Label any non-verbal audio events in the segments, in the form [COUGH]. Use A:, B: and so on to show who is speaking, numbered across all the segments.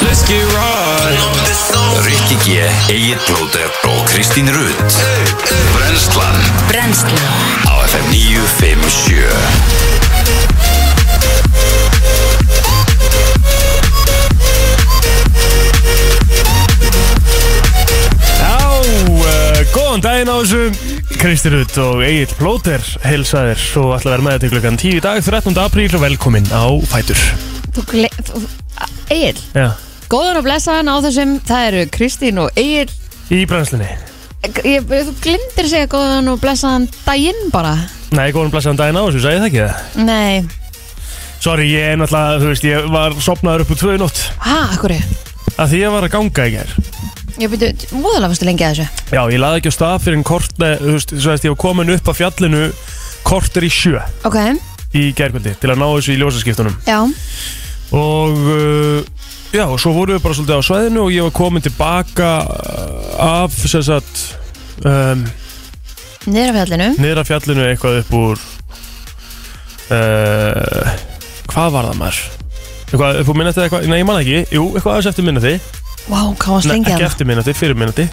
A: Let's get right
B: Rikki G, Egil Blóter og Kristín Rutt Brenslan
C: Brennslan
B: á FM 957
D: Já, uh, góðan daginn á þessu Kristi Rutt og Egil Plóter heilsaðir og ætla að vera með þetta í klukkan 10 í dag, 13. apríl og velkomin á Fætur
E: Þú gle... þú- Egil,
D: Já,
E: góðan og blessaðan á þessum Það eru Kristín og Egil
D: í brennslunni
E: ég, Þú glindir segja góðan og blessaðan daginn bara
D: Nei, góðan blessaðan daginn á þessu, sagði það ekki það
E: Nei,
D: Sorry, ég er náttúrulega, þú veist, ég var sopnaður upp úr tvöðu nótt
E: hæ, akkur
D: að því ég var að ganga í gær
E: Ég byrju, múðalega fyrstu lengi að þessu
D: Já, ég laði ekki á stað fyrir en kort, nei, þú veist, þú veist, ég var komin upp á fjallinu kortur í sjö
E: Ok,
D: í gærkvöldi til að ná þessu í ljósaskiptunum
E: já,
D: og uh, já, og svo vorum við bara svolítið á sveðinu og ég var komin tilbaka uh, af sem sagt um,
E: Mm. niður af fjallinu
D: niður af fjallinu eitthvað upp úr uh, hvað var það maður? Eitthvað upp úr minnati eitthvað, nei ég man það ekki, jú, eitthvað aðeins eftir minnati
E: Vá, hvað varst
D: Nei,
E: lengi að
D: ekki
E: það
D: eftir minnati, fyrir minnati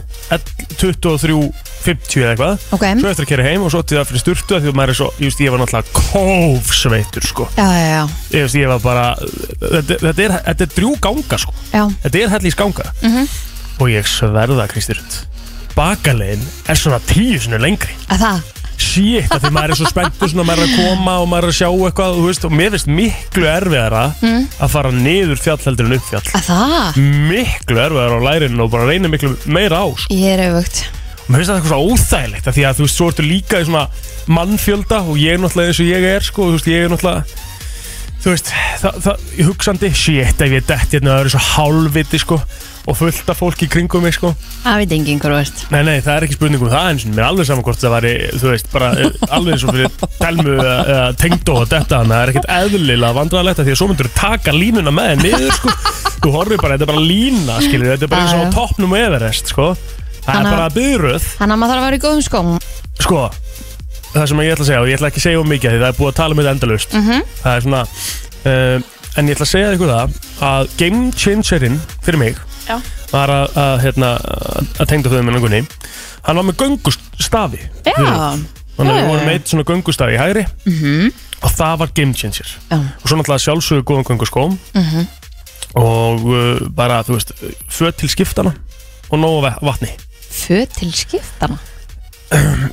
D: 23.50 eða eitthvað
E: Ok,
D: Svo eftir að kera heim og svo til það fyrir styrtu Því að maður er svo, ég veist, ég var náttúrulega kófsveitur sko.
E: já, já, já,
D: Ég veist, ég var bara Þetta, þetta, er, þetta er drjú ganga sko.
E: já
D: Þetta er hellís ganga
E: Mhm.
D: Og ég sverða Kristi Rutt Bakalegin er svona tíu sinni lengri
E: að Það,
D: Shit, af því maður er svo spenntur svona maður er að koma og maður er að sjá eitthvað þú veist, og mér finnst miklu erfiðara
E: Mm.
D: að fara niður fjall heldur en upp fjall
E: að
F: Mm.
E: það
D: miklu erfiðara á lærinu og bara reyna miklu meira á sko.
E: Ég er auðvögt
D: og mér finnst það eitthvað svona óþægilegt af því að þú veist, svo ertu líka í svona mannfjölda og ég er náttúrulega eins og ég er sko, og þú veist, ég er náttúrulega þú veist, það, það, ég hugsandi shit, ef ég detti hérna, það eru svo hálfviti sko, og fullt af fólki í kringum mig sko.
E: Það veit enginn hver þú ert
D: Nei, nei, það er ekki spurning um það eins og mér er alveg saman hvort það væri, þú veist, bara eh, alveg eins og fyrir telmu eða eða tengdó og þetta, þannig að það er ekkert eðlilega vandræðalegt af því að svo myndur þú taka línuna með þér niður, sko, þú horfir bara, þetta er bara lína, skilur, þetta er bara eins og á
E: Já, já.
D: toppnum og everest, sko, það er
E: Þannig að-
D: bara byrjuð,
E: Þannig að maður þarf að vera í góðum skóm
D: sko, það sem ég ætla að segja og ég ætla ekki að segja um mikið af því það er búið að tala um þetta endalust,
E: Mhm.
D: það er svona, um, en ég ætla að segja ykkur það að game changerinn fyrir mig
E: Já.
D: var að, að, hérna, að tengda þau með langunni hann var með göngustafi
E: Já,
D: þannig að
E: Já,
D: við
E: já,
D: vorum
E: já.
D: með eitt svona göngustafi í hægri og það var game changer
E: já,
D: og svo náttúrulega sjálfsögur góðan gönguskóm og uh, bara þú veist föt til skiptana og nóg af vatni
E: föt til skiptana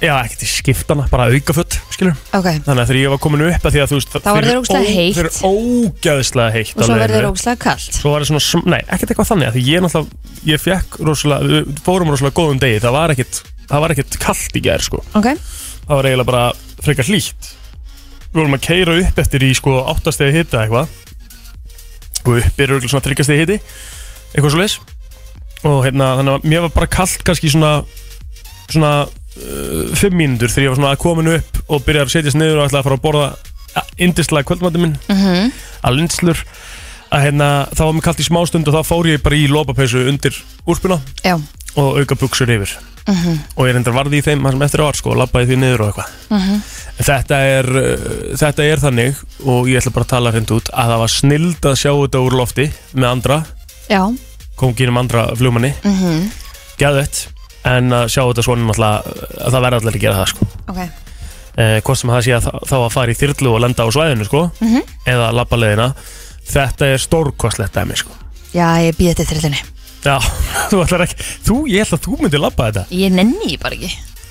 D: já ekki til skiptana, bara aukaföt skilur
E: Ok,
D: Þannig að þegar ég var komin upp að því að þú veist
E: Þá var þér ógeðslega heitt.
D: Þau eru ógæðislega heitt
E: og svo
D: alveg
E: verður
D: einu.
E: ógslag kalt
D: Svo var það svona, sm- nei, ekkert eitthvað þannig að Því ég náttúrulega, ég fekk rosalega Við fórum rosalega góðum degi, það var ekkert Það var ekkert kallt í gær, sko
E: Ok,
D: Það var eiginlega bara frekar hlýtt Við vorum að keira upp eftir í, sko, áttastegi hita eitthvað Og upp er auðvitað svona tryggastegi hiti Eitthvað svo leis Og hérna, þannig að mér var bara kallt kannski svona Svona uh, Fimm mínútur þegar ég var svona komin upp Og byrjaði að setjast niður og ætlaði að fara að borða ja, Indislega kvöldmætti minn að linslur að hérna, það var mér kallt í smástund og þá fór ég bara í lopapeysu undir úrpuna
E: já Mhm.
D: og auka buksur yfir og ég reyndar varði í þeim það sem eftir var sko og labbaði því niður og eitthvað
E: Mhm.
D: en þetta er, uh, þetta er þannig og ég ætla bara að tala hreint út að það var snild að sjá þetta úr lofti með andra,
E: Já,
D: konginum um andra flugmanni,
E: mm
D: geðvett en að sjá þetta svona náttúrulega að það verða allir að gera það sko
E: ok
D: eh, hvort sem það sé að þá að fara í þyrlu og lenda á svæðinu sko
E: Mhm.
D: eða labba leiðina þetta er stórkostlegt dæmi sko
E: Já, ég býð þetta þrillinni
D: Já, [LAUGHS] þú ætlar ekki Þú, ég held að þú myndir labba þetta
E: Ég nenni ég bara ekki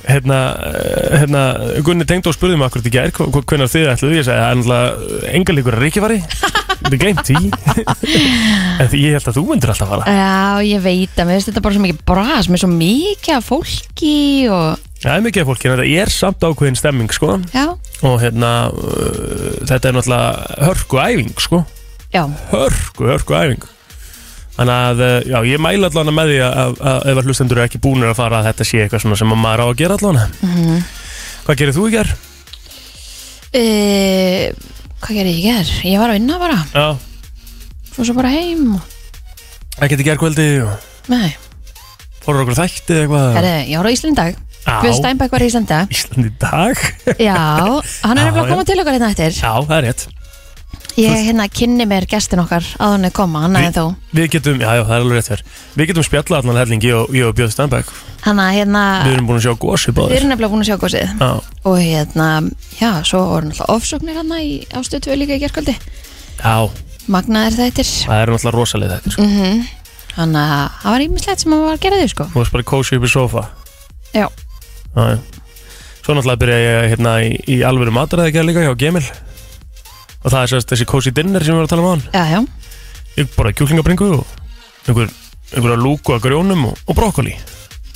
D: Hérna, eh, hérna Gunni tengd og spurði mig akkur til gær Hvernig þið ætluðu, ég sagði Það er náttúrulega enga líkur að
E: [LAUGHS]
D: ríkifari Þetta er glemt því [LAUGHS] En því ég held að þú myndir alltaf fara
E: Já, ég veit að mér finnst þetta bara svo mikið bras Mér svo mikið af fólki og
D: Það er mikið af fólki, en þetta er samt ákveðin stemming sko.
E: Já,
D: Og hérna uh, Þetta er náttúrulega hörku æfing sko.
E: já,
D: Hörku, hörku æfing Þannig að, eh, já, ég mæla allan með því að, að, að ef að hlustendur eru ekki búnir að fara að þetta sé eitthvað svona sem að maður á að gera allan Hvað gerir þú í gær?
E: e, Hvað gerði ég í ger? Ég var að vinna bara
D: Já,
E: Svo svo bara heim og...
D: ekkert í gerðkvöldi og
E: Nei,
D: fórum okkur þætti eða eitthvað
E: herri, ég var á Íslandi í dag Guð
D: Já,
E: Steinbeck var í Íslandi í dag.
D: Ísland í dag
E: Já, hann
D: Já,
E: er nefnilega að
D: já.
E: koma til okkar hérna eftir
D: Já, það er rétt
E: Ég hérna kynni mér gestin okkar að hann er koma, hann aðeins þó
D: Við getum, já, já, það er alveg rétt hér Við getum spjallað allan hellingi og ég og Björn Stenberg
E: Hann að hérna,
D: Við erum búin að sjá gósi
E: við
D: báðir
E: erum nefnilega búin að sjá gósið
D: Já,
E: Og hérna, já, svo voru náttúrulega ofsóknir hann í ástöðtvö líka í gerkvöldi
D: já,
E: Magnaðir þættir
D: það er náttúrulega rosalega þetta sko.
E: Mhm. Þannig að það var ímislegt sem hann var að gera þau sko
D: Þú varst bara kósi upp í sofa
E: Já,
D: Já, já. Svo náttúrulega byrja ég hérna í, í alvöru mataræði ekki líka hjá Gemil og það er sérst þessi cozy dinner sem við varum að tala um á hann
E: já, já,
D: ég bara kjúklingabringu og einhver, einhverja lúku að grjónum og, og brokkoli en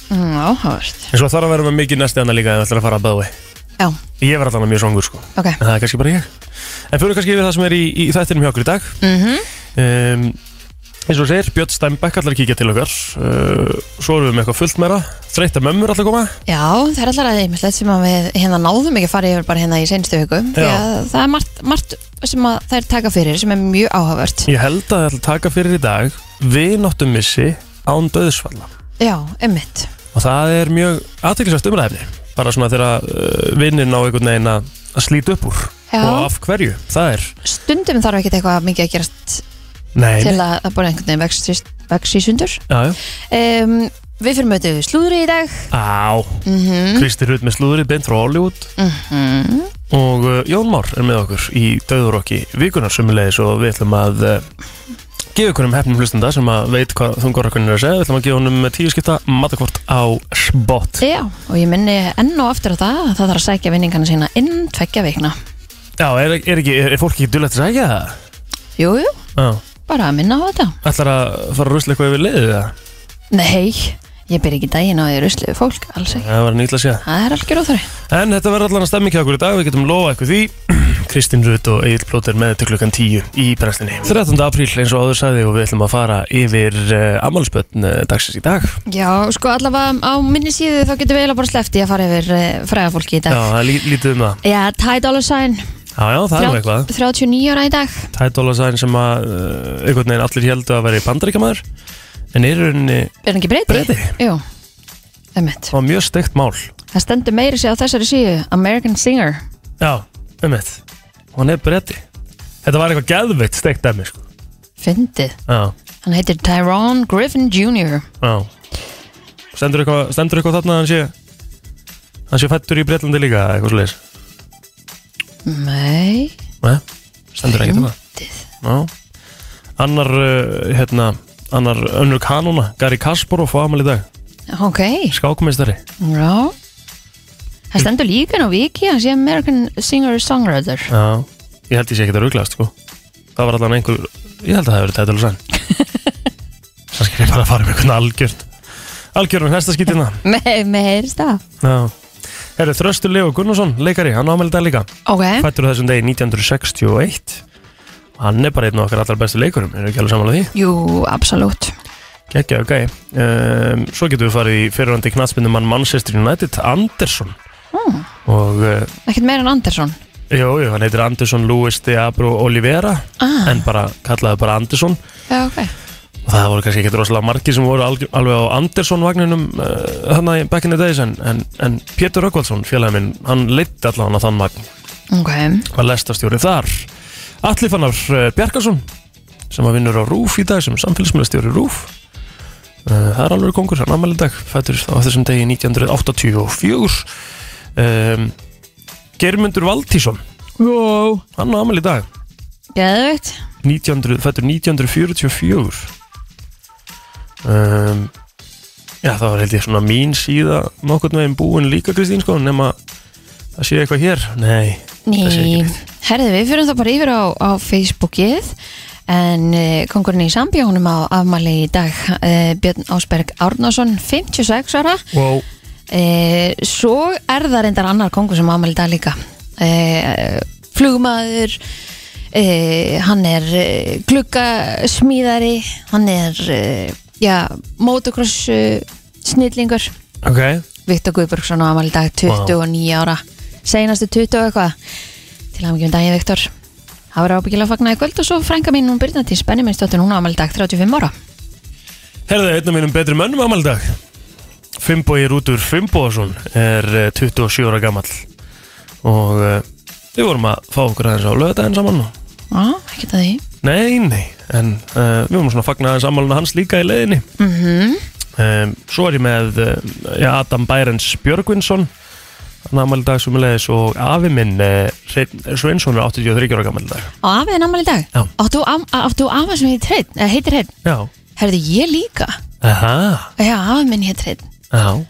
E: Mm, áhugavert
D: svo þarf að vera með mikið næsti annað líka ef það ætlar að fara að bæða
E: Já,
D: ég var alltaf mjög songur sko
E: ok
D: en það er kannski bara ég en fyrir kannski yfir það sem er í, í þættinum hjá okkur í dag
E: mm
D: um, eins og þú segir, Björn Steinbeck allar að kíkja til okkar uh, svo erum við með eitthvað fullt meira þreytta mömmur allar koma
E: Já, það er alltaf ímislegt sem að við hérna náðum ekki að fara yfir bara hérna í senstu viku Því
D: Já.
E: að það er margt, margt sem að það er taka fyrir sem er mjög áhugavert
D: Ég held að ég ætla að taka fyrir í dag Vináttum missi án döðsfalla
E: Já, ummitt
D: Og það er mjög aðteklisvægt umræðefni Bara svona þegar uh, vinnin á einhvern veginn að að slíta upp úr
E: Já.
D: Og af hverju, það er
E: Stundum þarf ekkert eitthvað mikið að gerast
D: Nei,
E: til að það búið einhvern veginn vex í- vex í sundur
D: já, já
E: um, Við fyrir mötu slúðri í dag
D: Á,
E: Mm. Mhm.
D: Kristi Rut með slúðri beint frá Hollywood Og uh, Jón Már er með okkur í döðurokki vikunar sömulegis Og við ætlum að uh, gefa ykkur um hefnum hlustenda sem að veit hvað þungorakunni er að segja Við ætlum að gefa honum tíu skipta matakvort á spot
E: Já, og ég minni enn og aftur á það að það þarf að sækja vinningana sína inn tveggja vikna
D: Já, er, er, ekki, er, er fólk ekki dullegt að segja það?
E: Jú, jú,
D: Já.
E: bara að minna á þetta
D: Ætlar að fara að rusla eitthvað yfir liðið það?
E: Nei, ég byrja ekki daginn á því rusliðu fólk, alls ekki
D: Það var nýtla að sé.
E: Það er algjör óþari
D: En þetta verður allan að stemmi ekki okkur í dag, við getum lofa eitthvað því. [CLEARS THROAT] Kristín Rut og Egil Plóter með til klukkan 10 í brennslinni. 13. apríl eins og áður sagði og við ætlum að fara yfir uh, ammálspötn uh, dagsins í dag.
E: Já, sko allavega á minni síðu þá getum við eiginlega bara sleppt í að fara yfir uh, fræða fólki í
D: Já,
E: dag
D: það er lí- lítið um það.
E: Já, Ty Dolla Sign,
D: Já, já, það er nú eitthvað.
E: 39 ára í dag
D: Tætólasæðin sem að uh, einhvern veginn allir heldu að vera í bandaríkamaður. En er í rauninni,
E: Er hann ekki breyti?
D: Breyti.
E: Jú, emmitt
D: það var mjög steikt mál.
E: Það stendur meiri sig á þessari síðu American Singer
D: Já, um eitt. Og hann er bretti. Þetta var eitthvað geðveitt steikt dæmi, sko.
E: Fyndið
D: Já.
E: Hann heitir Tyrone Griffin Jr.
D: Já Stendur eitthvað, stendur eitthvað þarna að hann sé hann sé fættur í Breitlandi líka eða eitthvað sliðis
E: Nei
D: Nei, stendur ekkert þarna
E: Fyndið
D: Já Annar, uh, hérna annar önnur kanóna, Gary Kasparov á amal í dag,
E: Ok,
D: skákmeistari
E: já Það stendur líka nú viki Hann sé American Singer Songwriter
D: Já, ég held ég sé ekkert að ruglast sko Það var allan einhver, ég held að það hefur verið tættilega sann Það skil ég bara að fara með einhvern algjörn algjörn, næsta skýtina
E: Me, Með heyrst það
D: Já, herri Þröstur Leo Gunnarsson, leikari, hann á amal í dag líka
E: Ok,
D: fættur á þessum degi 1961 og hann er bara einn af okkar allar bestu leikurum erum við ekki alveg samanlega því
E: jú, absolutt
D: Gekkja, ok um, Svo getum við farið í fyrirhandi knatsmyndum mann Manchester United, Anderson
E: Mm.
D: og uh,
E: Ekkert meira en Andersson
D: jú, jú, hann heitir Anderson Luis de Abro Oliveira
E: ah,
D: en bara, kallaði bara Anderson
E: Já, ok
D: og það voru kannski ekki rosalega margir sem voru alg- alveg á Anderson vagninum uh, hann að back in the days en, en, en Pétur Rökkvaldsson, félagin minn hann leitt allan á þann vagn
E: Ok,
D: var lestastjóri þar Atli fannar eh, Bjarkason sem að vinnur á RÚF í dag sem samfélagsmiðlastjóri RÚF Eh, það er alveg kongur, hann ammæli dag fættur á þessum degi 1984 um, Geirmundur Valtísson wow. hann á ammæli dag
E: geðveikt
D: 1900, fættur 1944 um, já það var held ég svona mín síða nokkurn veginn búin líka Kristín sko nema það sé eitthvað hér nei, það sé ekki
E: Ný,
D: neitt.
E: herðu við fyrir það bara yfir á, á Facebookið en uh, kongurinn í Sambíu honum á afmæli í dag uh, Björn Ásberg Árnason 56 ára
D: wow.
E: uh, svo er það reyndar annar kongur sem á afmæli í dag líka uh, flugmaður uh, hann er uh, gluggasmíðari hann er uh, já, motocross uh, snillingur
D: ok
E: Viktor Guðbjörgsson á amal í dag 29 ára, seinastu 20 og eitthvað til að mikið um daginn Viktor það var ábyggilega að fagna í kvöld og svo frænka mín hún byrna til spenni minn stóttur hún á amal í dag 35 ára
D: Herðu, einn af mínum betri mönnum ámaldag Fimbogi Rútur Fimboðarsson er eh, 27 ára gamall og eh, við vorum að fá okkur aðeins á lögadaginn saman og
E: Já, ekkert að því
D: Nei, nei, en uh, við vorum svona að fagna aðeins ammáluna hans líka í leiðinni
E: mm -hmm.
D: um, Svo er ég með uh, ja, Adam Bærens Björgvinsson hann ammæli dag sem og afi minn uh, Sveinsson er 83 ára gammal dag
E: Á afið er námæli í dag
D: Já.
E: Áttu, am, áttu afa sem heitir hreinn eða heitir hreinn
D: Já,
E: Herðu ég líka
D: aha,
E: Já, afið minn heitir hreinn
D: já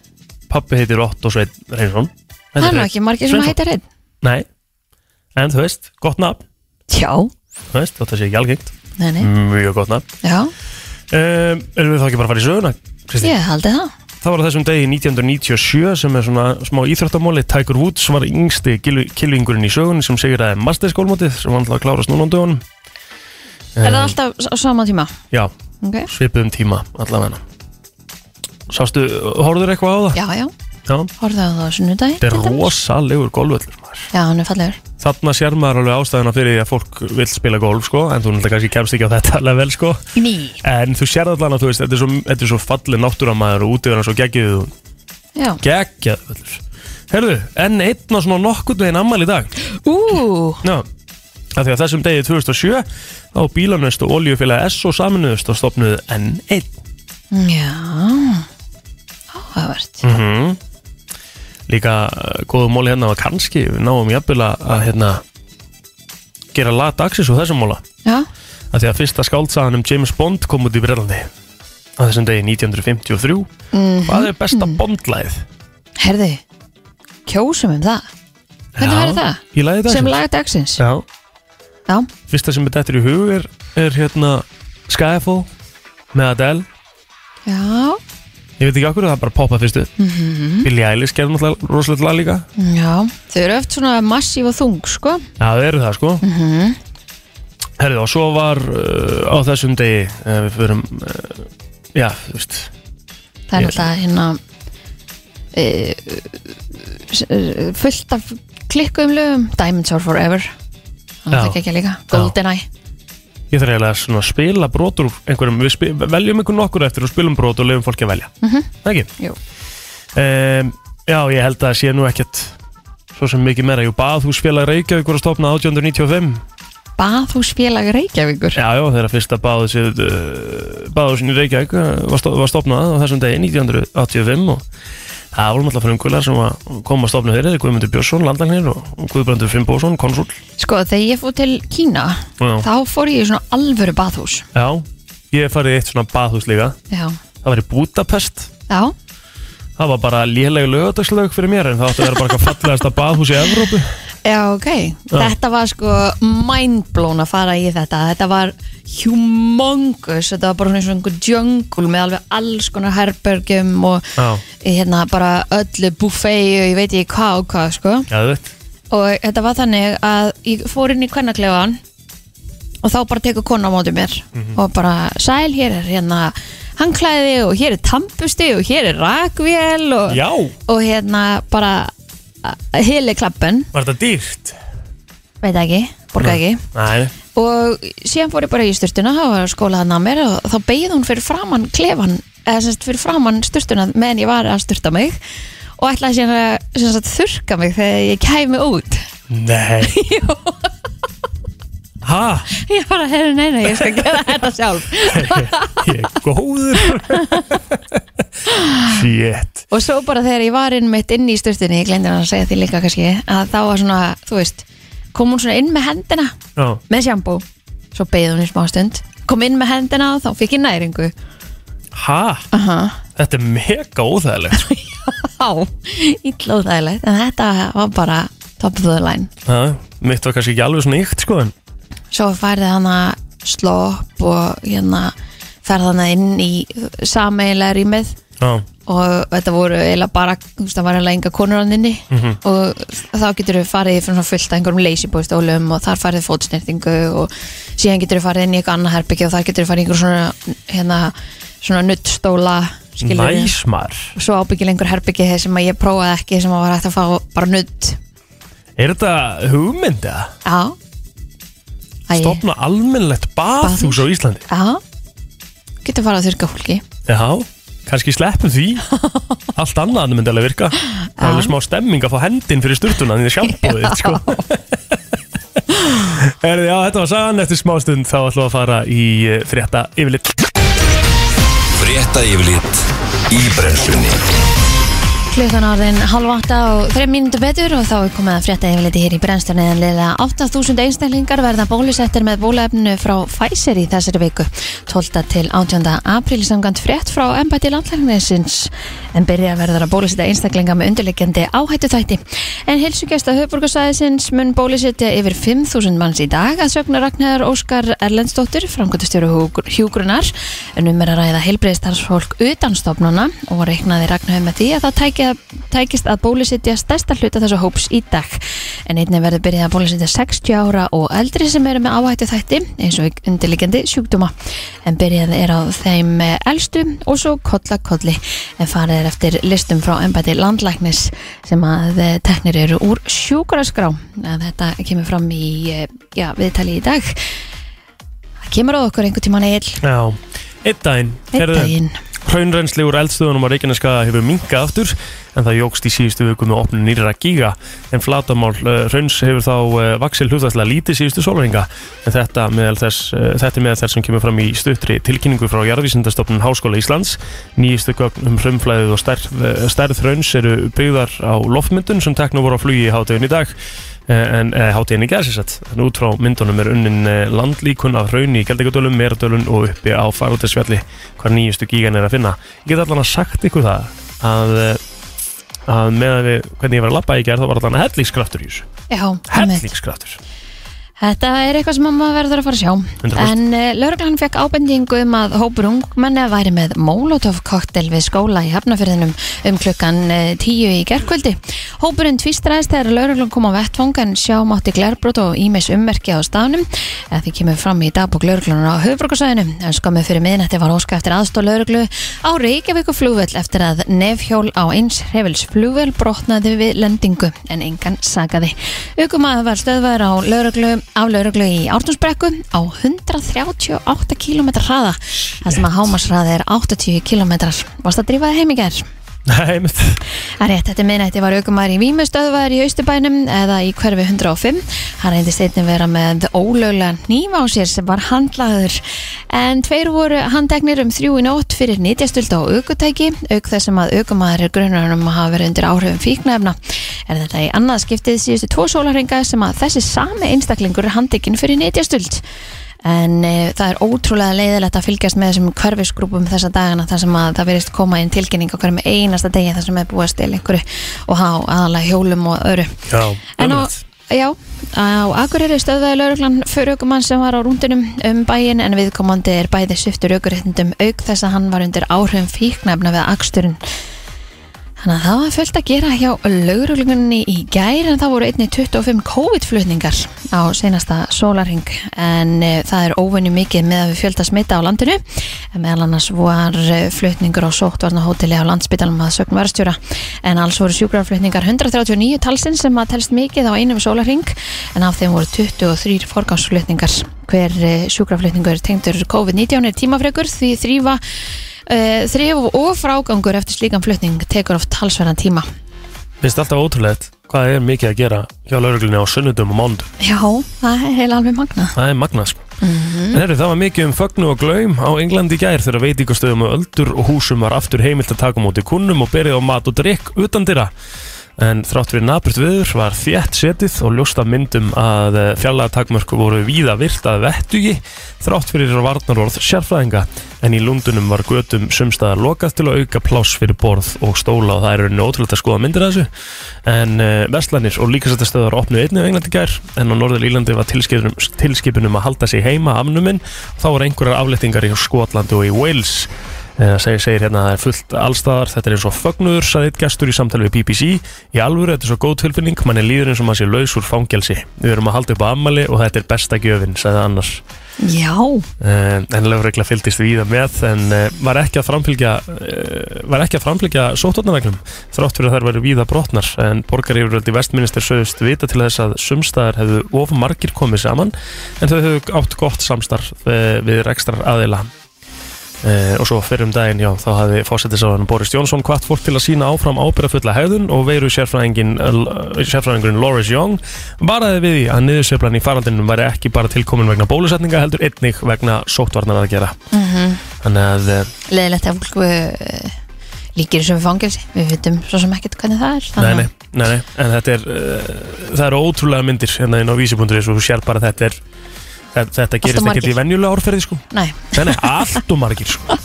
D: Pappi heitir Otto Svein Reynsson
E: Það er nú ekki margir sem
D: Sveinsson.
E: heitir hreinn
D: Nei, en þú veist, gott nafn
E: Já,
D: Þú veist, þetta sé ekki algengt
E: nei, nei
D: Mjög gott nafn
E: Já,
D: um, Erum við þá ekki bara að fara í söguna, Kristi?
E: ég haldi það
D: Það var á þessum degi 1997 sem er svona smá íþróttamóli Tiger Woods var yngsti gil- killingurinn í sögunni sem segir að masterskólmótið sem var alltaf að klárast núna á dögunum Eh.
E: Er það alltaf s- á sama tíma?
D: Já,
E: Okay.
D: svipuðum tíma allavega Sástu, horfður eitthvað á það?
E: Já, já,
D: Já
E: horfðu á það á sunnudagi
D: Ah. Þetta
E: til
D: er
E: dæmis.
D: rosalegur golfvöllur maður.
E: Já, hann er fallegur
D: Þarna sér maður alveg ástæðuna fyrir því að fólk vil spila golf sko En þú náttúrulega kannski kemst ekki á þetta alveg vel sko
E: Ný
D: En þú sér allan að þú veist, þetta er svo, þetta er svo fallið náttúramæður og útíðurinn svo geggið og
E: Já
D: geggjað völlur. Herðu, enn einn og svona nokkurn veginn ammæli í dag.
E: Ú,
D: Já, af því að þessum degi 2007 á bílanust og oljufélagi S og saminuðust og stopnuðu N1.
E: já Áhugavert
D: Mhm. Líka uh, góðu móli hérna var kannski, við náum jafnvel að að, hérna, gera lat axis úr þessum móla.
E: Já,
D: Af því að fyrsta skáldsagan um James Bond kom út í Breðlandi á þessum degi 1953.
E: Mhm.
D: Hvað er besta Bondlæð?
E: herðu Kjósum um það Hvernig væri það?
D: Í lagið dagsins.
E: Sem laga dagsins Já,
D: Já,
E: já.
D: fyrsta sem er dættur í hug er, er hérna Skyfall með Adele
E: Já,
D: ég veit ekki okkur það er bara poppað fyrstu mm
E: Mhm.
D: -hmm. Billie Eilish gerði náttúrulega rosalega lag líka
E: já, þau eru oft svona massíf og þung, sko
D: já það eru það sko
E: Mhm.
D: mm herrið og svo var uh, á þessum degi uh, við fyrum uh, já þú veist
E: Það er
D: Ég-
E: alltaf hérna e, s- e, fullt af klikkuðum lögum Diamonds Are Forever Það
D: Já.
E: er ekki líka, GoldenEye
D: ég þarf eiginlega svona að spila brotur úr einhverjum við spi- veljum einhvern okkur eftir og spilum brot og lefum fólki að velja mm -hmm. ekki
E: Mhm. Jú.
D: um, já ég held að það sé nú ekkert svo sem mikið meira jú baðhúsfélag Reykjavík voru að stopna 1895
E: Bathúsfélag Reykjavíkur
D: Já, já, þeirra fyrsta báðu sér uh, báðu sinni Reykjavík uh, var, stof, var stopnað á þessum degi 1985 og það voru alltaf frumkvölar sem var- kom að stopna þeirri, Guðmundur Björnsson, landagnir og og Guðbrandur Finnbósson, konsul
E: Sko, þegar ég fór til Kína
D: Já.
E: þá fór ég í svona alvöru bathús
D: Já, ég hef farið í eitt svona baðhús líka
E: Já,
D: það var í Budapest
E: já,
D: það var bara léleg lögadagslög fyrir mér en það átti að vera bara eitthvað fallegasta baðhús í Evrópu
E: já ok Þetta var sko mindblown að fara í þetta Þetta var humongous Þetta var bara svona eins og einhver jungle með alveg alls konar herbergjum og
D: Já,
E: hérna bara öllu buffet og ég veit ekki hvað og hvað sko
D: já, þú veit
E: og þetta var þannig að ég fór inn í kvennaklegan og þá bara tekur kona á móti mér
D: Mhm.
E: og bara sæl, hér er hérna hangklæði og hér er tampusti og hér er rakvél og,
D: Já,
E: og hérna bara uh, hili klappen,
D: var þetta dýrt?
E: veit það ekki, borga ekki
D: Nei,
E: og síðan fór ég bara í sturtuna þá var skólaðan að mér og þá beigð hún fyrir framann klefan, eða sem sagt fyrir framann sturtuna meðan ég var að sturta mig og ætlaði síðan að sem sagt, þurka mig þegar ég kæmi út [LAUGHS]
D: nei
E: Jú.
D: [LAUGHS] Ha,
E: ég bara, herru, nei, nei, ég skal gera [LAUGHS] þetta sjálf
D: ég er góður Shit
E: og svo bara þegar ég var inn mitt inn í sturtunni ég glemdi hann að segja því líka kannski að þá var svona, þú veist, kom hún svona inn með hendina
D: Já,
E: með sjambó svo beigð hún í smá stund kom inn með hendina og þá fikk ég næringu
D: ha,
E: aha
D: þetta er mega óþægilegt
E: [LAUGHS]
D: sko.
E: á illa útægilegt en þetta var bara top of the line
D: Já, Mitt var kannski ekki alveg svona ykt sko en
E: svo færði hann að slopp og hérna færði hann inn í uh, sameiginlega rýmið
D: Já,
E: og þetta voru eiginlega bara, þú veist, það var eiginlega enga konur hann inni
D: Mhm.
E: og þá getur við farið fyrir svona fullt af einhverjum leysibóðstólum og þar farið fótsnertingu og síðan getur við farið inn í eitthvað annað herbyggja og þar getur við farið í einhver svona hérna, svona nuttstóla skilurðu.
D: næs maður
E: og svo ábyggil einhver herbyggi þeir sem að ég prófaði ekki sem að var hægt að fá bara nudd
D: Er þetta hugmynd eða?
E: Já Æ,
D: Stopna almennlegt bathús á Íslandi
E: Já Getur farið að þurrka fólki
D: Já, kannski sleppum
E: [LAUGHS]
D: því Allt annað myndi alveg virka Það er alveg smá stemming að fá hendin fyrir sturtuna Því þið sjampóðið sko [LAUGHS] Herði, já, þetta var sagan, eftir smástund þá ætlum við að fara í eh, frétta yfirlit
B: Frétta yfirlit í brennslunni
E: Klukkan orðin halv átta og þreim mínútur betur og þá er komið að frétta yfirleiti hér í brennstunni en liðlega 8000 einstaklingar verða bólusettir með bólaefninu frá Pfizer í þessari viku 12. til 18. apríl samkvæmt frétt frá embætti landlæknisins en byrja verður að bólusetta einstaklinga með undirleikjandi áhættu þætti en hilsugjasta höfburgarsæðisins mun bólusetja yfir 5000 manns í dag að sögna Ragnar Óskar Erlendsdóttir framkvæmtustjóru hjúgrunar en um er að ræða heilbreyðstarfsfólk utan stofnuna og reiknaði Ragnar með því að það tæki, tækist að bólusetja stærsta hluta þessu hóps í dag en einnig verður byrjað að bólusetja 60 ára og eldri sem eru með áhættu þætti eins og undirleikjandi sjúkdóma en byrjað er á þeim eh, elstu og svo kolla kolli en farið er eftir listum frá embæti landlæknis sem að eh, teknir eru úr sjúkuraskrá þetta kemur fram í eh, já, viðtali í dag það kemur á okkur einhvern tíman eil
D: Já, einn daginn
E: einn
D: Heyrðu,
E: daginn
D: Hraunrennsli úr eldstöðunum á Reykjaneskaða hefur minkað aftur en það jógst í síðustu viku með opnun nýra gíga en flatamál uh, hrauns hefur þá uh, vaksil hlutastlega lítið síðustu sólringa en þetta, meðal þess, uh, þetta er meðal þess sem kemur fram í stuttri tilkynningu frá Jarðvísindastofnun Háskóla Íslands nýjistu gögn um hrumflæðið og stærð, uh, stærð hrauns eru byggðar á loftmyndun sem tekna voru á flugi í hátíðin í dag eh, en eh, hátíðin í gæðsinsett en út frá myndunum er unnin eh, landlíkun af hraun í Geldingadölum, Meradölum og uppi á Faraldesfjalli hvar nýjustu gígan er að finna ég get allan að sagt ykkur það að, eh, að með að við hvernig ég var að labba í gerð þá var allan hellíkskraftur í þessu
E: Já, einmitt.
D: hellíkskraftur
E: Þetta er eitthvað sem maður verður að fara að sjá
D: 100%.
E: En uh, lögreglan fekk ábendingu um að hópur ungmenni væri með Molotov koktel við skóla í Hafnafyrðinum um klukkan uh, 10 í gerkvöldi Hópurinn tvistraðist þegar lögreglan kom á vettfóng en sjá mátti glerbrot og ímis ummerki á staðnum eða því kemur fram í dagbúk lögreglunar á höfbrukarsæðinu en skömmu fyrir miðnætti var óska eftir aðstóð lögreglu á Reykjavíku flugvöll eftir að nefhjól á eins hefils flugvöll brotnaði við lendingu en engan sagaði. Ökumæður var stöðvæður á lögreglu, á lögreglu í Ártúnsbrekku á 138 km hraða þar sem að hámarsraði er 80 km Varst að drífa það heim í gerð?
D: [LAUGHS] Nei, einmitt.
E: Það er rétt, eftir miðnætti var aukumæður í Vímustöðvar í Austurbænum eða í hverfi 105. Hann reyndist einnig vera með ólöglega nýf á sér sem var handlaður. En tveir voru handteknir um þrjú í nótt fyrir nýtjastöld á aukutæki, auk þess sem að aukumæður er grunnarum að hafa verið undir áhrifum fíknefna. Er þetta í annað skiptið síðustu tvo sólarringa sem að þessi sami einstaklingur er handtekinn fyrir nýtjastöld? en e, það er ótrúlega leiðilegt að fylgjast með þessum hverfisgrúpum þessa dagana þar sem að það verist koma inn tilkynning á hverjum einasta degi þar sem er búið að stila einhverju og há aðalega hjólum og öru
D: Já,
E: En á,
D: einmitt.
E: já, á Akureyri stöðvaði lauruglan fyrir aukumann sem var á rúndunum um bæin en viðkomandi er bæði sviftur aukuréttindum auk þess að hann var undir áhrifum fíknefna við aksturinn. Þannig að það var fullt að gera hjá lauruglugunni í gær en það voru einni 25 COVID-flutningar á senasta sólarhing en e, það er óvenju mikið með að við fjölda smita á landinu en meðal annars var eh, flutningur á sóttvarna hóteli á landsbytalum að sögn varstjóra en alls voru sjúkraflutningar 139 talsinn sem að telst mikið á einum sólarhing en af þeim voru 23 forgámsflutningar hver eh, sjúkraflutningur tengdur COVID-19 er tímafrekur því þrýfa eh, þrif og frágangur eftir slíkan flutning tekur oft talsverðan tíma
D: Finnst alltaf ótrúlegt hvað er mikið að gera hjá lauruglunni á sunnudum og mándum
E: Já, það er heila alveg magnað
D: Það er magnað sko En herru, það var mikið um fögnu og glaum á Englandi í gær þegar veitingastöðum og öldur og húsum var aftur heimilt að taka á móti kunnum og berið á mat og drikk utan dyra En þrátt fyrir naburt viður var þétt setið og ljósta myndum að fjallaða takmörku voru víða virt að vettugi þrátt fyrir varnarorð sérfræðinga en í lundunum var götum sumstaðar lokað til að auka pláss fyrir borð og stóla og það er rauninni ótrúlega að skoða myndir af þessu en uh, Vestlanir og líkasættastöðar opnuðu einnig á Englandi í gær en á Norður Ílandi var tilskipunum, tilskipunum að halda sig heima afnumin og þá voru einhverjar aflettingar í Skotlandi og í Wales Eh, Það segir, segir hérna að það er fullt allstaðar, þetta er eins og fögnuður, sagði eitt gestur í samtali við BBC. Í alvöru, þetta er svo góð tilfinning, mann er líður eins og maður sé laus úr fangelsi. Við erum að halda upp á ammali og þetta er besta gjöfin, sagði annars.
E: Já,
D: Uh, en lögregla fylgdist við það með en uh, var ekki að framfylgja uh, var ekki að framfylgja sóttvarnarreglum þrátt fyrir að þær væri víða brotnar en borgaryfirvöld í vestminister sögust vita til þess að sumstaðar hefðu of eh, margir komið saman en þau hefðu átt gott samstarf uh, við rekstrar aðila Eh, og svo fyrir um daginn, já, þá hafði fósettisáðan Boris Jónsson hvart fólk til að sína áfram ábyrðafulla hegðun og veiru sérfræðingin, eh, sérfræðingurinn Loris Young varaði við því að niðurseflan í faraldinum væri ekki bara tilkomin vegna bólusetninga heldur einnig vegna sóttvarnar að gera. Þannig að eh,
E: leðilegt að Mhm, fólk uh, líkir þessu við fangelsi við vitum svo sem ekkert hvernig það er
D: Nei,
E: þannig
D: nei, nei, nei, en þetta er uh, það eru ótrúlega myndir hérna inn á vísi.is og þú sér bara að þetta er þetta, þetta gerist
E: margir.
D: ekkert í venjulega árferði sko
E: að- Nei.
D: Nei, nei, allt og margir sko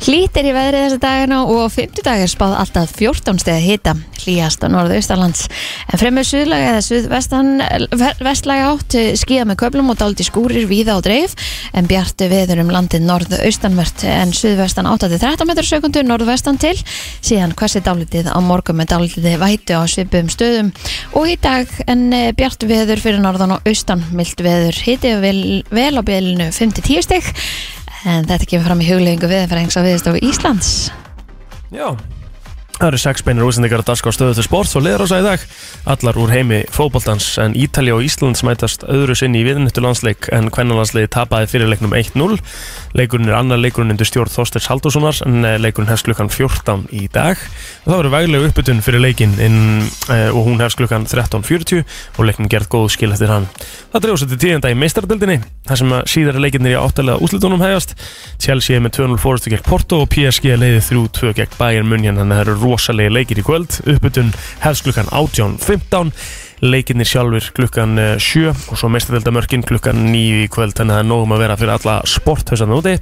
E: Hlýtt er í veðrið þessa dagana og á fimmtudag er spáð alltaf 14 steg að hita hlýjast á norðaustalands. En fremur suðlaga eða suðvestan ver- vestlæga átt skýða með köflum og dálítið skúrir víða á dreif en bjartu veður um landið norðaustanvert en suðvestan 8-13 metrar sekundu norðvestan til síðan hversi dálítið á morgun með dálítið vætu á svipum stöðum og í dag en eh, bjartu veður fyrir norðan og austan mildt veður hitið vel, vel á bylinu 5-10 steg En þetta kemur fram í huglefingu viðfærings á viðstofu Íslands.
D: Já Það eru sex beinir útsendingar að daska á stöðu til sports og leður í dag Allar úr heimi fótboltans en Ítalja og Ísland smætast öðru sinni í viðnittu landsleik en kvennalandsliði tapaði fyrir leiknum 1-0 Leikurinn er annar leikurinn undir stjórn Þorsteins Haldurssonar en eh, leikurinn hefst klukkan 14 í dag og það verður veglega uppbytun fyrir leikinn inn, eh, og hún hefst klukkan 13.40 og leiknum gerð góð skil eftir hann Það dreifur sér til tíðenda í meistardildinni þar sem að síðari leikinnir í áttalega útlutunum hefjast Chelsea er með 2-0 fórustu gegn Porto og PSG leiði 3-2 gegn Bayern München þannig að það eru rosalegi leikir í kvöld uppbytun hefst klukkan 18.15 leikinnir sjálfur klukkan eh, 7 og svo mestardildamörkin klukkan 9 í kvöld þannig að það er nógum að vera fyrir alla sporthausan úti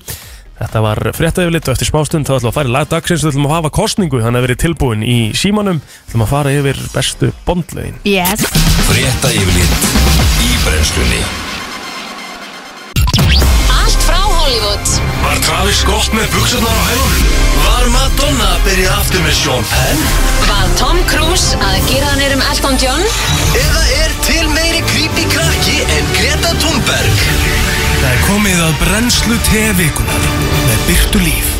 D: Þetta var fréttaðjöflitt og eftir smástund þá ætlum við að fara í lagdagsins við ætlum að hafa kostningu þannig að verið tilbúin í símanum ætlum að fara yfir bestu bondlegin
E: Yes.
B: Frétta yfirlit í brennslunni
C: Allt frá Hollywood
B: Var Travis gott með buksunar á hælunum? Var Madonna að byrja aftur með Sean Penn?
C: Var Tom Cruise að gera hann um Elton John
G: Eða er til meiri creepy krakki en Greta Thunberg?
B: Það er komið að brennslu tevikunar með Byrtu Líf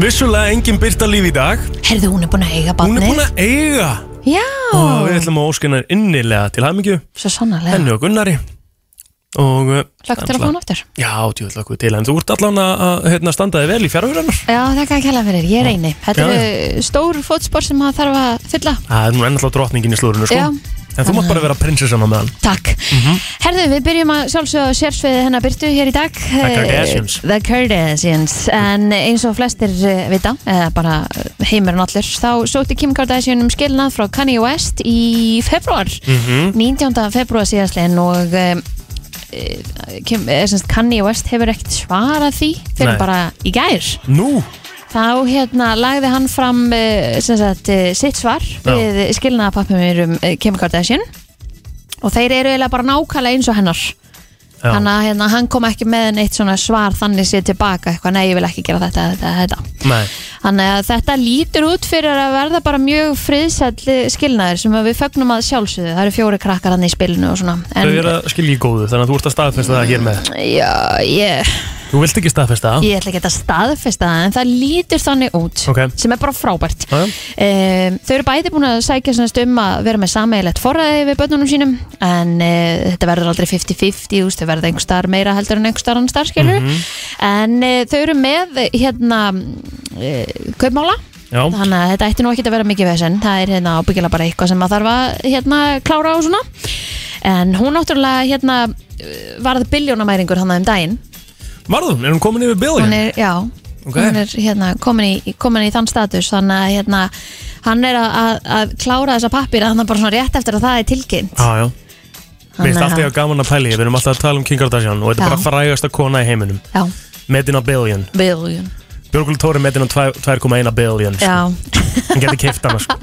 D: Vissulega engin byrta líf í dag
E: Herðu, hún er búin að eiga
D: Hún
E: barnið.
D: er búin að eiga
E: Já,
D: og við ætlum að óskina hennar innilega til hamingju
E: svo sannarlega.
D: henni og Gunnari og uh,
E: Hlögt til að fá hún aftur.
D: Já, djúvill okkur til, en þú ert allan að, að hérna, standaði vel í fjárhverjarnar
E: Já, þakka að kella fyrir, ég reyni. Þetta
D: Já,
E: eru stór fótspor sem maður þarf að fylla.
D: Það er nú ennallt drotningin í slúrinu, sko
E: Já.
D: En þú mátt bara vera prinsessana með hann
E: Takk. Herðu, við byrjum að sjálfsögða sérsviði hennar Byrtu hér í dag. The
D: Kardashians.
E: The Kardashians. En eins og flestir eh, vita, eða bara heimurinn allur, þá sótti Kim Kardashian um skilnað frá Kanye West í februar. 19. februar síðastlegin og um, Kim, eh, sem sagt, Kanye West hefur ekkert svarað því fyrir
D: Nei.
E: bara í gær. [LAUGHS]
D: Nú,
E: Þá hérna lagði hann fram eh, sem sagt, eh, sitt svar
D: Já.
E: við skilnaðapappumir um eh, Kim Kardashian og þeir eru eiginlega bara nákvæmlega eins og hennar
D: Já.
E: þannig að hérna, hann kom ekki með neitt svona svar þannig sér tilbaka eitthvað, nei ég vil ekki gera þetta, þetta, þetta.
D: nei,
E: þannig að þetta lítur út fyrir að verða bara mjög friðsæll eh, skilnaður sem að við fögnum að sjálfsögðu það eru fjóri krakkar hann í spilinu og svona
D: þau
E: en,
D: eru að skilja í góðu Þannig að þú ert að staðfesta það hér með
E: já, ég,
D: Þú vilt ekki staðfesta það?
E: ég ætla ekki að staðfesta það en það lítur þannig út
D: Ok.
E: sem er bara frábært
D: Já, já.
E: um, þau eru bæði búin að sækja svona um að vera með sameigilegt forræði við börnunum sínum en uh, þetta verður aldrei 50-50 þú veist, þau verða einhver starf meira heldur en einhver starf annar starf skilur
D: Mhm.
E: en uh, þau eru með eh, hérna uh, kaupmála
D: Já,
E: þannig að þetta ætti nú ekki að vera mikið vesen það er hérna ábyggilega bara eitthvað sem maður þarf að hérna klára á svona en hún náttúrulega hérna eh, varð biljónamæringur hann um daginn
D: varðum, er hún komin yfir
E: hún
D: billion?
E: er, já,
D: Ok.
E: hún er hérna, komin, í, komin í þann status þannig að hérna, hann er að, að, að klára þessa pappir að hann er bara svona rétt eftir að það er tilkynnt
D: Já, já Mér finnst
E: Þannig
D: alltaf
E: að-
D: ég gaman að pæli, við erum alltaf að tala um King Kardashian og þetta er
E: Já.
D: bara frægasta kona í heiminum
E: já,
D: Metin á billion,
E: biljón
D: Björgul Tóri metin á 2,1 billion sko.
E: já,
D: hann getur keift hana sko.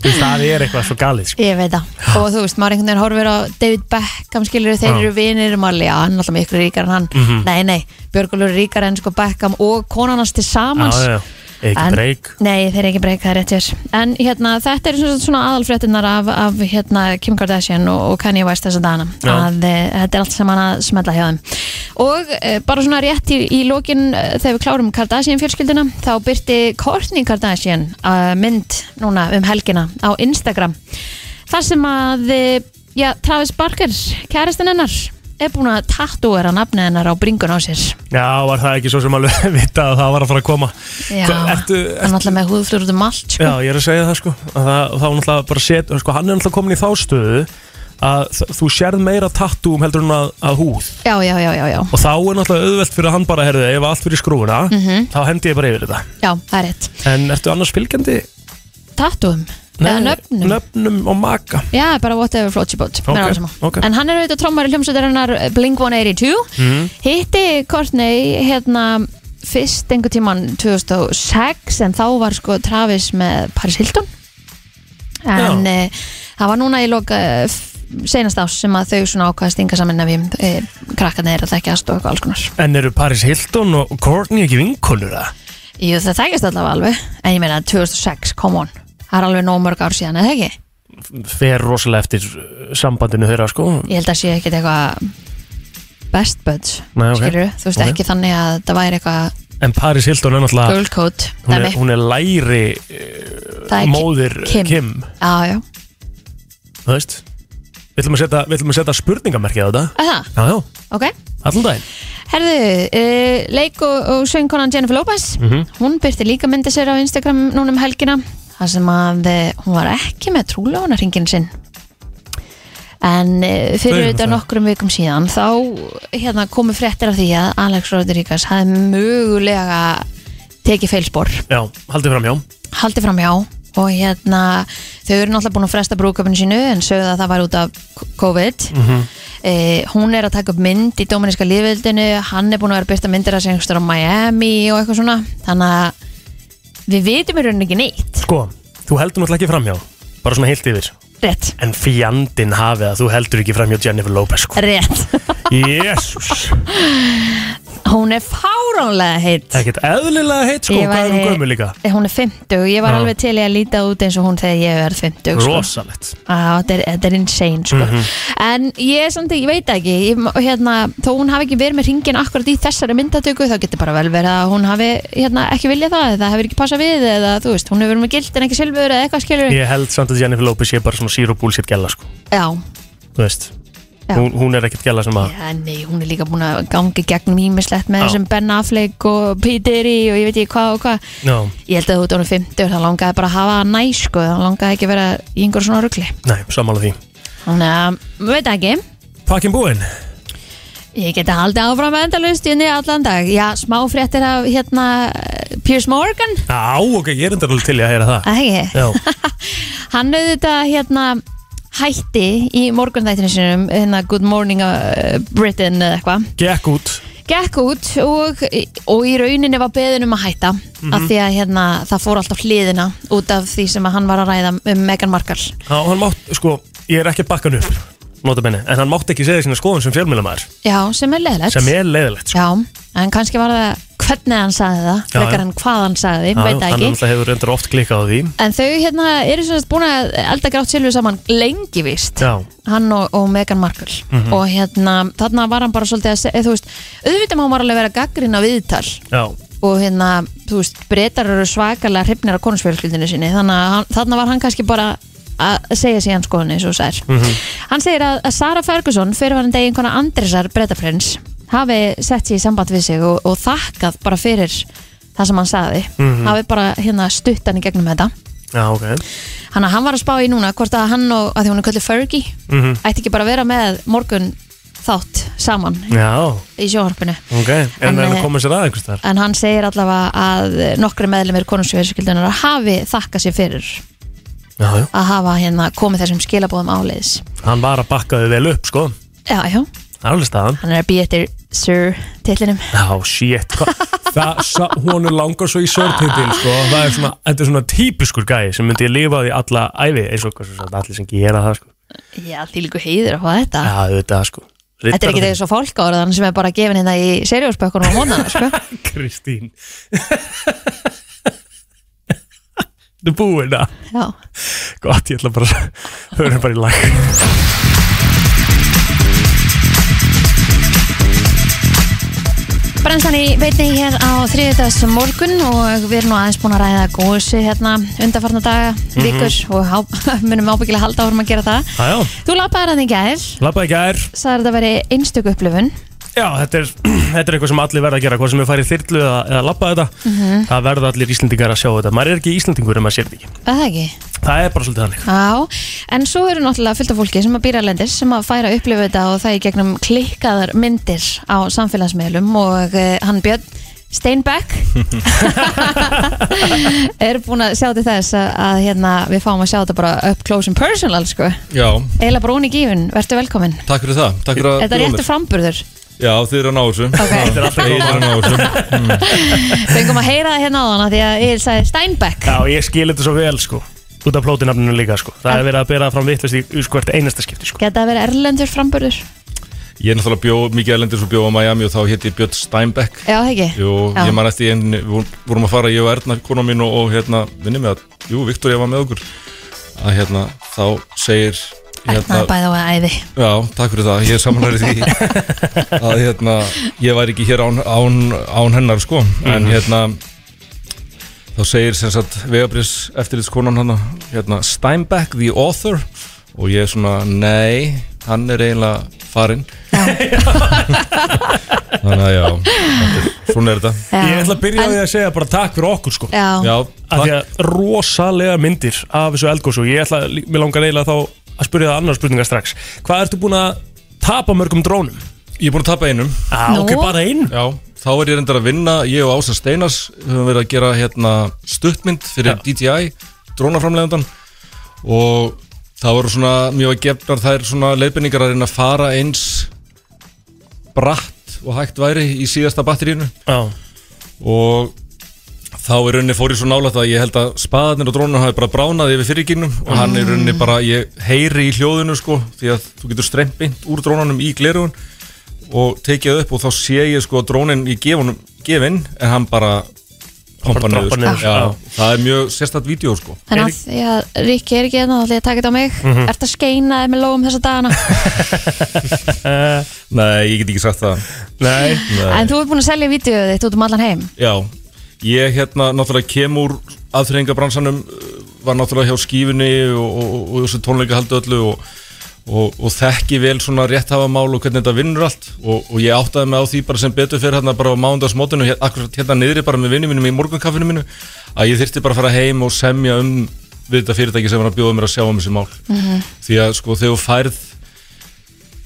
D: Þú veist, það er eitthvað svo galið sko.
E: ég veit það og þú veist, maður einhvern veginn horfir á David Beckham skilur þeir
D: Já. Mhm.
E: eru vinir um alveg, já, hann er alltaf miklu ríkar en hann nei, nei, Björgulur er ríkar en sko Beckham og konan hans til samans
D: Já, já, já. ekki
E: En-
D: breyk
E: Nei, þeir eru ekki breyk, það er rétt hér En hérna, þetta er svona, svona aðalfréttinnar af, af hérna, Kim Kardashian og, og Kanye West þessa dagana
D: Já.
E: að e, þetta er allt saman að smetla hjá þeim Og e, bara svona rétt í, í lokin e, þegar við klárum Kardashian fjölskylduna þá byrti Kourtney Kardashian e, mynd núna um helgina á eh, Instagram þar sem að e, ja, Travis Barker, kæristinn hennar er búin að tattúera nafnið hennar á bringun á sér
D: Já, var það ekki svo sem alveg [LAUGHS] vita að það var að fara að koma
E: Já,
D: Hva- ertu,
E: hann alltaf með húðflur út um allt sko.
D: Já, ég er að segja það sko að það, þá náttúrulega bara set, sko, hann er náttúrulega komin í þá stöðu að þ- þú sérð meira tattúum heldur en að, að húð
E: já, já, já, já, já,
D: og þá er náttúrulega auðvelt fyrir hann bara herðið, ef allt fyrir skrúfuna
E: Mhm.
D: þá hendi ég bara yfir þetta
E: já, það er rétt
D: En ertu annars fylgjandi?
E: Tattúum, eða nöfnum
D: Nöfnum og maka
E: Já, bara whatever floats your boat
D: Ok,
E: okay,
D: ok.
E: En hann er auðvitað trommar í hljómsveitarinnar Blink-182
D: Mhm.
E: Hitti Courtney hérna fyrst einhver tíman 2006 en þá var sko Travis með Paris Hilton en
D: Já.
E: e, það var núna í loka eh, f- seinasta ás sem að þau svona ákvaða stinga saman ef ég e, krakkarnir er að þekkjast og eitthvað alls konar
D: En eru Paris Hilton og Courtney ekki vinkonur það?
E: Jú, það þekkjast allavega alveg en ég meina 2006, come on Það er alveg nóg mörg ár síðan, eða ekki?
D: Fer rosalega eftir uh, sambandinu þeirra sko
E: Ég held að sé ekkit eitthvað best buds
D: Nei, ok.
E: skilur, þú veist
D: Ok.
E: ekki þannig að það væri eitthvað
D: En Paris Hilton er náttúrulega
E: girl code
D: Hún er,
E: dæmi.
D: hún er læri uh,
E: það er
D: móðir Kim, Kim
E: Kim. Já, já,
D: Þú veist Við ætlum að setja, við ætlum að setja spurningamerkið á þetta
E: að það,
D: Já, já,
E: ok
D: allan daginn
E: Herðu, uh, leik og, og söngkonan Jennifer Lopez
D: Mhm.
E: hún byrti líka myndi sér á Instagram núna um helgina þar sem að eh, hún var ekki með trúlónarringin sinn en uh,
D: Segðu
E: fyrir
D: mér
E: þetta
D: það.
E: nokkrum vikum síðan þá hérna, komu fréttir af því að Alex Rodriguez hafði mögulega tekið feilspor
D: Já, haldið fram, já
E: haldið fram hjá og hérna þau eru náttúrulega búin að fresta brúköpun sínu en sögðu að það var út af COVID
D: Mm. Mhm.
E: eh, hún er að taka upp mynd í Dominíska lífveldinu, hann er búin að vera að byrta myndir að sengstur á Miami og eitthvað svona þannig að við vitum í rauninni ekki neitt
D: Sko, þú heldur náttúrulega ekki fram hjá Bara svona heilt yfir
E: rétt,
D: En fjandinn hafi að þú heldur ekki fram hjá Jennifer Lopez sko.
E: rétt [LAUGHS]
D: Jésús
E: hún er fáránlega heitt
D: Ekkert eðlilega heitt sko,
E: Ég
D: hvað er hún
E: væri-
D: gömur líka
E: Eh, hún er 50, ég var
D: Já.
E: alveg til í að líta út eins og hún þegar ég er 50 sko.
D: Rosalegt Mhm.
E: Á, Þetta er, þetta er insane sko. En ég, er samt, ég veit það ekki ég, hérna, Þó hún hafi ekki verið með ringin akkurat í þessari myndatöku þá getur bara vel verið að hún hafi hérna, ekki viljað það eða hefur ekki passað við eða þú veist, hún hefur verið með gild en ekki silfur eða eitthvað skilur
D: Ég held samt að Jennifer Lopez sé bara svona zero bullshit gæla sko
E: Já,
D: Þú veist
E: Já.
D: Hún, hún er ekkert gæla sem að
E: Já, nei, hún er líka búin að gangi gegnum ímislegt með
D: Já.
E: þessum Ben Affleck og Peter í og ég veit ekki hvað og hvað
D: Já,
E: Ég held að þú ert orðin 50 þá langaði bara að hafa það næ sko, þá langaði ekki að vera í einhver svona rugli
D: nei, sammála því
E: Þannig að, veit það ekki
D: Pakkin búinn
E: Ég geti haldið áfram endalaust í henni allan dag. Já, smá fréttir af hérna Piers Morgan,
D: Já, ok, ég er endur alveg til í að heyra það
E: að ekki?
D: Já,
E: Hann auðvitað hérna hætti í morgunþættinu sinum, hérna Good Morning uh, Britain eða eitthvað.
D: gekk út
E: Gekk út og, og í rauninni var beðin um að hætta
D: Mhm.
E: af því að hérna, það fór alltaf hliðina út af því sem að hann var að ræða um Meghan Markle.
D: Já, hann mátt, sko, ég er ekki að bakka hann upp Notabenni, en hann mátt ekki segja sína skoðun sem fjölmjölamæður
E: Já, sem er leðilegt.
D: Sem er leiðilegt, sko
E: Já, en kannski var það hvernig hann sagði það,
D: Já, já.
E: frekar en hvað hann sagði,
D: Já,
E: veit það
D: Hann
E: ekki.
D: náttúrulega hefur endur oft klikkað á því
E: En þau hérna eru svona búin að elda grátt silfur saman lengi vist
D: Já,
E: Hann og, og Meghan Markle Og hérna, þarna var hann bara svolítið að segja Þú veist, auðvitað má hann var alveg vera gaggrin á viðtal
D: já,
E: Og hérna, þú veist, breytar eru svakalega hrifnir á konusfjölskyldinu sinni Þannig að hann- þarna var hann kannski bara að segja síðan sko, skoðunni eins og sær
D: Mhm.
E: Hann segir að, að Sara Ferguson fyrir hann degi einhverna Andresar breytaprins hafi sett sér í samband við sig og, og þakkað bara fyrir það sem hann sagði hafi bara hérna stutt hann í gegnum þetta
D: já, ok
E: Þannig að hann var að spá í núna hvort að hann og að því hún er kallið Fergie
D: Mhm.
E: ætti ekki bara að vera með morgun þátt saman
D: Já,
E: í sjónvarpinu
D: ok,
E: En,
D: en það
E: eh,
D: er komið sér að einhvers þar
E: en hann segir allavega að nokkri meðlumir konungsfjörskildunar hafi þakkað sér fyrir
D: Já, já,
E: að hafa hérna komið þessum skilabóðum áleiðis
D: hann var að bakka þau vel upp, sko
E: Já, já,
D: Það er alveg staðan
E: hann er að býja eftir Sir titlinum
D: Já, shit, sko. hva- [LAUGHS] það, sa- honum langar svo í sörtindin, sko Það er svona, þetta er svona típiskur gæi sem myndi lifa því alla ævi eins og hvað svo sagt, allir sem gera það, sko
E: Já, því líku heiður að fá þetta
D: Já, auðvitað, sko
E: Þetta er ekki
D: Riddarar-
E: þessu fólkáraðan sem er bara gefin hérna í seriósbökkunum á mónana, sko
D: Kristín [LAUGHS] Þetta er búin að
E: Já,
D: Gott, ég ætla bara Þau eru bara í lag
E: Brennslan í beinni hér á þriðdags morgun og við erum nú aðeins búin að ræða gósi hérna undarfarna daga, vikur og há, [LAUGHS] munum ábyggilega halda árum að gera það.
D: Jájá,
E: Þú lappaði að þig gæðir,
D: labbaði gær
E: sagði þetta veri einstök upplifun.
D: Já, þetta er, [CLEARS THROAT] þetta er eitthvað sem allir verða að gera Hvað sem við farið þyrlu eða, eða labba þetta Það verða allir Íslendingar að sjá þetta Maður er ekki Íslendingur en maður sér þetta ekki
E: Er Það ekki?
D: Það er bara svolítið þannig
E: Já, en svo eru náttúrulega fullt af fólki sem að býra lendir sem að færa að upplifa þetta og það í gegnum klikkaðar myndir á samfélagsmiðlum og uh, hann Björn Steinbeck er búin að sjá til þess að, að hérna, við fáum að sjá þetta bara up close and personal sko.
H: Já,
E: Eila Brún í gífun, verður velkomin
H: takk fyrir það Takk fyrir að
E: Þetta er
H: bjóða
E: réttu framburður
H: mér. Já, þið eru að ná þessu
E: okay.
D: Þetta er alltaf
H: Þið eru að ná þessu
E: Fengum að heyra það hérna á hana því að Eil sagði Steinbeck
D: Já, ég skil þetta svo vel sko Út af plótinafninu líka sko Það er verið að bera fram vittlust í í, sko, hvert einasta skipti sko
E: Geta að vera erlendur framburður
H: Ég er náttúrulega bjó, mikið elendis og bjó á Miami og þá hétt ég Björn Steinbeck
E: Já, það ekki?
H: Jú,
E: Já.
H: ég man eftir einn, við vorum- vorum að fara, ég og Erna, kona mín og, og hérna, minni mig að, jú, Viktor, ég var með okkur að hérna, þá segir hérna-
E: Erna bæða og æði
H: Já, takk fyrir það, ég er samanlærið því að hérna, ég væri ekki hér án, án, án hennar sko en hérna þá segir sem sagt Vegabrís eftirlitskonan hann hérna, Steinbeck the author og ég er svona, nei, hann er eiginlega farinn [LAUGHS] þannig að já þetta er- svona er þetta
D: Ég ætla að byrja á því að segja bara takk fyrir okkur sko
E: Já,
H: Já,
D: Af því
H: takk,
D: að rosalega myndir af þessu eldgósu Ég ætla, mér langar eiginlega þá að spyrja það annar spurninga strax Hvað ertu búin að tapa mörgum drónum?
H: ég er búin að tapa einum
D: Ah,
E: Nú?
D: ok, bara einu
H: Já, þá er ég reyndar að vinna, ég og Ása Steinars höfum verið að gera hérna stuttmynd fyrir DJI, drónaframlegandan og það voru svona mjög gefnar þær svona leiðbendingar að reyna að fara eins bratt og hægt væri í síðasta batterínu
D: Já,
H: og þá er rauninni fór ég svo nálægt að ég held að spaðarnir og drónunum hafi bara bránað yfir fyrirginnum og hann er rauninni bara, ég heyri í hljóðinu sko, því að þú getur strempint úr drónunum í glerugun og tekið það upp og þá sé ég sko að drónin ég gef honum, gefinn, en hann bara pompa
D: droppa
H: niður,
D: niður, Ah.
H: sko.
D: já.
H: Já, það er mjög sérstætt vídeo sko
E: En að því að Ríkki er ekki hérna, þá ætla ég að taka þetta á mig mm
H: Mhm.
E: -hmm. Ert að skeina þið með lóum þessa dagana
D: [LAUGHS]
H: Nei, ég get ekki sagt það
D: nei
E: En þú ert búin að selja vídeoð þitt út um allan heim
H: Já, ég hérna náttúrulega kem úr aðþreyingabransanum uh, var náttúrulega hjá skífinni og, og, og, og þessu tónleika haldi öllu og, og, og þekki vel svona rétthafamál og hvernig þetta vinnur allt og, og ég áttaði mig á því bara sem betur fyrir hérna bara á mándagsmótinu hér, akkurat hérna niðri bara með vinnum mínum í morgunkaffinu mínu að ég þyrfti bara að fara heim og semja um við þetta fyrirtæki sem var að bjóða mér að sjá um þessi mál því að sko þegar þú færð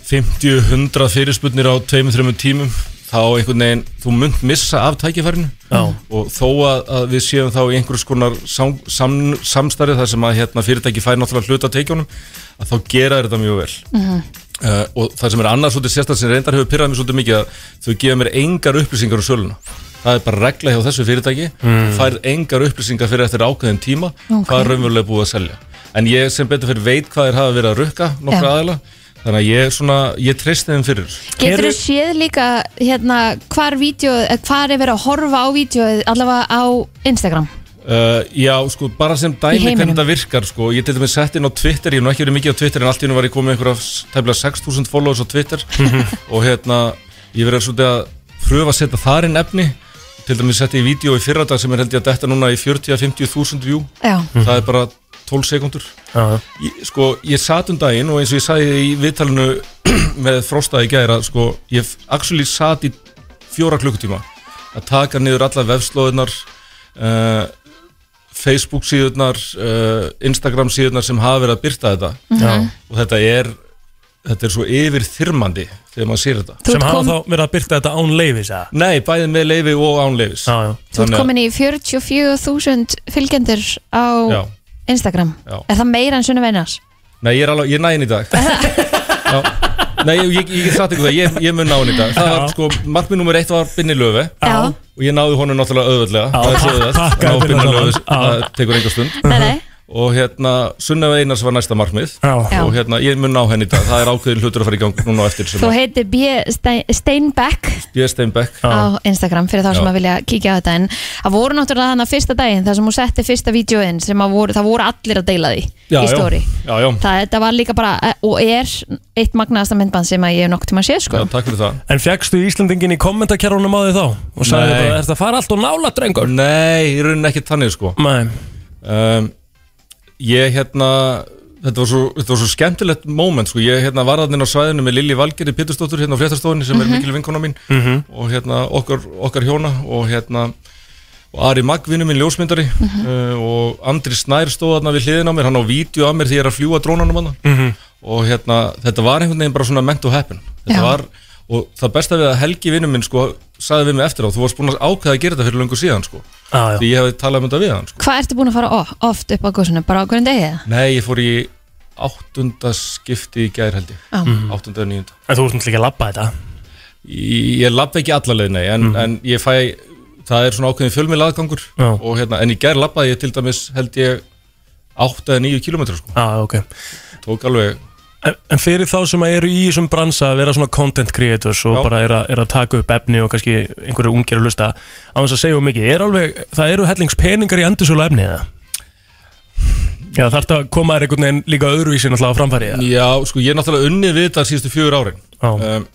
H: 50-100 fyrirspurnir á 2-3 tímum þá einhvern veginn, þú munt missa af tækifærinu
D: Já.
H: og þó að, að við séum þá í einhvers konar sam, sam, samstarið þar sem að hérna, fyrirtæki fær náttúrulega hluta teikjónum að þá gera þeir þetta mjög vel uh, og það sem er annars svolítið sérstaklega sem reyndar hefur pyrrað mér svolítið mikið að þau gefa mér engar upplýsingar um söluna það er bara regla hjá þessu fyrirtæki mm. færð engar upplýsingar fyrir eftir ákveðin tíma hvað er raunverulega búið að selja en ég sem betur fyrir veit hvað þeir hafa verið að rukka nokkra
E: Já.
H: aðila þannig að ég, er svona, ég treysti þeim fyrir þessu.
E: Getur þú
D: Eru-
E: séð líka hérna hvar, vídeó, hvar er verið að horfa á vídeoð allavega á Instagram
H: Uh, já, sko, bara sem
E: Í
H: dæmi
E: heiminum.
H: hvernig þetta virkar, sko, ég til dæmis sett inn á Twitter, ég hef nú ekki verið mikið á Twitter en allt í hennu var ég komið einhverja tæmlega 6.000 followers á
E: [LAUGHS]
H: Twitter og hérna, ég verið svolítið að pröfa að setja þar inn efni, til dæmis setti ég vídeo í fyrradag sem er held ég að detta núna í 40-50.000 view,
E: Já,
H: það er bara 12 sekundur.
D: Já,
H: Ég- sko, ég sat um daginn og eins og ég sagði í viðtalinu [CLEARS THROAT] með Frosta í gæra, sko, ég actually sat í fjóra klukkutíma að taka niður alla vefslóðunar uh, Facebook síðunar uh, Instagram síðunar sem hafa verið að byrta þetta
D: já
H: og þetta er þetta er svo yfirþyrmandi þegar maður sér þetta
E: þú
D: Sem
E: ert
D: hafa
E: kom,
D: þá verið að byrta þetta án leifis eða?
H: Nei, bæði með leifi og án leifis
D: Já, já
E: þú ert
H: Þannig að-
E: komin í 44.000 fylgjendur á
H: Já,
E: Instagram
H: Já.
E: Er það meira en sunnu veinas?
H: nei, ég er alveg, ég er næinn í
D: [LAUGHS]
H: dag Já Nei, ég, ég, ég get sagt ykkur það, ég, ég mun ná hann í dag Það var,
D: Já.
H: sko, markmið nummer eitt var Binni Löfi
E: Já.
H: og ég náði honum náttúrulega auðveldlega
D: Já,
H: það er svo auðveld
D: pakkaði
H: að ná
D: Binna
H: Binna
D: saman.
H: Löfus
D: Já. Mhm.
H: það tekur einhver stund
E: Nei, nei
H: og hérna Sunneva Einars var næsta markmið
D: Já.
H: og hérna ég mun á henni í dag það er ákveðin hlutur að fara í gang núna á eftir sem
E: Þú
H: að
E: heitir B. Stein- Steinbeck
H: Björn Steinbeck
E: á Instagram fyrir þá sem
H: Já.
E: að vilja kíkja á þetta en það voru náttúrulega þannig að fyrsta daginn þar sem hún setti fyrsta vídjóin sem að voru, það voru allir að deila því
H: Já,
E: í
H: já.
E: stóri
H: Já, já.
E: það þetta var líka bara eh, og er eitt magnaðasta myndband sem að ég hef nokkuð tíma að sé sko
H: Já, takk fyrir það
D: En fjagstu Íslandingin í kommentarkerfunum á því þá og sagði
H: Nei.
D: bara, er þetta fara allt og nála drengur?
H: Nei, í rauninni ekki þannig sko
D: Nei,
H: um, Ég hérna Þetta var, svo, þetta var svo skemmtilegt moment sko. ég hérna, var þannig á svæðinu með Lilli Valgeri Pétursdóttur hérna á fréttastofunni sem er mikil vinkona mín
D: Mhm.
H: og hérna okkar, okkar hjóna og hérna og Ari Magg vinnu minn ljósmyndari uh, og Andri Snær stóð þarna við hliðin á mér hann á vídeo af mér því ég er að fljúa drónanum hann
D: Mhm.
H: og hérna þetta var einhvern veginn bara svona meant to happen þetta
E: Já.
H: var og það besta við að Helgi vinnu minn sko sagði við mig eftir á þú varst búin að ákveða að gera þetta fyrir löngu síðan sko
D: Já, já.
H: því ég hefði talað um þetta við hann sko.
E: Hvað ertu búin að fara o- oft upp á góðsunum? Bara á hverjum degi eða?
H: Nei, ég fór í áttunda skipti í gær held ég
E: Já.
H: áttunda og níunda
D: Mhm. en þú ert náttúrulega ekki að labba þetta Mhm.
H: Ég, ég labba ekki alla leið, nei, en, en ég fæ það er svona ákveðin fjölmil aðgangur
D: Já.
H: og hérna, en í gær labbaði ég til dæmis held ég átta eða níu kilometra sko,
D: Já, Ah, ok
H: tók alveg
D: En, en fyrir þá sem að eru í þessum bransa að vera svona content creators og
H: Já.
D: bara er að, er að taka upp efni og kannski einhverju ungir að lusta á þess að segja um mikið, er alveg, það eru hellingspeningar í endursölu efni eða? Já, þarf þetta að koma þér einhvern veginn líka öðruvísi náttúrulega á framfæri eða?
H: Já, sko, ég er náttúrulega unnið við þetta síðustu fjögur árin
D: Já.
H: um,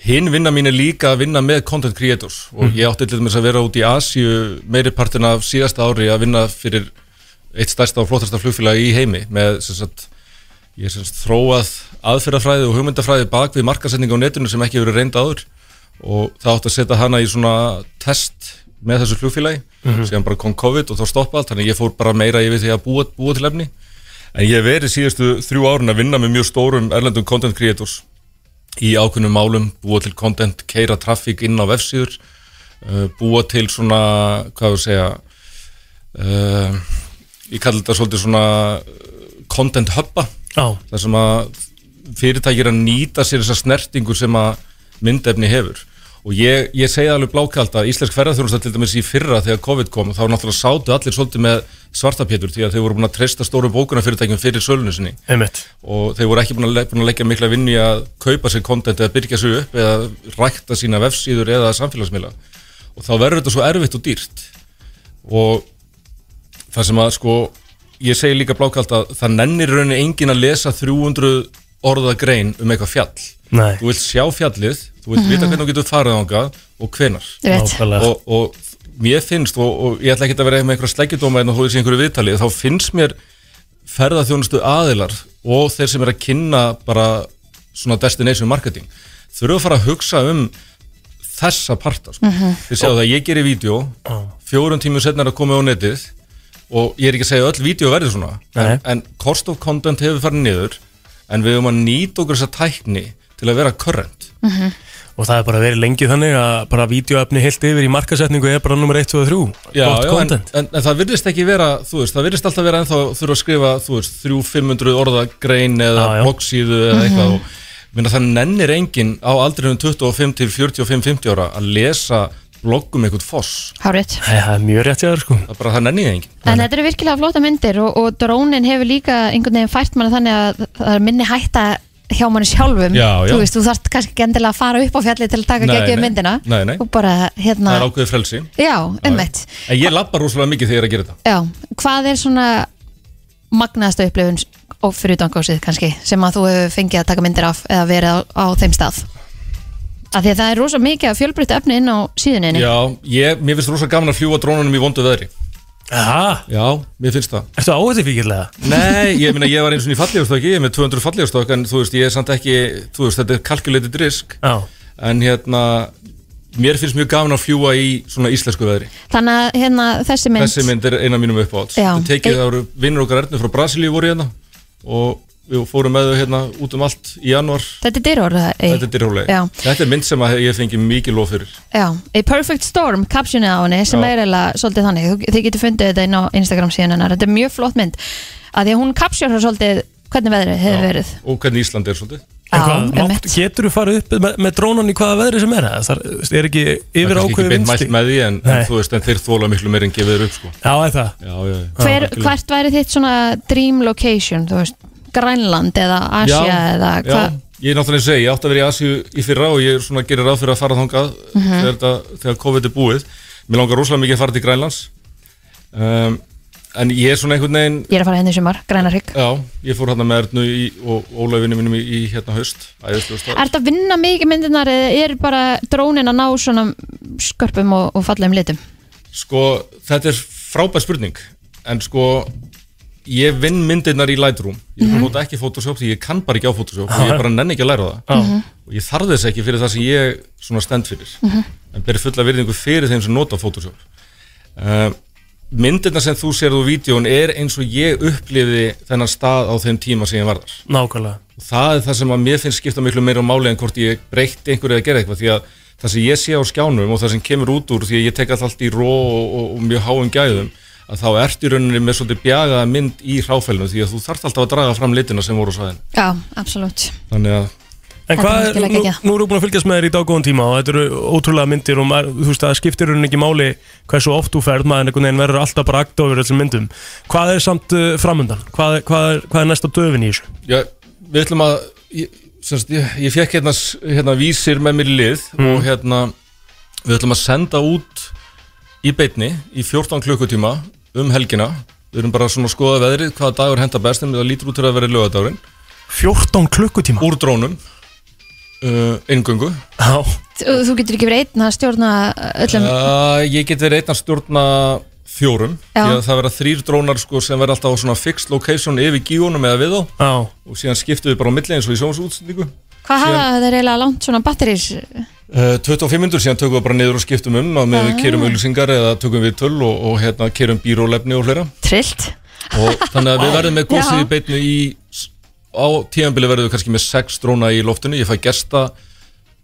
H: Hinn vinna mín er líka að vinna með content creators og ég átti til þess að vera út í Asíu meiri partin af síðasta ári að vinna fyrir eitt stærsta og flottasta flugfélag í heimi með sem sagt ég er sem sagt þróað aðferðafræði og hugmyndafræði bak við markasendinga á netinu sem ekki hefur verið reynda áður og það átti að setja hana í svona test með þessu flugfélagi sem bara kom COVID og þá stoppa allt þannig að ég fór bara meira yfir því að búa, búa til efni en ég hef verið síðustu þrjú árun að vinna með mjög stórum erlendum content creators í ákveðnum málum, búa til content keira traffic inn á vefsíður uh, búa til svona hvað við segja uh, ég kalli þetta svolítið svona uh, content hubba
D: Já,
H: þar sem að fyrirtækir að nýta sér þessa snertingu sem að myndefni hefur og ég, ég segi alveg blákald að Íslensk ferðarþjónusta til dæmis í fyrra þegar COVID kom þá náttúrulega sátu allir svolítið með svartapétur því að þeir voru búin að treysta stóru bókunarfyrirtækjum fyrir sölunni sinni
D: einmitt
H: og þeir voru ekki búin að, le búin að leggja mikla vinnu í að kaupa sér kontent eða byrja sér upp eða rækta sína vefsíður eða samfélagsmiðla og þá verður þetta svo erfitt og dýrt og það sem að sko ég segi líka blákalt að það nennir í rauninni engin að lesa 300 orða grein um eitthvað fjall
D: Nei.
H: þú vilt sjá fjallið, þú vilt vita hvernig þú getur farið þangað og hvenar
E: Rétt.
D: Nákvæmlega.
H: og, og mér finnst og, og ég ætla ekki að vera með einhverja sleggjudóma en þú veist í einhverju viðtali þá finnst mér ferðarþjónustu aðilar og þeir sem er að kynna bara svona destination marketing þurfa að fara að hugsa um þessa parta sko. þið sjáu það, ég gerir vídeo fjórum tímum setna er að koma á netið og ég er ekki að segja að öll vídeo verður svona
D: Nei.
H: en, en cost of content hefur farið niður en við höfum að nýta okkur þessa tækni til að vera current
D: Mhm. Og það er bara verið lengi þannig að bara vídeoefni heilt yfir í markasetningu er bara nummer 1, 2 og 3
H: já,
D: Gott
H: já, en,
D: content
H: en, en það virðist ekki vera þú veist, það virðist alltaf vera ennþá þurfa að skrifa þú veist, 300-500 orða grein eða
D: Já, já.
H: bloggsíðu
E: Mhm.
H: eða eitthvað og, minna, það nennir enginn á aldrinum 25 til 45-50 ára að lesa blogg um einhvern foss
E: Hárið.
D: Nei, það er mjög rétt hjá þér sko
H: það er bara það nennir enginn
E: En þetta eru virkilega flotta myndir og, og drónin hefur líka einhvern veginn fært manna þannig að það er minni hætta hjá manni sjálfum.
H: Já, já.
E: Þú veist, þú þarft kannski ekki endilega að fara upp á fjallið til að taka
H: Nei,
E: geggjum
H: nei.
E: myndina.
H: Nei, nei.
E: Og bara, hérna,
H: það er ákveðið frelsi
E: já, ummitt.
H: en ég labbar rosalega mikið þegar ég er að gera þetta
E: Já, hvað er svona magnaðasta upplifun og fyrir dangásið kannski sem að þú hefur fengið að taka myndir af eða verið á, á þeim stað? Af því að það er rosa mikið að fjölbreytta efni inn á síðuninni.
H: já, ég, mér finnst rosalega gaman að fljúa drónunum í vondu veðri
D: Aha,
H: já, mér finnst það
D: ertu áhætti fíkilega?
H: Nei, ég meina ég var eins og í fallegustokki, ég er með 200 fallegustokk en þú veist, ég er samt ekki, þú veist, þetta er kalkulated risk
D: Já,
H: en hérna mér finnst mjög gaman að fljúa í svona íslensku veðri
E: Þannig að hérna, þessi mynd,
H: þessi mynd er eina af mínum uppáhalds
E: Já.
H: Þetta tekið það voru vinnur okkar erðnir frá Brasilíu voru hérna og við fórum með þau hérna út um allt í januar
E: þetta er dyrorða.
H: þetta er dyrhólega
E: Já.
H: þetta er mynd sem að ég fengi mikið lof fyrir
E: Já, A Perfect Storm, captionið á henni sem
H: Já.
E: er eiginlega svolítið þannig Þú- þið getur fundið þetta inn á Instagram síðan hennar þetta er mjög flott mynd, að því að hún captionar svolítið hvernig veðrið hefur verið
H: og hvernig Ísland er svolítið
E: Já,
I: Hvað, mátt,
E: einmitt.
I: getur þú farið upp með, með drónan í hvaða veðri sem er eða það er- er ekki
H: Það
I: yfir
H: er ekki
I: ákveði
H: beint mælt
I: vindstík
H: með því en, en
I: Nei.
H: þú veist, en þeir þóla miklu meir en gefur upp sko.
I: já, er það
H: Já, já, já.
E: Hver,
H: algjörlega.
E: hvert væri þitt svona dream location þú veist, Grænland eða Asia eða
H: já.
E: hvað
H: Ég er náttúrulega að segja, ég átti að vera í Asíu í fyrra og ég er svona að gera ráð fyrir að fara þangað
E: Mhm.
H: þegar, þetta, þegar COVID er búið Mér langar rosalega mikið að fara til Grænlands um, En ég er svona einhvern veginn
E: ég er að fara henni í sumar, Grænarhygg
H: Já, ég fór hérna með Ernu í, og Ólafinu mínum í, í hérna haust Æðislega stað
E: Er þetta að vinna mikið myndirnar eða er bara drónin að ná svona skörpum og, og fallegum litum?
H: Sko, þetta er frábær spurning En sko, ég vinn myndirnar í Lightroom Ég mm nota ekki Photoshop því ég kann bara ekki á Photoshop og ég bara nenni ekki að læra það og ég þarði þess ekki fyrir það sem ég svona stend fyrir en beri fulla virðingu fyrir þeim sem nota Photoshop uh, myndirna sem þú sérð úr vídjón er eins og ég upplifi þennan stað á þeim tíma sem ég var þar
D: nákvæmlega
H: og það er það sem að mér finnst skipta miklu meira máli en hvort ég breytti einhverju eða gerði eitthvað því að það sem ég sé á skjánum og það sem kemur út úr því að ég tek alltaf allt í ró og, og, og mjög háum gæðum að þá ertu í rauninni með svolítið bjagaða mynd í hráfælunum því að þú þarft alltaf að draga fram litina sem voru á sæðin
E: Já, absolutt
H: þannig að
I: En
E: Þetta er
I: hvað er,
E: virkilega
I: nú,
E: geggjað.
I: nú erum við búin að fylgjast með þér í daggóðan tíma og þetta eru ótrúlega myndir og maður, þú veist, það skiptir hún ekki máli hversu oft þú ferð, maður einhvern veginn verður alltaf bara akt over þessum myndum. Hvað er samt uh, framundan? Hvað, er- hvað, er, hvað er næsta döfin í þessu?
H: Já, við ætlum að ég, semst, ég, ég fekk hérna, s- hérna vísir með mér í lið
I: Mm.
H: og hérna við ætlum að senda út í beitni í 14 klukkutíma um helgina við erum bara svona að skoða veðrið hvaða dagur henda best en það lítur út til að vera lögadagurinn
I: 14 klukkutíma?
H: úr drónum uh, inngöngu
I: Já,
E: Þú þú getur ekki verið einn að stjórna öllum
H: uh, ég get verið einn að stjórna fjórum
E: Já.
H: því að það vera þrýr drónar sko, sem vera alltaf á svona fixed location yfir gíunum eða við þá
I: já,
H: og síðan skiptum við bara á milli eins og í sjónsútsendingu
E: Hvað hafa þeir eiginlega langt svona batterís?
H: Uh, 25 minnur síðan tökum við bara niður og skiptum um að með við kerum auðlýsingar eða tökum við töl og, og hérna kerum bírólefni og hlera
E: Trillt
H: og þannig að við verðum með gósið
E: [LAUGHS] Já.
H: í beitnu í á tíðanbili verðum við kannski með 6 dróna í loftinu, ég fæ gesta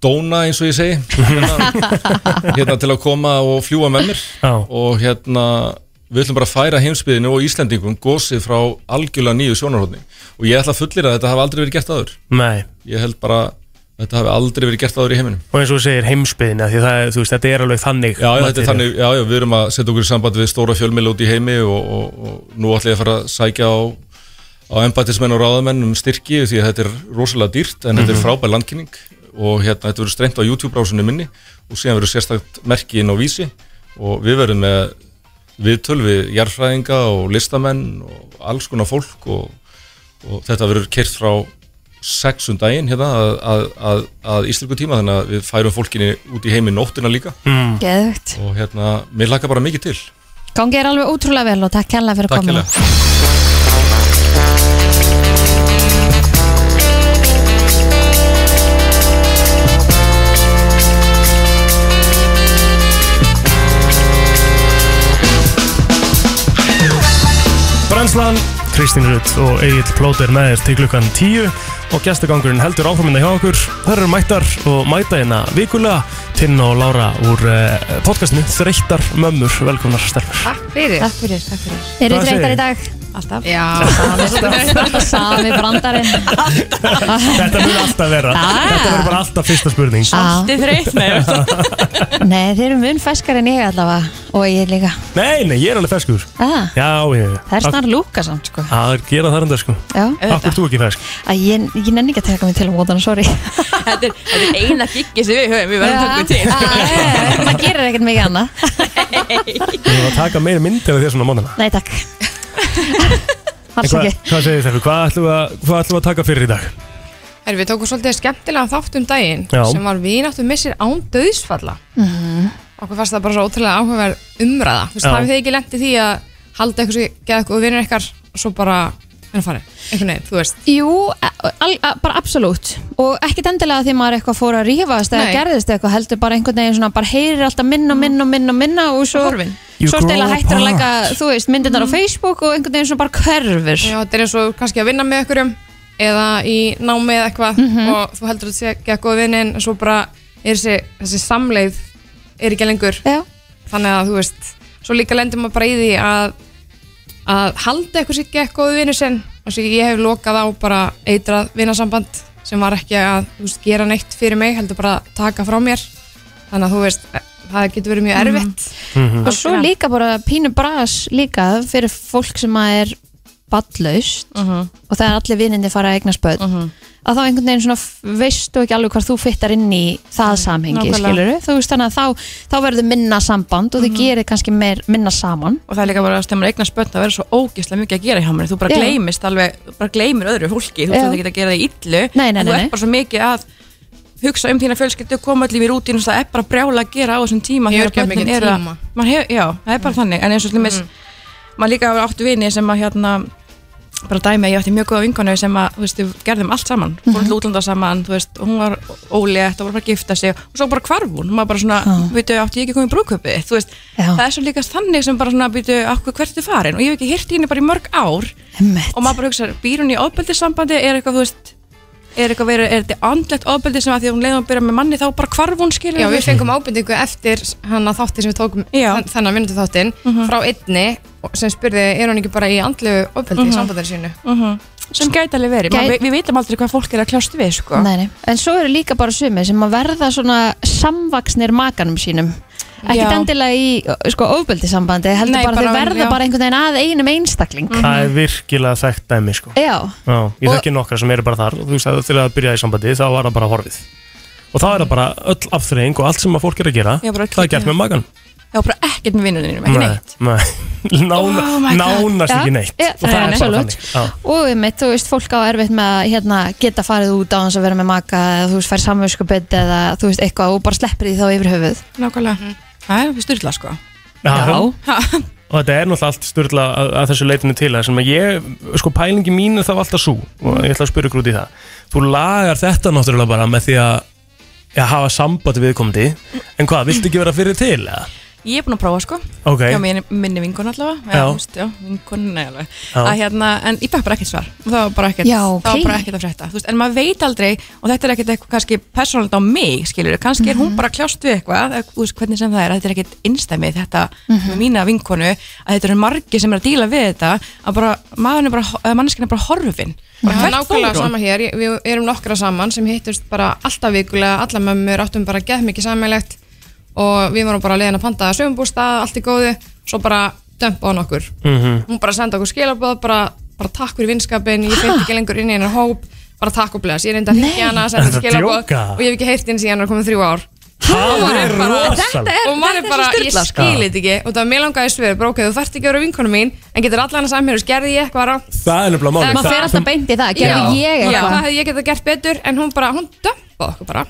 H: dóna eins og ég segi
E: [LAUGHS]
H: hérna, hérna til að koma og fljúa með mér
I: já.
H: og hérna við ætlum bara að færa heimsbyðinu og Íslendingum gósið frá algjörlega nýju sjónarhóðning og ég ætla að fullira að þetta hafa aldrei verið gert aður
I: Nei.
H: ég held bara að þetta hafi aldrei verið gert aður í heiminum
I: Og eins og þú segir heimsbyðina, því það, er, þú veist, þetta er alveg þannig.
H: Já, já, þetta er
I: material.
H: þannig, já, já, við erum að setja okkur í sambandi við stóra fjölmiðla út í heimi og, og, og nú ætla ég að fara að sækja á, á embættismenn og ráðamenn um styrki því að þetta er rosalega dýrt en þetta er frábær landkynning og hérna, þetta verður streymt á YouTube-brásunni minni og síðan verður sérstakt merki inn á vísi og við verðum með viðtöl við jarðfræðinga og listamenn og alls konar fólk og, og þetta verður kert frá sexum daginn hérna að, að, að, að íslensku tíma þannig að við færum fólkinni út í heimi nóttina líka
E: Geðvögt
H: og hérna, mér laka bara mikið til
E: Gangi er alveg ótrúlega vel og takk kærlega fyrir
H: Takk
E: komuna
H: hérlega.
I: Brennslan, Kristín Rutt og Egil Plóter með þér til klukkan 10 og gestagangurinn heldur áframinda hjá okkur þær eru mættar og mæta hérna vikulega Tinn og Lára úr uh, podcastinu Þreyttar mömmur, velkomnar stelpur
J: Takk fyrir
K: Takk fyrir, takk fyrir
E: Eru
I: Hvað
E: þreytar
I: segir?
E: í dag?
K: Alltaf
J: Já,
E: [LAUGHS] Sami brandarinn
I: Þetta mun alltaf vera
E: Ah.
I: Þetta verður bara alltaf fyrsta spurning
E: Já.
K: Þið þreytt með
E: Nei, þeir eru mun feskar en ég allavega og ég líka
I: Nei, nei, ég er alveg feskur
E: ah,
I: Já, ég
E: Það er snar lúka samt sko
I: Það er gera þar enda sko
E: Já,
I: Akkur þú ekki fesk
E: Æ, ég, ég nenni ekki að taka mig til um ótana,
J: [LAUGHS]
E: sorry
K: Þetta er, þetta er eina giggi sem við höfum Við verðum
E: Já.
K: tökum til
E: Æ, Maður gerir ekkert mikið annað
I: Ég var að taka meira myndir af þér svona mánana
E: Nei, takk Alls
I: Hvað,
E: ekki
I: hvað segir þér? Hvað ætlum við að, hvað ætlum við að taka fyrir í dag?
J: Herri, við tókum svolítið skemmtilega þátt um daginn
I: Já.
J: sem var vináttu missir án döðsfalla okkur fannst það bara svo ótrúlega áhugaverð umræða þú veist,
I: Já.
J: hafið þið ekki lendið því að halda eitthvað sem geða eitthvað og vinir ykkar og svo bara, en farið, einhvern veginn, þú veist
E: Jú, e, al, al, bara absolutt og ekkit endilega því maður eitthvað fór að rífast eða
J: Nei.
E: gerðist eitthvað, heldur bara einhvern veginn svona bara heyrir alltaf minna, minna, minna, minna og svo,
J: horfin
I: You
E: svo
I: grow
E: stila hættir að
I: apart.
E: læka, þú veist, myndirnar á Facebook og einhvern veginn svona bara hverfur
J: Já, þetta er eins og kannski að vinna með einhverjum eða í námi eða eitthvað
E: Mhm.
J: og þú heldur að þetta sé ekki að góða vinnin en svo bara er þessi, þessi samleið er ekki lengur
E: Já.
J: þannig að þú veist, svo líka lendur maður bara í því að að halda eitthvað sér ekki að góða vinnin sinn og svo ég hef lokað á bara eitrað vinnasamband sem var ekki að þú veist, gera neitt fyrir mig heldur bara að taka frá mér þannig að þú veist, eh, það getur verið mjög
E: Mhm.
J: erfitt
D: Mhm.
E: og svo líka bara pínu bras líka fyrir fólk sem að er ballaust
K: Mhm.
E: og þegar allir vinnindi fara að eignast börn að þá einhvern veginn svona f- veistu ekki alveg hvar þú fyttar inn í
K: Mm,
E: það samhengi
J: Nákvæmlega.
E: skilur þú veist þannig að þá, þá verður minna samband og þið
K: Mhm.
E: gerir kannski meir, minna saman
K: og það er líka bara að stemma eignar spönd að vera svo ógeðslega mikið að gera hjá mér þú bara
E: Já.
K: gleymist alveg, þú bara gleymir öðru fólki þú
E: Já.
K: veist ekki að gera það í illu
E: Nei, nei,
K: en þú
E: nei, nei.
K: ert bara svo mikið að hugsa um þína fjölskyldu, koma allir í rútínu það er bara brjála að gera á þessum tíma þegar
J: Hefur ekki
K: börnin
J: mikið
K: eru að-
J: tíma.
K: maður hef, já, það er bara þannig en eins og slimis, maður líka áttu vini sem að hérna bara dæmi að ég átti mjög góða vinkonu sem að, þú veist, við gerðum allt saman, fórum
J: Mhm.
K: til útlanda saman, þú veist, og hún var ólétt og var bara að gifta sig og svo bara hvarf hún, maður bara svona,
E: Já.
K: veitu, átti ég ekki að koma í brúköpi, þú veist,
E: Já.
K: það er svo líka þannig sem bara svona, veitu, okkur hvert er farin og ég hef ekki hirt í henni bara í mörg ár
E: Einmitt.
K: og maður bara hugsa, býr hún í ofbeldissambandi, er eitthvað, þú veist, er eitthvað verið, er þetta andlegt ofbeldi sem að því að hún leiðum að byrja með manni þá bara hvarf hún skilur
J: Já,
K: þú
J: við
K: veist?
J: fengum ábendingu eftir hann að þáttin sem við tókum
K: Já. Mhm.
J: þenn- þennan vinnutu þáttin frá einni og- sem spurði, er hann ekki bara í andlu ofbeldi í sambandinu sínu?
K: Mhm. sem gæti alveg verið,
E: Gæti-
K: Gæt... við vitum aldrei hvað fólk er að kljást við, sko
E: Nei, nei. En svo eru líka bara sumir sem að verða svona samvaksnir makanum sínum ekkert
K: Já.
E: endilega í sko, ofbeldisambandi, heldur
K: Nei,
E: bara, bara
K: bara-
E: þeir verða
K: já.
E: bara einhvern veginn að einum einstakling
D: Það er sko. virkilega þekkt dæmi sko
E: Já,
D: Já, ég
E: Mhm. Eh, Og-
D: þekki nokkra sem eru bara þar og þú veist að til að byrja í sambandi þá var það bara horfið og þá er það bara öll afþreying og allt sem að fólk er að gera
K: Já, bara öll
D: það er gert
K: kýtni.
D: með magan
K: Já, bara ekkert með vinnunum, ekki neitt
D: nei. [LAUGHS] Nána,
K: Oh my God.
D: nánast
E: Já,
D: ekki neitt
E: já,
D: og það er bara
E: absolutt.
D: þannig Já.
E: og um þú veist, fólk á erfitt með að hérna, geta farið út á hans að vera með maka eða þú veist, fær samvinskupið eða þú veist, eitthvað og bara sleppir því þá yfir höfuð
K: Nákvæmlega. Mhm. Það er styrla sko.
D: Já. og þetta er náttúrulega allt styrla að, að þessu leitinu til það sem að ég, sko pælingi mín er það alltaf svo og ég ætla að spyrja ykkur út í það þú lagar þetta náttúrulega bara með því að að hafa sambandi viðkomandi en hvað, viltu ekki vera fyrir til? eða?
K: Ég er búin að prófa sko.
D: Ok,
K: Já, minni, minni vinkon allavega.
D: Já.
K: þú veist, já vinkon, nei alveg.
D: Já.
K: Að hérna, en ég fæk bara ekkert svar. Og það var bara ekkert,
E: Já,
K: það var
E: ok.
K: bara ekkert að frétta. Þú veist, en maður veit aldrei, og þetta er ekkert eitthvað kannski persónalt á mig, skilur. Kannski er
E: Mhm.
K: hún bara kljást við eitthvað, eða, þú veist, hvernig sem það er, að þetta er ekkert innstæmið þetta
E: Mhm.
K: með mína vinkonu, að þetta eru margi sem er að díla við þetta, að bara, maðurinn er bara, manneskinn er bara horfin. Bara
J: Það
K: hvert
J: er
K: fór
J: nákvæmlega
K: hún?
J: sama hér, Ég- við erum nokkra saman sem hittust bara alltaf vikulega, alla mömmur áttum bara gett mikið sammeilegt og við vorum bara leiðin að panta sögumbústað, allt í góðu, svo bara dömpa á okkur.
F: Mhm.
J: Hún bara senda okkur skilabóð, bara, bara takk fyrir vinskapin, ég feit ekki lengur inn í hennar hóp, bara takk og bless, ég reyndi að hringja hana,
D: Er
J: senda
D: þetta að djóka?
J: skilabóð og ég hef ekki heyrt henni síðan að komið þrjú ár.
D: það er rosalega
J: og maður er bara, ég skil þetta ekki og það er mér langaði svör, bara ok, þú þarft ekki að vera vinkonu mín en getur allan að samhjörus, gerði ég eitthvað rátt
D: Það er nefnilega máli
E: maður fer alltaf beint í það, gerði ég
J: já,
E: eitthvað
J: það hefði ég getað gert betur en hún bara, hún dömpaði
D: [LAUGHS]
J: okkur bara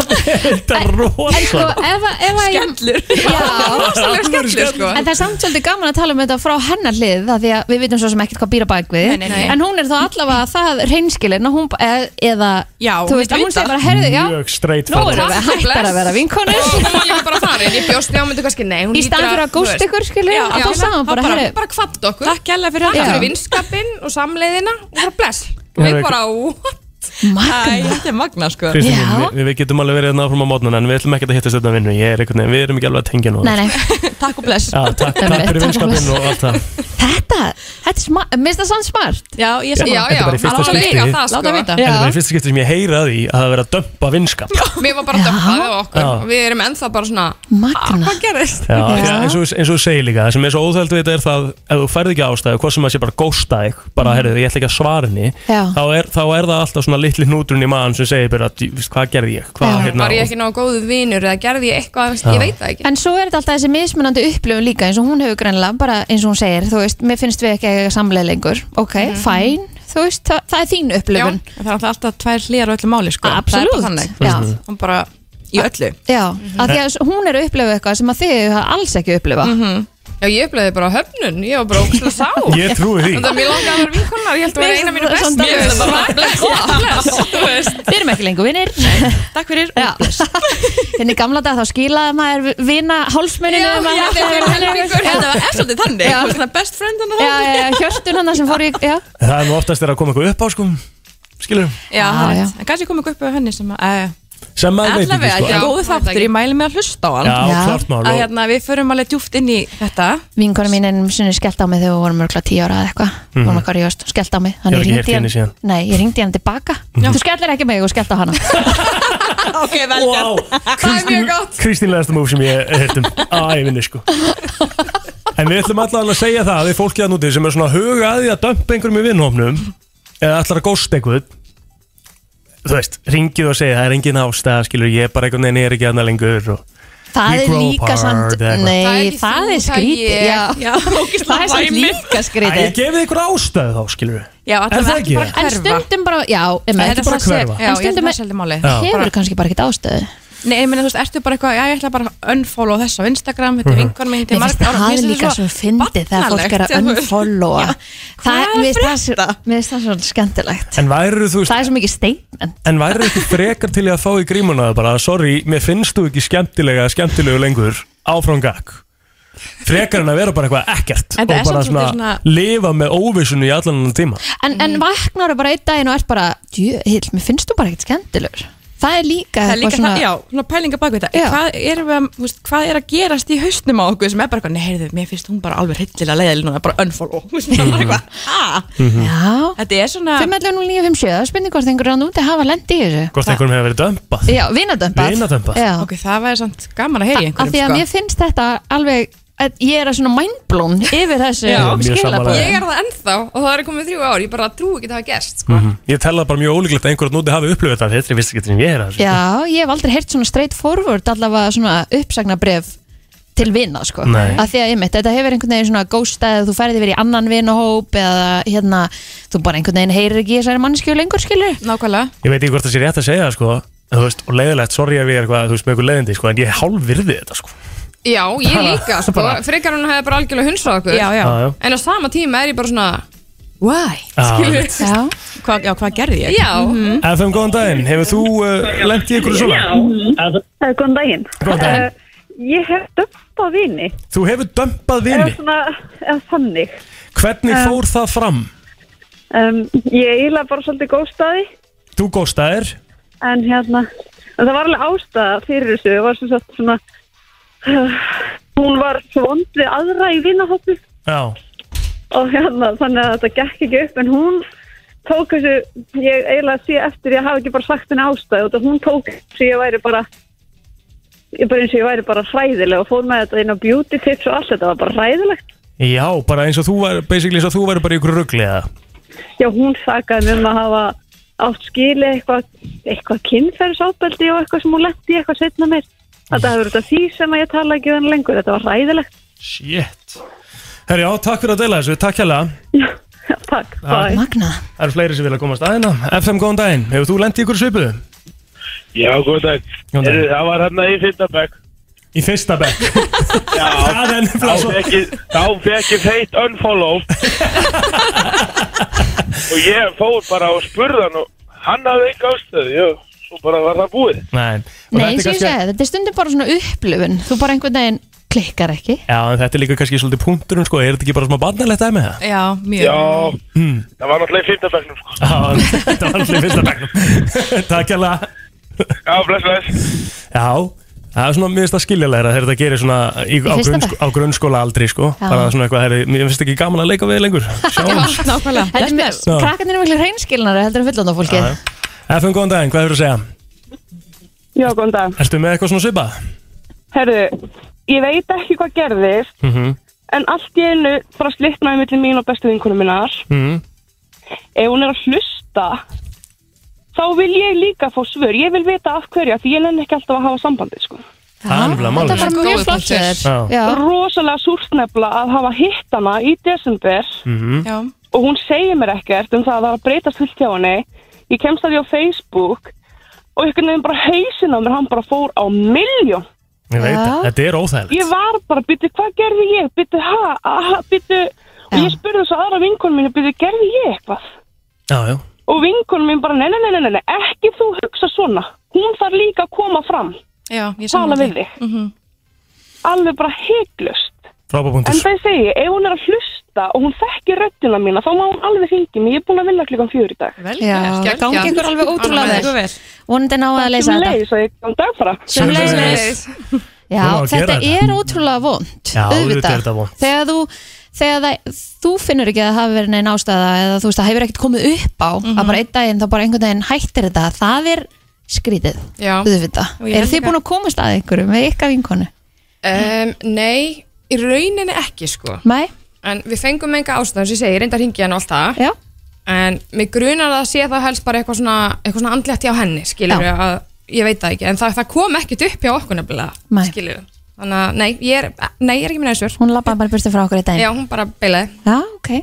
D: Þetta er
E: En sko,
D: rosalega
E: ef að- ef að ég-
K: Skellur.
E: Já,
J: rosalega skemmtileg sko
E: En það er samt svolítið gaman að tala um þetta frá hennar hlið það því að við vitum svo sem ekkert hvað býra bæk við
K: Nei, nei, nei.
E: en hún er þá allavega það reynskilin og hún ba- eða, eða
K: Já,
E: þú veist,
K: hún
E: að hún
K: veit
E: segir
K: það.
E: bara, herðu, já
D: Mjög straight
E: nú erum
D: forward.
E: við hættar að vera vinkonur
J: og hún var líka bara farin, ég bjóst við á myndu kannski nei, hún
E: í staðan fyrir að góst ykkur, skilur
J: Já,
E: að
J: já,
E: þá sagði hún bara,
J: bara,
E: herru,
J: bara kvatt okkur
K: Takk hella fyrir
E: Já.
J: takk fyrir
K: það.
J: vinskapin og samleiðina og bara bless og
D: Herra,
J: við bara, what?
K: Æ,
E: magna
K: þetta er magna sko.
D: Kristín,
E: Já.
D: mín, við, við getum alveg verið hérna áfram á mótnun en við ætlum ekkert að hittast þetta vinnu Ég er einhvern veginn, við erum ekki alveg að tengja nú
E: Nei, nei,
K: Takk og bless.
D: Já, takk,
E: Einmitt,
D: takk fyrir
E: takk
D: vinskapin
E: fyrir.
D: og allt það
E: þetta, þetta er smart, minnst það sann smart
K: Já, ég
D: Já,
K: sem
J: já,
D: Þetta er bara í
J: já,
D: fyrsta
J: alveg
D: skipti.
J: eiga það
K: Láta vita.
J: sko
D: Þetta er bara í fyrsta skipti sem ég heyra því að það vera að dömpa vinskap Já,
J: mér var bara dömpaði á okkur
D: Já.
J: og við erum ennþá bara svona "Ah,
E: magna,
J: hvað gerist?
D: já. Eins, og, eins og þú segir líka, það sem er svo óþælt við þetta er það ef þú færð ekki ástæðu, hvað sem að sé bara gósta þig bara, heyrðu, ég ætla ekki að svara henni
E: Mm. Já.
D: þá er, þá er það alltaf svona litli hnúturinn í maðan sem segir bara, "Djú, veist, hvað gerði ég? Hvað,
E: Já.
D: hérna,
J: var ég ekki náðu góðu vinur eða gerði ég eitthvað, veist, ég veit það ekki
E: en svo er þetta alltaf þessi mismunandi upplifun líka eins og hún hefur greinlega, bara eins og hún segir þú veist, mér finnst við ekki að samlega lengur ok,
J: Mhm.
E: fæn, þú veist, það, það er þín upplifun
K: Það er alltaf alltaf tvær hlýjar á öllu máli sko.
E: Absolutt.
K: Það er bara þannig.
E: Já.
K: Hún bara í öllu.
E: já,
J: Mhm.
E: af því að hún er að upplifa eitthvað sem að þið hafa alls ekki upplifa
J: Mhm. Já, ég upplöði bara höfnun, ég var bara ógæslega sá
D: Ég trúi því
J: Þannig að mér langaði að vera vinkonar, ég held að vera eina mínu
E: Samt
J: bestu
E: alveg
J: Bara bless,
K: [LAUGHS]
J: bless, þú veist.
E: við erum ekki lengur vinnir
K: Takk fyrir.
E: Já. [LAUGHS] hérna í gamla dag þá skilaði maður vina hálsmuninu um
J: Já, já, þegar við erum helmingur.
K: Þetta var eftir svolítið þannig.
E: Já.
K: Þú veist, Svona best friend hann og
E: já, já, já, hjörtun hann sem fór í já.
D: Það er nú oftast er að koma eitthvað upp á sko Skilur
K: Já,
E: Já,
K: já.
E: já.
K: En kannski kom eitthvað upp á henni sem að, eh,
D: sem maður veit ekki
K: Allavega,
D: sko.
K: þetta er góðu þáttur, ég mæli mig að hlusta á hann
D: Já, Já. klárt mál,
K: Að
D: og-
K: hérna, við förum alveg djúft inn í þetta
E: Vinkonu mín einu sinni skellt á mig þegar við vorum örgulega 10 ára eða eitthvað mm.
D: Mhm.
E: Vorum eitthvað ríðast og skellt á mig Þannig
D: Hefur ekki
E: ég
D: heyrt
E: hringdi
D: í henni síðan. Mhm.
E: Nei, ég ringdi hann tilbaka Þú skellir ekki mig og skellt á
D: [LAUGHS]
E: hana
K: Ok, vel
D: Wow, Kristín, Kristín leðast múf sem ég heitum ævinni sko En við ætlum allavega að segja það við fólkið að núti sem er svona að huga að því að dömpa einhverjum í vinnhófnum eða ætlar að gósta einhvern þú veist, ringið og segja það er engin ástæða, skilur, ég er bara einhvern veginn er ekki annað lengur og
E: Það
D: We
E: er
D: grow
E: líka
D: apart
E: samt
D: eða eitthvað.
J: Það er
E: Nei,
J: ekki
E: það er
J: þú, það er
E: skrítið
J: ég.
E: Já.
K: Já,
E: Það
K: ógislega
E: er samt
D: Æ,
E: líka
D: ég
E: skrítið
D: gefið ykkur ástæðu þá, skilur
K: Já,
D: Er það
K: allavega
D: ekki?
K: ekki bara
E: En
K: hverfa
E: stundum bara, já, em,
K: Þetta
D: ekki bara
K: er svona
D: hverfa?
K: sel- Já, ég
E: En
K: held
E: stundum
K: að það
E: er-
K: seldi málið
D: Já.
E: hefur kannski bara ekkert ástöðu
K: Nei, ég meina, þú veist, ertu bara eitthvað, já, ég ætla bara að unfollow þess á Instagram, þetta er
D: Mhm.
K: vinkonum minn, þetta er
E: Mér finnst
K: margt ára,
E: það líka svo fyndið þegar fólk er að unfollowa Það
K: Hvað er
E: mér finnst það
K: frétta?
E: svo- mér finnst það svo skemmtilegt
D: En væru þú veist,
E: Það er svo mikið statement
D: en væru ekki frekar til í að fá í grímuna það bara, sorry, mér finnst þú ekki skemmtilega, skemmtilegu lengur áfram gakk frekar en að vera bara eitthvað ekkert
K: En
D: og
K: það
D: bara
K: er samt svolítið
D: svona
K: svona-
D: lifa með óvissunni í allan annan tíma
E: En, en
K: Mm.
E: vaknar bara einn daginn og ert bara Djöhill, mér finnst þú bara ekkert skemmtilegur Það er líka
K: Það er líka
E: eitthvað
K: það, já, svona pælinga bak við
E: Já.
K: þetta hvað, erum við að, þú veist, hvað er að gerast í haustnum á okkur sem er bara eitthvað, nei, heyrðu, mér finnst hún bara alveg hryllilega leiðileg núna, bara unfollow [LAUGHS] Þú veist, það er eitthvað, "Ah."
D: Mhm,
E: já.
K: Þetta er svona,
E: 511 957, það er spurning hvort einhverjum rann úti hafa lendi í þessu
D: Hvort einhverjum hefur verið dömpað
E: Já, vinadömpað
D: Vinadömpað.
E: Já.
K: ok, það væri samt gaman að heyra í
E: Af því að
K: einhverjum, sko.
E: mér finnst þetta alveg að ég er að svona mindblón yfir þessu
K: Já,
D: mjög
E: skilaboð.
D: sammála.
J: Ég er það ennþá og það er komið þrjú ár, ég bara trú ekki að það hafa gerst sko.
D: Mhm, Ég tel það bara mjög ólíklegt að einhverjum núti hafi upplifað þetta Þetta er vissi getur en ég er það
E: Já, ég hef aldrei heyrt svona straight forward allavega svona uppsagnabref til vinna sko
D: Nei.
E: að því að einmitt, þetta hefur einhvern veginn svona gósta eða þú ferði verið í annan vinahóp eða hérna, þú bara einhvern veginn heyrir ekki í þessari mannskjölu lengur skilur
K: sko. Nákvæmlega,
D: Ég veit ekki hvort það sé rétt að segja það sko en þú veist, og leiðilegt, sorry ef ég er eitthvað, þú veist, með eitthvað leiðindi sko, en ég hálf virði þetta sko
J: Já, ég líka, sko,
D: bara-
J: frekar hún hefði bara algjörlega hunsað okkur
K: já, já,
D: Já, já.
J: En á sama tíma er ég bara svona
K: why?
J: [LAUGHS]
D: Já,
J: Skilur.
D: veit.
E: Já,
K: Hva, já, hvað gerði ég? Mhm.
J: Já,
D: FM, góðan daginn, hefur þú uh, lent í ykkur svona?
L: Eh, Góðan daginn.
D: Góðan daginn.
L: Eh, Ég hef dömt á vini,
D: Þú hefur dömpað
L: eða
D: vini,
L: svona, eða þannig.
E: Eh.
D: hvernig fór það fram?
L: Um, ég eiginlega bara svolítið góðstæði,
D: Þú góstaðir,
L: en hérna, en það var alveg ástæða fyrir þessu, það var sem sagt svona, uh, hún var svo vond við aðra í vinahópi
D: já,
L: og hérna, þannig að þetta gekk ekki upp, en hún tók þessu, ég eiginlega sé eftir, ég hafi ekki bara sagt henni ástæði, og hún tók þessu, ég væri bara, ég bara eins og ég væri bara hræðileg og fór með þetta inn á beauty tips og allt þetta var bara hræðilegt.
D: já, bara eins og þú var basically eins og þú væri bara í ykkur rugli eða
L: Já, hún sakaði mig um að hafa átt skili eitthvað, eitthvað kynferðsábeldi og eitthvað sem hún letti eitthvað setna mér. Þetta hefur þetta því sem að ég tala ekki um lengur, þetta var ræðilegt.
D: Shit Herri, já, takk fyrir að deila þessu, takk hérlega
L: [LAUGHS] Takk, bæ.
E: magnað
D: Það eru fleiri sem vilja komast aðeina FM, góðan daginn, hefur þú lent í ykkur svipuðu?
M: Já, góð dag.
D: Góðan daginn.
M: Heyrðu, Það var hérna í fyrsta bekk.
D: Í fyrsta bekk [LAUGHS]
M: Já,
D: Það er
M: þá
D: nefnilega svo
M: fekk ég, þá fekk ég feitt
D: [LAUGHS]
M: unfollow. og ég fór bara og spurði hann og hann hafði ekki ástöðu, jú. Svo bara var það búið.
D: Nei, og þetta er
E: Nei, sem ég
D: kannski-
E: segi, þetta er stundum bara svona upplifun Þú bara einhvern veginn klikkar ekki
D: Já, en þetta er líka kannski svolítið punkturinn sko, er þetta ekki bara smá barnalegt aðeins með það?
K: Já, mjög
M: Já, það var náttúrulega í fyrsta bekknum, sko.
D: Hmm. Já, þetta var allir fyrsta
M: [LAUGHS]
D: begnum Takk hérlega
M: Já, bless, bless.
D: Já, það er svona, mér finnst það skiljalega þegar þetta gerir svona í, á,
E: fyrsta
D: grunnsk
E: bekk?
D: á grunnskóla aldrei sko,
E: Já.
D: bara svona eitthvað, herri, mér finnst ekki gaman að leika við lengur Sjáumst.
E: Þetta er með,
D: Já.
E: krakkarnir eru miklu hreinskilnari heldur en fullanda fólkið
D: Já, já. FM, góðan daginn, hvað hefur að segja?
L: Já, góðan dag.
D: Ertu með eitthvað svona svipað?
L: Herðu, ég veit ekki hvað gerðist,
D: Mhm.
L: en allt í einu bara slittnaði millir mín og bestu vinkunum minnar.
D: Mhm.
L: Ef hún er að hlusta, þá vil ég líka fá svör. Ég vil vita af hverju, af því ég nenni ekki alltaf að hafa sambandi, sko.
D: Það er nefnilega
E: Þetta
D: málið
E: er bara
D: sko.
E: mjög
J: Góður
E: flott hjá
J: punktur.
E: þér.
D: Já.
E: Já.
L: rosalega súrt nefnilega að hafa hitt hana í desember
D: Mhm.
K: Já,
L: og hún segir mér ekkert um það að það var að breytast fullt hjá henni ég kemst að því á Facebook og einhvern veginn bara hausin á mér hann bara fór á miljón
D: Ég veit það, þetta er
L: ég
D: óþægilegt
L: var bara, byttu, hvað gerði ég byttu, ha, ha, byttu og
E: Já.
L: ég spurði þessu aðra vinkonu mínu, byttu, gerði ég eitthvað
D: Já, já,
L: og vinkonu mín bara, nei, nei, nei, nei, nei ekki þú hugsa svona, hún þarf líka að koma fram,
K: já, ég
L: tala
K: sammála
L: við
K: því.
L: þig alveg bara heiklust
D: frábá
L: En
D: punktur
L: það ég segi, ef hún er að hlusta þetta og hún þekkir röddina mína þá má hún alveg hringi mig, ég er búin að vinna klukkan fjör í dag
E: Vel Já, gert, gangi já. ykkur alveg ótrúlega Alveg vel. vel. Vonandi náið að leysa þetta.
L: Sömuleiðis og ég kom dag bara
E: Sömuleiðis. Já,
L: Hún á að
E: þetta
L: gera þetta.
E: er ótrúlega vond
L: Já, auðvitað er þetta vont.
E: Þegar þú þegar það, þú finnur ekki að það hafi verið neina ástæða eða þú veist það hefur ekkert komið upp á
J: Mhm.
E: að bara einn daginn þá bara einhvern daginn hættir þetta það er skrítið
J: Já.
E: auðvitað.
J: Og ég
E: Eru
J: held
E: þið
J: líka-
E: búin að komast að einhverju með ykkar vinkonu?
J: Um, nei, í rauninni ekki sko
E: Nei.
J: En við fengum enga ástæðan sem ég segi, ég reyndar hringi hann og allt það
E: Já.
J: En mig grunar að það sé það helst bara eitthvað svona, eitthvað svona andlegt hjá henni skilur
E: Já.
J: að ég veit það ekki En það, það kom ekkert upp hjá okkur nefnilega
E: Nei.
J: skilur Þannig að nei, ég er, nei, ég er ekki minna þessur
E: Hún lappaði bara burtið frá okkur í daginn
J: Já, hún bara beilaði
E: Já, ok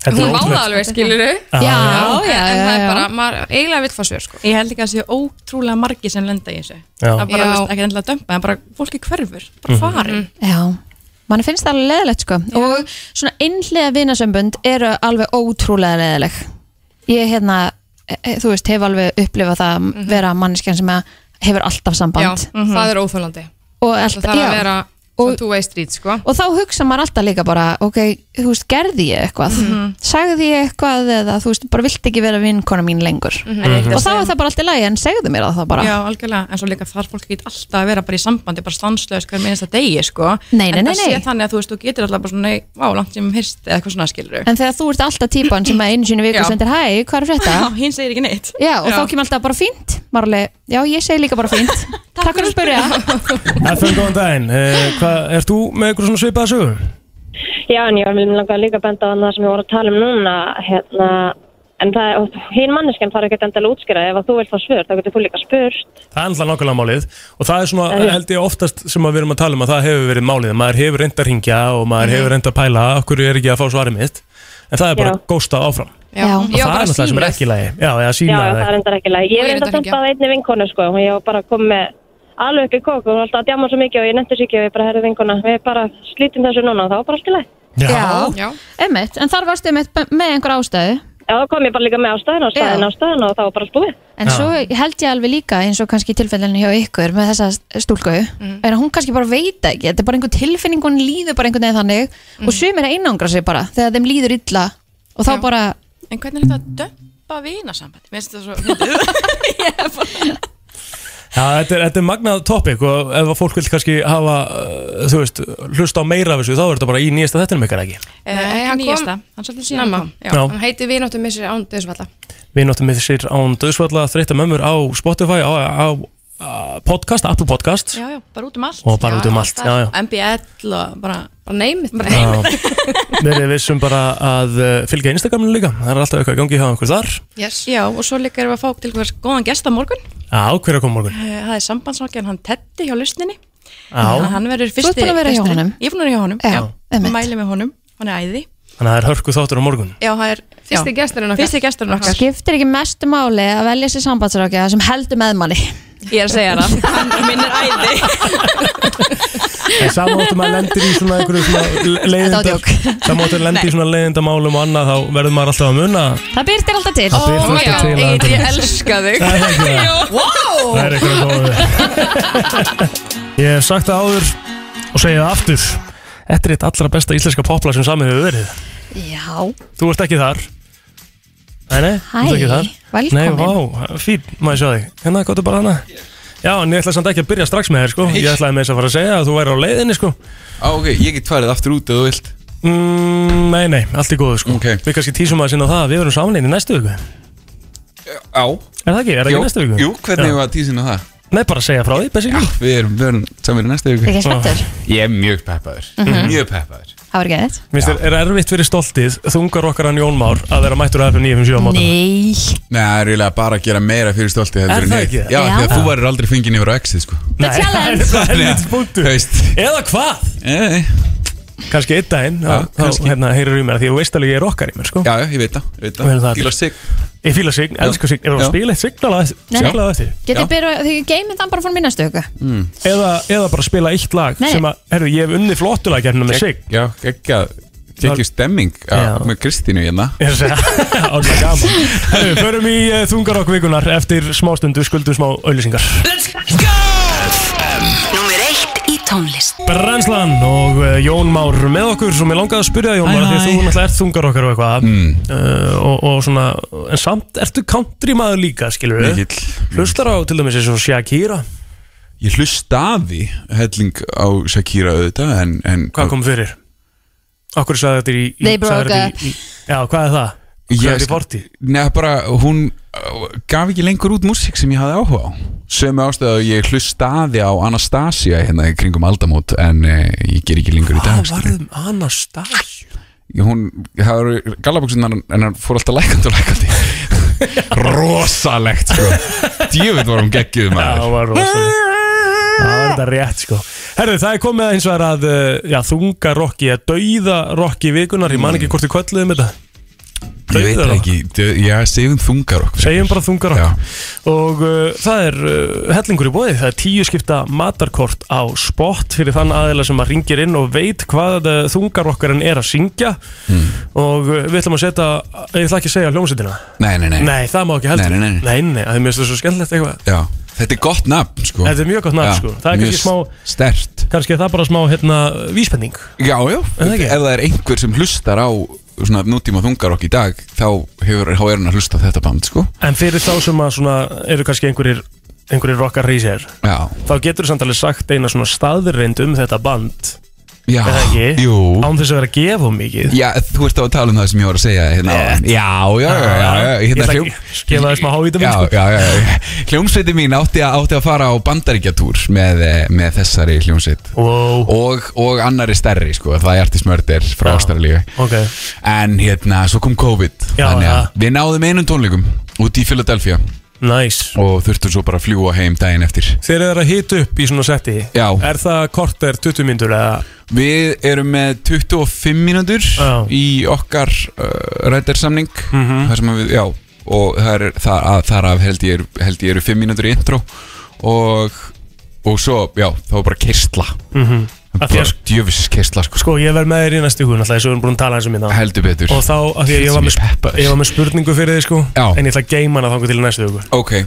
D: Þetta er
J: Hún
D: ótrúlegt.
J: mála alveg skilur
D: Já,
K: já, já,
J: En það
K: já,
J: er
K: já.
J: bara, maður eiginlega vill fá svör sko
K: Ég held ekki að það séu ótrúlega margi sem lenda í þessu
D: Já.
K: Það er bara
J: Já.
K: veist, ekki endilega að dömpa, en bara fólki hverfur bara
E: Mhm.
K: farin
E: Já, mann finnst það alveg leðilegt sko og svona innlega vinasömbund eru alveg ótrúlega leðileg ég hérna, e, e, þú veist, hef alveg upplifað það að vera manneskjan sem að hefur alltaf
J: Mhm. Já, mhm.
E: samband
K: Mhm.
J: það er óþólandi
E: og, alltaf,
J: Það þarf
E: já,
J: að vera
E: og,
J: two-way street sko
E: og þá hugsa maður alltaf líka bara ok, þú veist, gerði ég eitthvað
J: Mhm.
E: sagði ég eitthvað eða þú veist, bara vilt ekki vera vinkona mín lengur
K: Mhm. En ég ætla að
E: og þá
K: segja-
E: er það bara alltaf lægi en segðu mér það þá bara
K: Já, algjörlega, en svo líka þarf fólk ekki alltaf að vera bara í sambandi, bara stanslaus hver minnst að degi, sko
E: Nei, nei,
K: En
E: nei,
K: það sé
E: nei.
K: þannig að þú veist, þú getur alltaf bara svona, nei, vá, langt sem hirst eða eitthvað svona skilur
E: En þegar þú ert alltaf típan sem að einu sinni í viku
K: Já.
E: sendir hæ, hvað er frétta?
J: [LAUGHS]
K: Já, hinn segir ekki neitt
E: Já, og
K: Já.
E: þá kemur alltaf bara fínt Marli, já, ég segi líka bara fínt Takk fyrir að spyrja
D: FN, góðan daginn uh, Hvað, ert þú með eitthvað svona svipaða sögu?
N: Já, en ég var mjög langar líka að benda á það sem ég voru að tala um núna, hérna, en það, og hinn manneskjan þarf ekkert endilega að útskýra, ef að þú vilt fá svör, þá getur þú líka spurt.
D: Það er alltaf nákvæmlega málið og það er svona,
N: Það er-
D: held ég oftast sem að við erum að tala um að það hefur verið málið, maður hefur reynd að ringja og
N: Mhm.
D: maður hefur reynd að pæla, okkur er ekki að fá svarið mitt en það er bara
N: Já.
D: að gósta áfram
N: Já. Já.
D: og það
N: Já, bara
D: er náttúrulega sem er ekki í lagi Já, já,
N: Já,
D: sína
N: já, það
D: það
N: er endar ekki læg. Ég er
J: Og ég
N: enda
J: reyndar
N: samt að einni vinkonu, sko, og ég var bara að koma með alveg upp í kók og hún var alltaf að djama svo mikið og ég nefndi sér ekki og ég bara herði vinkona, við bara slítum þessu núna og það var bara allt í læg.
E: Já,
J: já.
E: [LAUGHS] Einmitt, en þar varstu einmitt b- með einhver ástæðu
N: Já, þá kom ég bara líka með ástæðin og staðin ástæðin og það var bara allt búið.
E: En svo held ég alveg líka eins og kannski tilfellinu hjá ykkur með þessa stúlku
K: Mhm.
E: en hún kannski bara veit ekki, þetta er bara einhver tilfinning hún líður bara einhvern veginn þannig
K: Mhm.
E: og sumir að einangra sig bara þegar þeim líður illa og þá bara
K: En hvernig er þetta að dömpa vinasambandi? Mér finnst þetta svo fyndið. [LAUGHS] Ég er
E: [LAUGHS]
K: bara-
D: Já, þetta er, þetta er magnað topic og ef að fólk vil kannski hafa, uh, þú veist, hlusta á meira af þessu þá er þetta bara í nýjasta þettinum ykkar ekki
J: Nei, Eh, hann kom
K: nýjasta, hann svolítið síðan
J: snemma.
K: kom.
D: Já.
J: Hann heiti Vinóttum missir án döðsvalla
D: Við náttum með sér án döðsvalla þreytta mömmur á Spotify, á, á, á podcast, Apple podcast [LAUGHS]
K: Já, já, bara út um allt.
D: Og bara út um allt, já, já.
K: MBL og bara...
J: Bara neymið.
K: Bara
D: Já.
K: neymið.
E: [LAUGHS]
D: Verið vissum bara að uh, fylgja Instagraminu líka Það er alltaf eitthvað að gangi hjá einhver þar
K: Yes. Já, og svo líka erum við að fá til hvers góðan gest á morgun.
D: Já, hver er að koma morgun?
K: Eh, Það er sambandsnokkjan hann Teddi hjá lusninni.
D: Já.
K: Hann verður
E: Þú ert
K: fyrsti
E: búin að vera hjá
K: gesturinn.
E: honum?
K: Ég er búin að vera hjá honum,
E: Já,
K: já. Mæli með honum, hann er æði.
D: Þannig að það er hörku þáttur á morgun
K: Já, það er...
J: Fyrsti gesturinn okkar.
K: Fyrsti gesturinn okkar.
E: skiptir ekki mestu máli að velja sér sambandsrákja sem heldur með manni
K: Ég er að
E: [LAUGHS]
K: segja það. Hann minn er æði.
D: En samáttum að lendir í svona einhverju svona
E: Þetta var
D: leiðindar Samáttum að lendir
E: Nei.
D: í svona leiðindamálum og annað Þá verður maður alltaf að muna
E: Það byrst þér alltaf til
D: Það birtir alltaf til,
E: já,
D: Andri.
E: Egill, ég elska þig
D: Það er ekki það.
K: [LAUGHS]
E: [LAUGHS] Jú. Vá!
D: Það er eitthvað að góða Ég hef sagt það áður og segið það aftur Þetta er eitt allra besta íslenska popla sem samið hefur verið
E: Já,
D: Þú ert ekki þar Nei, nei, þú ert
E: Hæ,
D: ekki þar
E: velkomin.
D: Nei, vá, fín, maður sjá þig Hérna, gott bara hana Já, en ég ætla samt ekki að byrja strax með þér, sko Ég ætlaði með þess að fara að segja að þú væri á leiðinni, sko
F: Á, ok, ég get farið aftur út ef þú vilt
D: mm, Nei, nei, allt í góðu, sko okay. Við kannski tísum að sinna á það að við verum saman einn í næstu viku
F: Á
D: Er það ekki? Er það
F: Jú,
D: ekki næstu viku?
F: Jú, hvernig
D: Já.
F: var tísin á það?
D: Nei, bara segja frá því, basically
F: Já, við erum, við erum saman í næstu viku
E: Ekki spenntur?
F: Ég er mjög peppaður
E: Mhm.
F: Mjög peppaður
E: það var ekki þetta
D: Minnst þér, er erfitt fyrir stoltið þungar okkar hann Jón Már að vera mættur að FM 957 á mótum?
E: Nei
F: Nei, það er eiginlega bara að gera meira fyrir stolti
D: Er
F: heldur en
D: það
F: neitt.
D: ekki?
F: Já,
D: Já.
F: því að þú varir aldrei fengið yfir á exið, sko
D: The
F: [LAUGHS]
D: challenge Það er mitt punktu Eða hvað? Kanski einn daginn þá- þá hérna, heyrir í mér að því að þú veist alveg ég er okkar í mér sko.
F: Já, já, ég veit það, ég veit það. Fílar sign.
D: Ég fíla sign, elskar sign Ef það
F: Já.
D: spila eitt signalað
E: Nei.
D: eftir
E: Getið byrjað, þið geymið þann bara frá mín næstu viku
D: mm. eða, eða bara spila eitt lag
E: Nei.
D: sem að, herru, ég hef unni flottulag hérna með sign
F: Já, ekki að Tekju stemming já, með Kristínu hérna
D: Ég er að segja, átla gaman Herru, Förum í uh, þungar okkur vikunar eftir smástundu skuldum smá auðlýsingar
G: Númer eitt í
C: tónlist
D: Brennslan og uh, Jón Már með okkur og mér langaði að spyrja þig, Jón
C: Hæ,
D: Már af því að
C: hæ.
D: þú náttúrulega ert þungar okkar og eitthvað
F: Mm.
D: uh, og, og svona, en samt ertu country maður líka, skilur við
F: Mikill.
D: Hlustar á til dæmis eins og Shakira
F: Ég hlustaði helling á Shakira auðvitað en, en
D: Hvað kom fyrir? Akkur sagði þetta í, í
E: They broke
D: sagði þetta í, í, Já, hvað er það? Hvað er í borti?
F: Nei, bara hún uh, gaf ekki lengur út músík sem ég hafði áhuga á Sömu ástöðu að ég hlustaði á Anastasia hérna í kringum aldamót en eh, ég ger ekki lengur í dag
D: Hvað varðum Anastasia?
F: Hún, það eru gallabuksunar en hann fór alltaf lækandi og
D: [LAUGHS]
F: lækandi Rosalegt sko Djöfitt var hún geggjuð maður
D: Já, var rosalegt Það
F: Ah.
D: var þetta rétt sko Herðu, það er komið hins vegar að uh, já, þunga rocki, að dauða rocki vikunar Ég man
F: Mm.
D: ekki hvort þið kölluðum þetta
F: Ég veit það ekki, dö- já, segjum þungar okkur
D: Segjum bara þungar okkur Og uh, það er uh, hellingur í bóði Það er tíu skipta matarkort á spot Fyrir þann aðeila sem að ringir inn og veit hvað uh, þungar okkarinn er að syngja
F: Mm.
D: Og uh, við ætlum að setja Ég ætla ekki að segja hljómsveitina
F: Nei, nei, nei
D: Nei, það má ekki heldur
F: Nei, nei, nei.
D: nei, nei, að þið mér finnst það svo skemmtilegt eitthvað
F: Já, þetta er gott nafn sko
D: Þetta er mjög gott nafn
F: Já,
D: sko Það er
F: mjög
D: kannski smá
F: Stert
D: Kannski er það bara smá hérna vísbending
F: Já, já,
D: það ekki?
F: ef það er einhver sem hlustar á svona nútíma þungarokk í dag þá, hefur, þá er hann að hlusta á þetta band sko.
D: En fyrir þá sem að svona eru kannski einhverjir einhverjir rockar reysir
F: Já.
D: þá getur þú samtalið sagt eina svona staðreind um þetta band
F: Já,
D: er það ekki?
F: jú.
D: Án þess að vera að gefa of mikið
F: Já, þú ert á að tala um það sem ég var að segja hérna áðan. Já, já, já, já, já,
D: Ég
F: hérna
D: ætla
F: hljóm-
D: ekki að gefa það smá sko. hávítum
F: Já, já, já, já. Hljómsveitin mín átti, a, átti að fara á bandaríkjatúr með, eh, með þessari hljómsveit
D: wow.
F: og, og annari stærri sko, það er Artis Mörder frá Ástralíu
D: okay.
F: En hérna, svo kom COVID
D: Já,
F: Þannig að við náðum einum tónleikum út í Philadelphia
D: Nice
F: Og þurftum svo bara að fljúa heim daginn eftir
D: Þeir eru að hita upp í svona setti
F: Já
D: Er það kort er 20 myndur eða
F: Við erum með 25 mínútur í okkar uh, rættarsamning
D: Mhm.
F: þar sem að við, já, og þar, er- þar, að, þar af held ég, er- held ég eru 5 mínútur í intro og, og svo, já, þá var bara kistla
D: Mhm. Af því
F: bara
D: að-
F: djöfis kistla sko.
D: Sko, ég verð með þér í næstu hún alltaf, þess að við erum búin að tala eins um hérna
F: Heldur betur.
D: Og þá, af því að ég var með, sp- ég var með spurningu fyrir þig, sko Já. En ég ætla að geima hana þangu til í næstu hugur
F: Ok, ég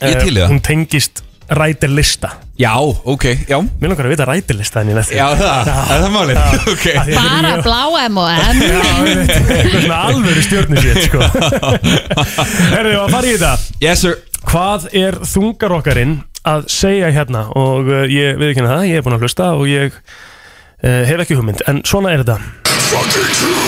D: Eh,
F: til í það.
D: Hún tengist rætirlista
F: Já, ok, já
D: Mér langar að vita rætirlista henni næstu
F: Já, það, það er það málið [LAUGHS] Ok
E: Bara blá
D: [LAUGHS]
E: M&M
D: Eitthvað svona alvöru stjórnir sétt,
F: [LAUGHS]
D: sko Herðu, að fara í þetta
F: Yes, sir
D: Hvað er þungar okkarinn að segja hérna Og uh, ég veit ekki það, ég er búin að hlusta og ég uh, hef ekki hugmynd En svona er þetta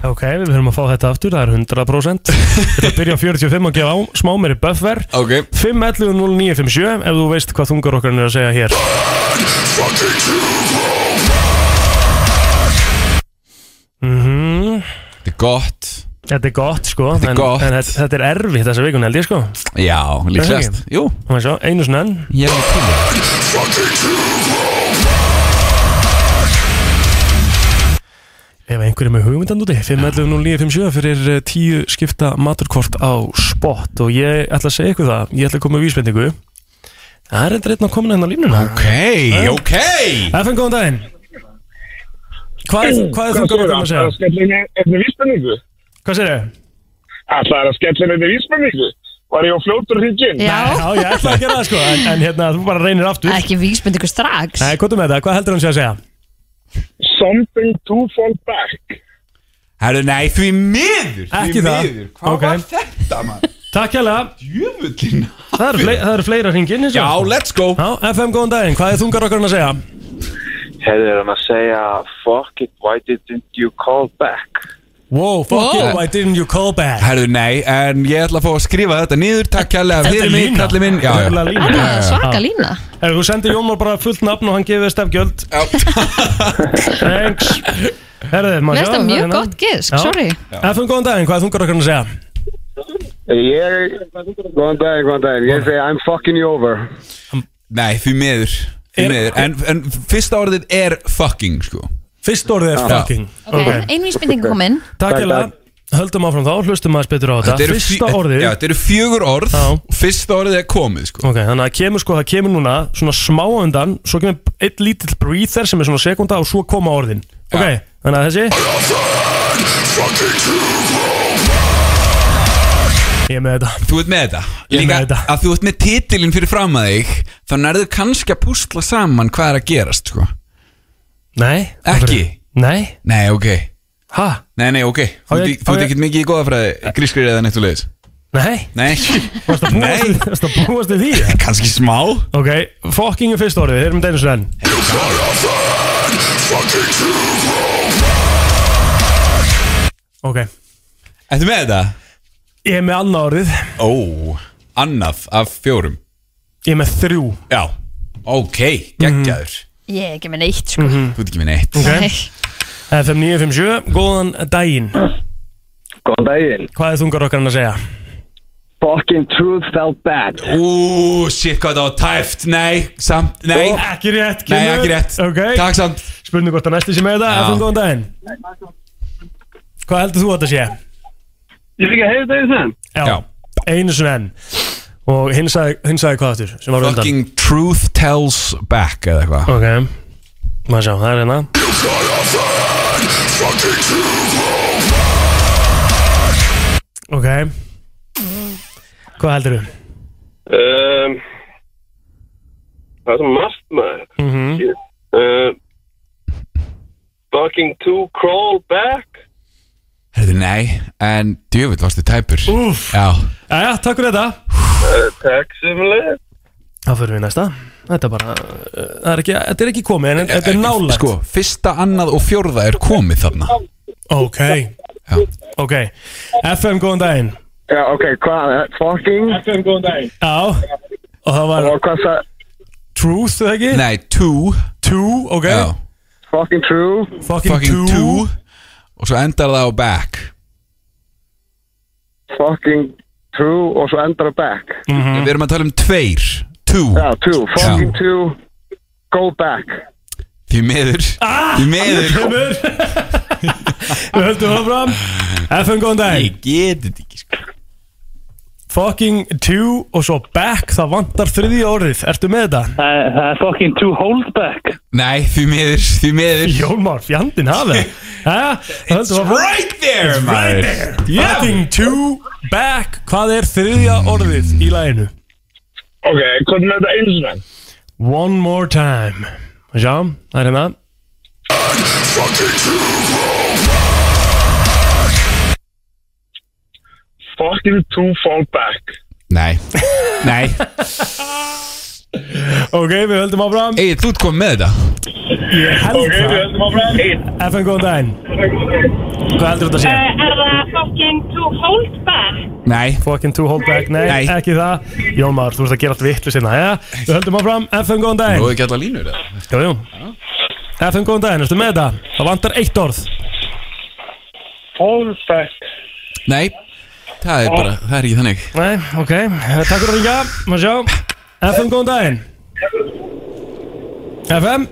D: Ok, við höfum að fá þetta aftur, það er 100% Þetta byrja á 45 og gefa á, smá meiri buffer
F: Ok
D: 5.11.09.57 ef þú veist hvað þungar okkar er að segja hér Mhm.
F: Þetta er gott
D: Þetta er gott sko
F: Þetta er
D: en,
F: gott.
D: en þetta, þetta er erfitt þessa vikun held ég sko
F: Já, líklegast Jú
D: Þannig svo, einu svona enn
F: Ég er með tíma
D: Ef einhverjum er hugmyndan úti 5.11.09.57 fyrir eh, 10 skipta maturkort á spot og ég ætla að segja ykkur það Ég ætla að koma með vísbendingu Það er eitthvað að koma hérna á línuna Ok,
F: ok
D: FN, góðan daginn Hvað er, hvað er þungar okkar að segja?
M: segja? Efni vísbendingu?
D: Hvað segir þau?
M: Það er að skella efni vísbendingu Var ég á fljótur hringin?
E: Já.
D: Já, ég ætla að gera það sko En, en hérna, þú bara reynir aftur
E: Ekki vísbend ykkur strax
D: Nei, hvað er með það? Hvað heldur hann sé að segja?
M: Something to fall back
F: Herru, nei, því miður því
D: Ekki það.
F: miður. Hvað
D: Ok.
F: var þetta, maður?
D: Takk hérlega
F: Djöfullin
D: Það eru fle það eru fleira hringin Já,
F: let's go
D: Já, FM, góðan daginn, hvað er þungar okkar að segja?
O: Hefur er hann að segja Fuck it, why didn't you call back?
D: Wow, fuck
F: Wow.
D: you, why didn't you call back?
F: Herru, nei, en ég ætla að fá að skrifa þetta niður Takk kærlega
D: Þetta er
F: fyrir mig,
D: lína.
F: kallið minn Já, já.
D: Þetta er lína.
F: Já, já.
E: Svaka lína
D: Ef þú sendir Jómar bara fullt nafn og hann gefið stefgjöld Thanks Herðið,
E: Mér finnst það mjög
D: hérna.
E: gott gisk, sorry.
D: FM, góðan daginn, hvað er þungar okkar að segja?
P: Ég, Eh, góðan daginn, góðan daginn, ég segi I'm fucking you over
F: Nei, því miður, því miður. En, en fyrsta orðið er fucking, sko
D: Fyrsta orðið er fucking.
E: okay. Einu vísbending kom inn
D: Takk hérlega, höldum áfram þá, hlustum aðeins betur á þetta
F: Þetta eru fí-
D: Fyrsta orðið
F: Já, þetta eru fjögur orð Fyrsta orðið er komið, sko
D: Ok, þannig að kemur sko, það kemur núna svona smá á undan, svo kemur eitt lítill breather sem er svona sekunda og svo koma orðin Ok, þannig að þessi Ég er með þetta
F: Þú ert með þetta
D: Ég er
F: Líka
D: með þetta.
F: að þú ert með titilin fyrir fram að þig Þá nærðu kannski að púsla saman hvað er að gerast sko.
D: Nei
F: Ekki?
D: Nei
F: Nei, ok
D: Ha?
F: Nei, nei, ok
D: Á
F: Þú
D: ég-
F: ert í- þú
D: á
F: ert
D: ég-
F: ekkert mikið í goðafræði grískrið eða neitt úr leiðis
D: Nei [LAUGHS]
F: Nei
D: Varst að búast, varst að búast við því?
F: Kanski smá
D: Ok, fokkingu fyrst orðið, erum þetta einu svo enn Ok
F: Ertu með þetta?
D: Ég er með annað orðið
F: Ó, annað af fjórum
D: Ég er með þrjú
F: Já, ok, geggjaður
E: Ég er ekki með neitt sko
F: Þú ert ekki með neitt
D: Mhm.
E: Nei.
D: Mm, Ok FM 957, góðan daginn
P: Góðan daginn
D: Hvað er þungar okkar hann að segja?
P: Fucking truth felt bad
F: Ú, shit, hvað það var tæft Nei, samt, nei
D: Ekki rétt,
F: Nei,
D: kemur.
F: ekki rétt.
D: Ok
F: Takk samt
D: Spurning hvort að næsti sem með
F: Já.
D: það FM góðan daginn Hvað heldur þú að þetta sé?
P: Ég líka hefði þetta í þenn
D: Já, Einu svo enn Og hinn sagði, hinn sagði hvað aftur sem var á undan
F: Fucking truth tells back eða eitthvað
D: Ok, maður sjá, það er hérna Ok Hvað heldur þú?
M: Um, það er svo margt maður.
D: Mm -hmm.
M: Uh, fucking to crawl back.
F: Herðu, nei, en djöfull varstu tæpur
D: Úff
F: Já
D: Jæja, takk fyrir þetta
M: Uh, takk sem leið.
D: Þá fyrir við í næsta Þetta er bara, uh, það er ekki, þetta er ekki komið en þetta er nálægt
F: Sko, fyrsta, annað og fjórða er komið þarna
D: Ok Ok, FM góðan daginn
P: Já, ok, hvað, eh, fucking
M: FM góðan daginn
D: Já, og það var
P: Og hvað það
D: Truth, eða ekki?
F: Nei, two
D: Two, ok
F: Já.
P: Fucking true
D: Fucking,
F: Fucking
D: two.
F: two Og svo endar það á back
P: Fucking true Og svo endar það back
D: Mhm.
F: Við erum að tala um tveir Two
P: Já, true Fucking true Go back
F: Því miður ah, Því miður
D: Kemur Við höldum áfram FM góðan daginn
F: Ég get þetta ekki sko
D: Fucking two og svo back Það vantar þriðja orðið, ertu með þetta?
Q: Það er fucking to hold back
F: Nei, því miður, því miður
D: Jónmár, fjandinn hafið It's
F: right there, maður. Yeah.
D: Fucking two back Hvað er þriðja orðið í læginu?
M: Ok, hvernig er þetta eins og það?
D: One more time Og Sjá, það er hérna
M: Fucking to fall back.
F: Nei, nei
D: [LAUGHS] Ok, við höldum áfram
F: Egil, þú ert komið með þetta
D: Ég held það FM góðan daginn Hvað heldur þetta að sé?
M: Eh.
L: Eh, Er það fucking to hold back?
F: Nei
D: Fucking two hold back, nei,
F: Nei.
D: ekki það Jónmar, þú ert að gera allt vitlu sinna ja? Við höldum áfram, FM góðan
F: Nú
D: daginn
F: er ekki allar línur eða?
D: Jú, jú FM góðan daginn, ertu með þetta? Það vantar eitt orð
M: Fall back.
F: Nei, það er bara, það er ekki þannig
D: Nei, ok, eh, takk fyrir að ringa Má sjá, FM góðan daginn FM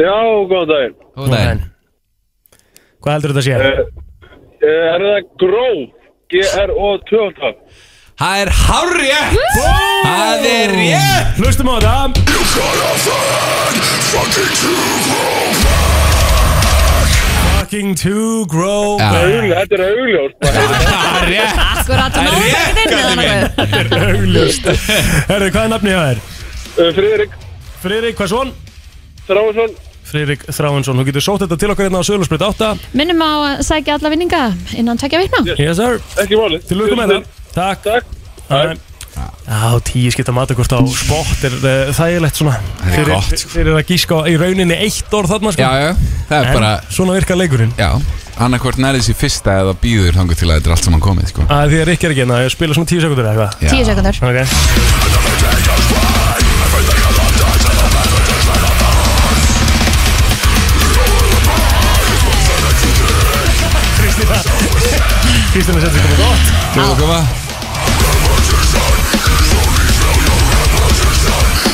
M: Já, góðan daginn.
F: Góðan daginn
D: Hvað heldur þetta að sé?
M: Uh, uh, er það gró? G-R-O-2-T.
F: Það er hárrétt Það er rétt
D: Hlustum á þetta Fucking two grow back
M: Þetta er
F: [LAUGHS]
M: augljóst.
F: Það er rétt
E: Akkurat
F: Það er
E: náðu
F: rétt,
E: ekkert inn
F: kallinn
E: eða
F: minn.
E: nokkuð?
D: Augljóst [LAUGHS] Herðu, hvað er nafni hjá þér?
M: Uh, Friðrik
D: Friðrik, hvað svon?
M: Þráinsson.
D: Friðrik Þráinsson, þú getur sótt þetta til okkar hérna á Sölursbreyt 8
E: Minnum á að sækja alla vinninga innan tvekja vikna
D: Yes sir,
M: Ekki málið.
D: til lukkum með það Takk
M: Takk.
D: Bye. Já, tíu skipta matakort á spott er uh, þægilegt svona
F: er
D: Fyrir-
F: gott, sko.
D: fyrir- Fyrir að gíska á- í rauninni eitt orð þarna sko
F: Já, já, það er
D: En
F: bara
D: svona virka leikurinn
F: Já, annarkvort nærið sér fyrsta eða býður þangu til að þetta er allt saman komið sko
D: að Því að Rikki er ekki hérna, ég spila svona tíu sekundur eða eitthvað
F: Já.
E: Tíu sekundur
D: Ok, Kristina setur komið gott
F: Þú erum að koma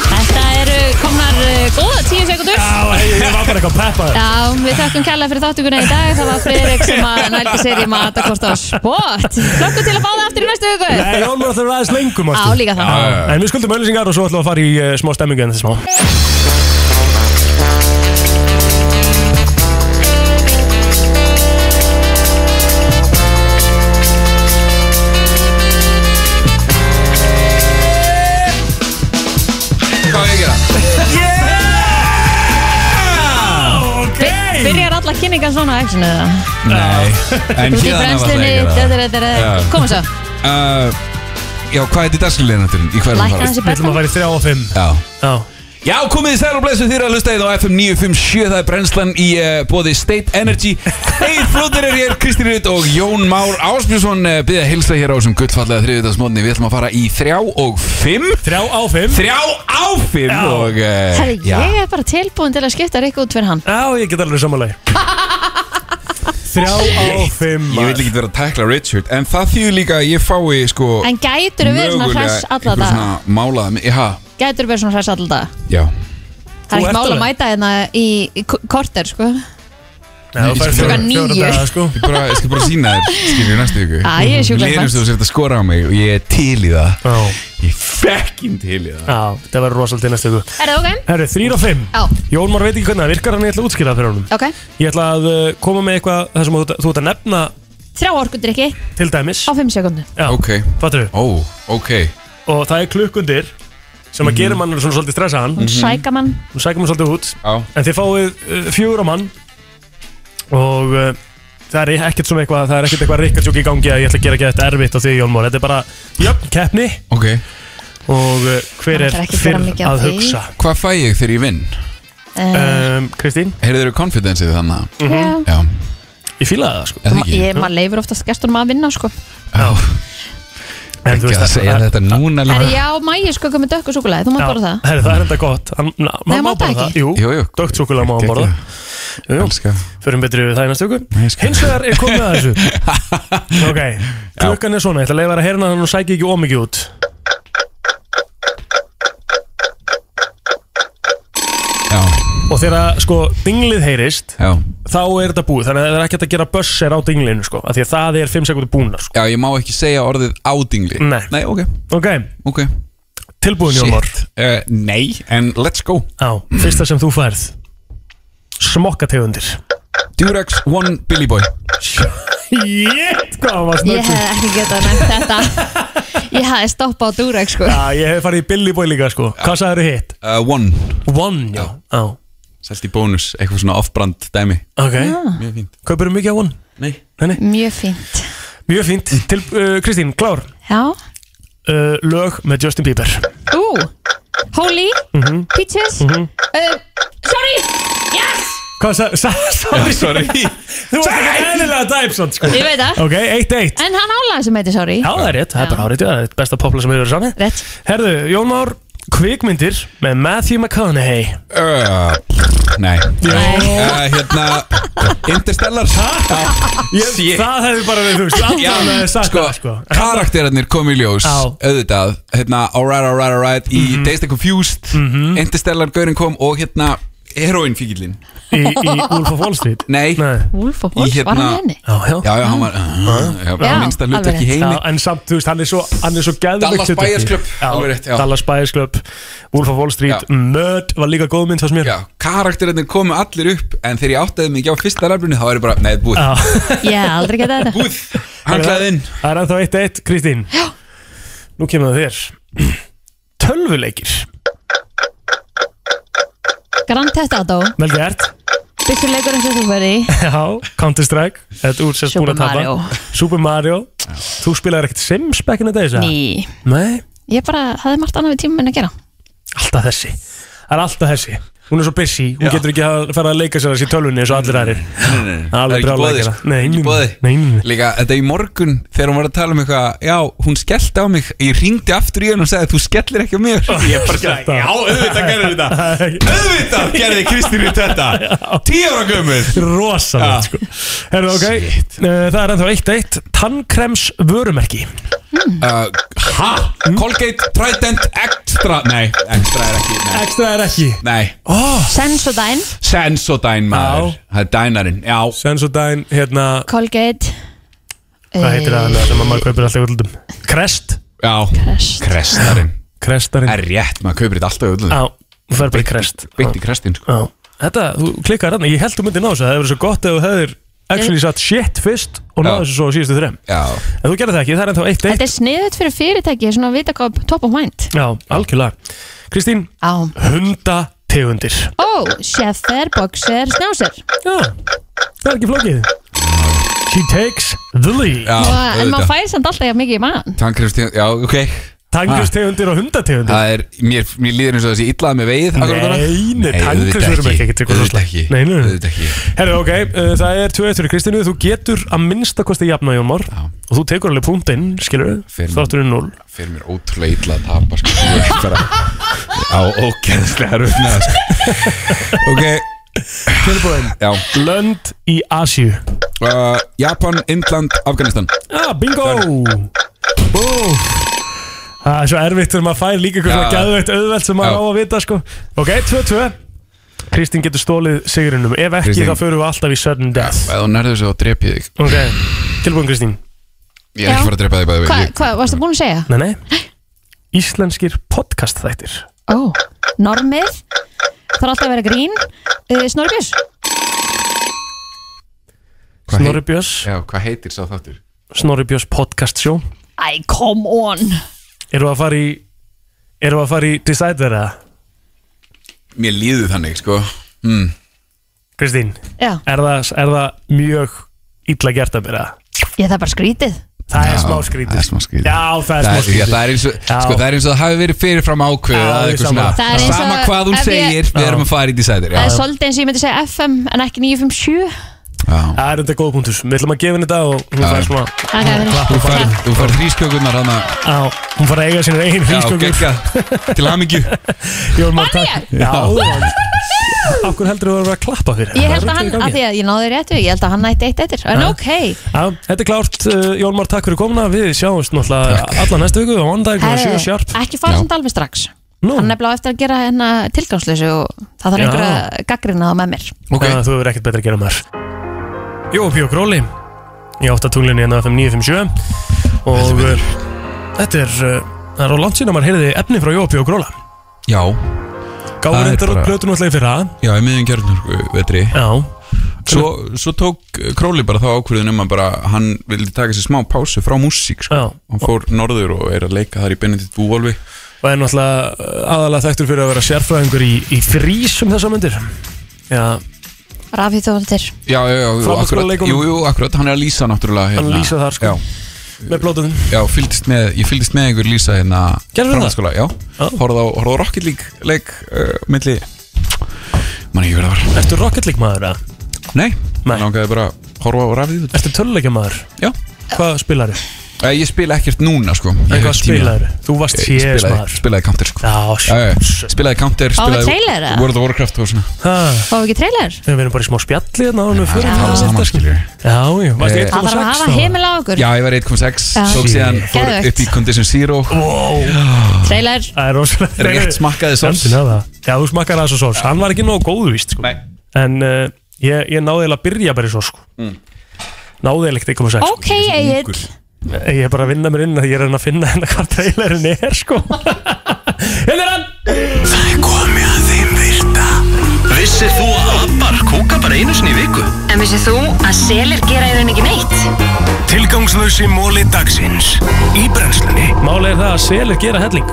E: Þetta eru komnar uh, góða tíu sekundur
D: Já, hey, ég var bara eitthvað peppaður
E: Já, við þökkum kærlega fyrir þáttuguna í dag Það var Friðrik sem að nældi sér í matakort á sport Klokku til að fá það aftur í næstu viku
D: Nei, oh Jón var alltaf aðeins lengum
E: Á, líka það. Já,
F: já, já.
D: En við skuldum öllisingar og svo ætlum við að fara í uh, smá stemmingu en þessi smá
E: alla kynningar svona á X-inu eða?
F: Nei, en
E: Þú ert í
F: hérna var það
E: brennslunni,
F: ekki
E: þetta er- þetta er-
F: Já.
E: Komum svo.
F: Uh, já, hvað er þetta dagslegin náttúrulega? Í hverju
E: Lækka aðeins í Við ætlum að
F: fara í 3 og 5 Já Já Já, komið þið sæl og blessuð þýra að lusta eða á FM 957, það er brennslan í uh, bóði State Energy Egil Flóttir er hér, Kristín Rutt og Jón Már Ásbjörnsson uh, byrja að hilsa hér á þessum gullfallega þriðutagsmótni Við ætlum að fara í 3 og 5 3 á 5 3 á 5 já. og uh,
E: Herri, ég er bara tilbúin til að skipta Rikku út fyrir hann.
D: Já, ég get alveg samanlega.
F: Þrjá á fimm Ég vil ekki vera að tækla Richard En það þýður líka að ég fái sko
E: En gætur við verið svona
F: mögulega
E: hress alla
F: einhver
E: dag?
F: svona Málaða Já,
E: Gætur við verið svona hress alla dag?
F: já
E: Það er
F: Þú
E: ekkert
F: ert
E: mál að
F: alveg.
E: mæta hérna í í k- korter, sko.
F: Nei,
E: færð fjóra- Klukkan fjóra níu. daga, sko.
F: Ég bara, ég skal bara sína þér Skiljum næstu ykkur
E: Æ, ég er sjúklega spennt.
F: Lérumst þú sér að skora á mig Og ég er til í það Já Ég fekkin til í það
D: Já, það verður rosalega til næstu ykkur.
E: Er það ok?
D: Herru, 3 og 5.
E: Já,
D: Jón Már veit ekki hvernig það virkar hann ég ætla að útskýra það fyrir honum.
E: ok.
D: Ég ætla að uh, koma með eitthvað þar sem þú, þú ert að nefna
E: Þrjá orkudrykki
D: til dæmis.
E: á 5 sekundu.
D: Já,
F: ok.
D: Fattu?
F: Ó, ok.
D: Og það er klukkundir sem að
F: Mhm.
D: gera mann svona svolítið stressaðan.
E: Hún sæka mann.
D: Hún sækja mann svolítið út.
F: Já.
D: En þið fáið uh, fjögur á mann og uh, það er ekkert svona eitthvað, það er ekkert eitthvað rikkarsjók í gangi að ég ætla að gera ekki þetta erfitt á því Jón Már. Þetta er bara, jöfn, keppni.
F: Ok.
D: Og uh, hver
E: Það
D: er
E: ætlar ekki að
D: fyrr
E: gera mikið á
D: að
E: því.
D: hugsa? Um,
F: Hvað fæ ég þegar ég vinn?
E: Eh,
D: Kristín
F: Heyrðu þér confidence í þannig
E: Mhm. Já.
F: Já
D: Ég fílaði það sko
F: Er það
E: ma-
F: ekki?
E: Ég, maður leifur oftast gestunum að vinna, sko.
D: En
F: þú veist að segja þetta núna
E: Herri,
F: líka.
E: já, mægi sko komið dökku súkulæði, þú mátt bara það.
D: Herri, það er enda gott Hann, na,
E: Nei,
D: Nei, má
E: má það
D: borða
E: ekki.
D: það Jú, jú, jú. dögt súkulega má hann borða Jú, Jú, förum betri við það í næstu ykkur Hins vegar er komið
F: [LAUGHS]
D: að þessu Ok, klukkan er svona Ég ætla að leifa þér að herna þannig að hún sæki ekki ómikið út
F: Já
D: Og þegar sko dinglið heyrist
F: Já.
D: Þá er þetta búið Þannig að það er ekkert að gera bösser á dinglinu sko af Því að það er 5 sekundir búna sko.
F: Já, ég má ekki segja orðið ádingli
D: Nei,
F: Nei ok
D: Ok,
F: okay.
D: Tilbúin Jón Már
F: Shit. Eh, Nei, en let's go
D: Já, fyrsta sem þú færð Smokkategundir
F: Durex One Billy Boy
D: Jétt, hvað hann var
E: Ég
D: snöggur
E: hef ekki getað nefnt
D: [LAUGHS]
E: þetta. Ég hef stoppað á Durex, sko.
D: Já, ég hef farið í Billy Boy líka sko Hvað sagður þið hitt?
F: uh, One
D: One, já Já
F: Selt í bónus, eitthvað svona off-brand dæmi
D: Ok
E: Já.
F: Mjög fínt
D: Kaupir mikið á One?
F: Nei
D: Henni?
E: Ah. Mjög fínt.
D: Mjög fínt Til, uh, Kristín, klár
E: Já.
D: uh, Lög með Justin Bieber
E: Ú, Holy,
D: Mhm.
E: Peaches,
D: Mhm.
E: uh, Sorry, Yes!
D: Hvað sagður? Sa sorry
F: Já, sorry.
D: Þú varst ekki eðlilega dæpsand sko
E: Ég veit það.
D: Ok, eitt eitt
E: En hann álaði sem heiti Sorry.
D: Já, það er rétt, það er bara hárið, það er besta popla sem hefur verið sami
E: Rétt
D: Herðu, Jón Már, kvikmyndir með Matthew McConaughey
F: uh, Nei uh, Hérna Interstellar
D: Ég, það hefði bara verið, þú veist, allan hefði sagt
F: sko,
D: það sko
F: Karakterarnir kom í ljós
D: Já.
F: Auðvitað Hérna Alright, alright, alright Í
D: Mhm.
F: Days of Confused Interstellar Gaurin kom Og hérna Heroin fíkilinn
D: Í, í Wolf of Wall Street
F: Nei,
E: Wolf of
F: Í
E: Wall, var hann
F: hérna
E: í henni?
D: Já, já, Ah.
F: já, hann var Já, já,
E: Já,
F: minnsta hlut
E: alveg
F: ekki
E: rétt.
F: heimi
D: Já, en samt, þú veist, hann er svo, hann er svo geðveikt
F: Dallas
D: hlutverki.
F: Buyers Club,
D: Já,
F: alveg rétt, já.
D: Dallas Buyers Club, Wolf of Wall Street, Mörd var líka góð mynd hos mér
F: Já, karakterarnir komu allir upp En þegar ég áttaði mig ekki á fyrsta rafbrunni Þá er ég bara, nei, búið
D: [LAUGHS]
E: Ég hef aldrei getað þetta.
F: Búið. Hann klæði inn
D: Það er ennþá 1-1, Kristín Já Nú kemur það þér [CLEARS THROAT] Tölvuleikir
E: Grand Theft Auto,
D: Vel gert
E: byrstu leikurinn sem þú verði í.
D: [LAUGHS] Já, Counter Strike Þetta er úr sérst búin
E: Super
D: að tapa
E: Mario.
D: Super Mario Þú spilaði ekkert Sims back in the days, eða?
E: Ný.
D: Nei,
E: Ég bara hafði margt annað við tíma minn að gera.
D: alltaf þessi Það er alltaf þessi Hún er svo busy, hún getur ekki að fara að leika sér þessi í tölvunni eins og allir aðrir
F: Nei, nei, nei, það er
D: Alveg
F: ekki sko.
D: brjálæði
F: bóði
D: að gera. Nei, nei,
F: nei, nei Líka, þetta í morgun þegar hún var að tala um eitthvað Já, hún skellti á mig Ég ringdi aftur í henn og sagði Þú skellir ekki á mér Ég bara sagði,
D: Skellti á.
F: já, auðvitað [LAUGHS] gerði
D: [LAUGHS]
F: þetta Auðvitað gerði Kristín í þetta Tíu ára gömur
D: Rosalega, sko Herðu, ok Eh, Það er ennþá 1-1 Tannkrems vörumerki
F: Uh, Ha?
D: Hm?
F: Colgate Trident Extra Nei, Extra er ekki nei.
D: Extra er ekki
F: Nei,
E: Sensodyne,
F: Sensodyne maður Það er dænarinn, já
D: Sensodyne, hérna
E: Colgate.
D: Hvað heitir
E: Eh.
D: það annað sem að maður kaupir alltaf útlum? Crest
F: Já, Krestarinn
D: Krestarinn
F: Er rétt, maður kaupir þetta alltaf öllum
D: Já, þú fer bara í Crest
F: Beitt í Krestinn, sko
D: Já Þetta, þú klikkar hérna, ég held þú myndir ná þessu Það hefur verið svo gott ef þú hefðir actually satt shit fyrst og náðu þessu svo á síðustu þrem
F: Já
D: En þú gerði það ekki, það er ennþá eitt eitt
E: Þetta er sniðut fyrir fyrirtæki, svona að vita hvað top of mind.
D: Já, algjörlega Kristín,
E: Já.
D: hundategund tegundir
E: Ó, Sheffer, Boxer, Snáser
D: Já, það er ekki flókið She takes the lead
E: Vá, En maður fær samt alltaf jafn mikið í mann
F: Tankrifstegund, já, ok
D: Tannkrafstegundir og hundategundir
F: Það er, mér, mér líður eins og þessi illaði með veið akkurat núna.
D: Nei, nei,
F: auðvitað
D: tannkrafstegundum ekki ekki eitthvað
F: Auðvitað
D: svolítið
F: ekki
D: Nei, nei, nei.
F: Auðvitað ekki
D: Herru, ok, uh, það er 2-1 fyrir Kristínu Þú getur að minnsta kosti jafna Jónmar Og þú tekur alveg punktinn, skilur
F: Fyrir-
D: við Þátturinn 0
F: Fyrir mér ótrúlega illa að tapa sko. Þú veist bara Á ógeðslega röfna sko. Ok
D: Tilbúin
F: Já
D: Lönd í Asju
F: uh, Japan, Indland, Afganistan
D: Ah, bingo Bú Það er svo erfitt þegar maður fær líka eitthvað
F: Já.
D: svona gæðveitt auðvelt sem maður á að vita sko Ok, 2-2 Kristín getur stólið sigurinnum Ef ekki
F: Kristín.
D: þá förum við alltaf í sudden death
F: Ef þú nærður þessu þá drep ég þig
D: Ok, tilbúin Kristín
F: Ég er
E: Já.
F: ekki fara að drepa þig bæði
E: Hvað, hva, varstu búin að segja?
D: Nei, nei Íslenskir podcast þættir
E: Ó, normið Það er alltaf að vera grín uh, Snorbjörns
D: Snorri Björns
F: Já, hvað heitir sá þáttur?
D: Snorri Björns podcast show
E: Æ, come on
D: Erum við að fara í Erum við að fara í Decider eða?
F: Mér líður þannig sko mm.
D: Kristín
E: Já.
D: er, það, er það mjög illa gert að byrja
E: Ég það er bara skrítið
D: Það er smá skrítið Það er smá
F: skrítið
D: Já, það er smá
F: já,
D: skrítið
F: það er eins og
D: Já.
F: sko, það er eins og það hafi verið fyrirfram ákveðið
D: Já,
F: að
D: ég
F: eitthvað
D: sammála.
F: svona-
E: Það er eins og-
F: sama hvað hún
E: ef ég-
F: segir við erum að fara í Decider já.
E: Það er svolítið eins og ég myndi segja FM en ekki 957
D: Það er þetta góð punktus Við ætlum að gefa henni þetta og hún
F: Já.
D: fær svona
E: Það er
D: Klapp
F: Þú
D: og
F: fær,
D: klapp.
F: þú fær þrískjökunar hana
D: Já, hún fær að eiga sinni eigin frískökur
F: Já, gegga, til hamingju
D: [LAUGHS] Jón Már, takk Já,
E: [LAUGHS]
D: okkur heldur þú að vera að klappa fyrir
E: Ég held að hann, af því að ég náði réttu Ég held að hann nætti eitt eittir En
D: Já.
E: ok,
D: Já, þetta er klárt, uh, Jón Már, takk fyrir komuna Við sjáumst náttúrulega alla næstu viku á ondaginn og sjö
E: Herðu,
D: sjarp
E: Eh, ekki fara samt alveg strax Hann er blá eftir að gera hérna tilgangsleysu og það þarf
D: Já.
E: einhverja gaggrina það með mér
D: okay. Þú hefur ekkert betra að gera maður Jó, Píó Gróli Ég átt að tunglinni hérna á FM 957 Og uh, þetta er uh, Það er á langt síðan að maður heyrði efni frá Jó, Píó Gróla
F: Já
D: Gáður
F: Það er
D: reyndar út
F: bara-
D: plötun alltaf í fyrra
F: Já, í miðjum kjörnur vetri
D: Já
F: Svo, svo tók Króli bara þá ákvörðin um að bara hann vildi taka sér smá pásu frá músík sko. Hann fór norður og er að leika þar í Benedikt Búvolvi
D: Og er náttúrulega uh, aðalega þekktur fyrir að vera sérfræðingur í, í frís um þessa myndir Já,
E: Rafið þóttir
F: Já, já, já, jú, akkurat,
D: Framhaldsskólaleikunum.
F: jú, jú, akkurat, hann er að lýsa náttúrulega
D: Hann
F: hérna.
D: lýsa þar, sko.
F: Já,
D: með blótuðum
F: já fylgdist með, ég fylgdist með einhver lýsa hérna
D: Gerðu það?
F: framhaldsskóla, Já, horfði á, horfði á Rocket League leik uh, milli Man ekki verið að var
D: Ertu Rocket League maður að?
F: Nei, Nei. langaði bara að horfa á rafið
D: Ertu töluleikja maður?
F: Já
D: Hvað spilaru?
F: Ég spila ekkert núna sko Ég
D: En
F: hef
D: hvað
F: ekki tíma.
D: spilaðirðu? Þú varst
F: Ég
D: CS
F: spilaði-
D: maður.
F: Spilaði Counter sko
D: Já,
F: já, já. Spilaði Counter
E: Fáum við
F: spilaði
E: trailer, eða?
F: World of Warcraft og svona
D: Ha,
E: Fáum við ekki trailer?
D: Við erum bara í smá spjalli hérna áður en við förum
F: það
D: í
F: var
D: þetta,
F: saman,
D: sko.
F: skilurðu.
D: Já, já,
F: Eh,
D: varstu 1,6
E: Það þarf að hafa
D: þá?
E: heimil á okkur
F: Já, ég var 1.6
E: Já.
F: Tók síðan, fór
E: Geðveikt.
F: upp í Condition Zero
D: wow.
E: Trailer
D: Það er rosalega
F: Rétt smakkaði sós.
D: Nefndin að það. Já, þú smakkaði aðeins og sós Hann var ekki nógu góðu víst sko. En uh, ég, ég náði eiginlega að byrja bara í sós sko. mm. Náði eiginlega ekki að segja
E: Ok, Egil
D: sko. Ég er bara að vinna mér inn að Ég er að reyna að finna hennar hvað trailerin er sko. Hérna er hann
B: Það er komið að þeim virta Vissir þú að abar kúka bara einu sinni í viku?
C: En vissið þú að selir gera í raun ekki neitt?
B: Tilgangslösi móli dagsins Í brennslunni
D: Máli er það að selir gera helling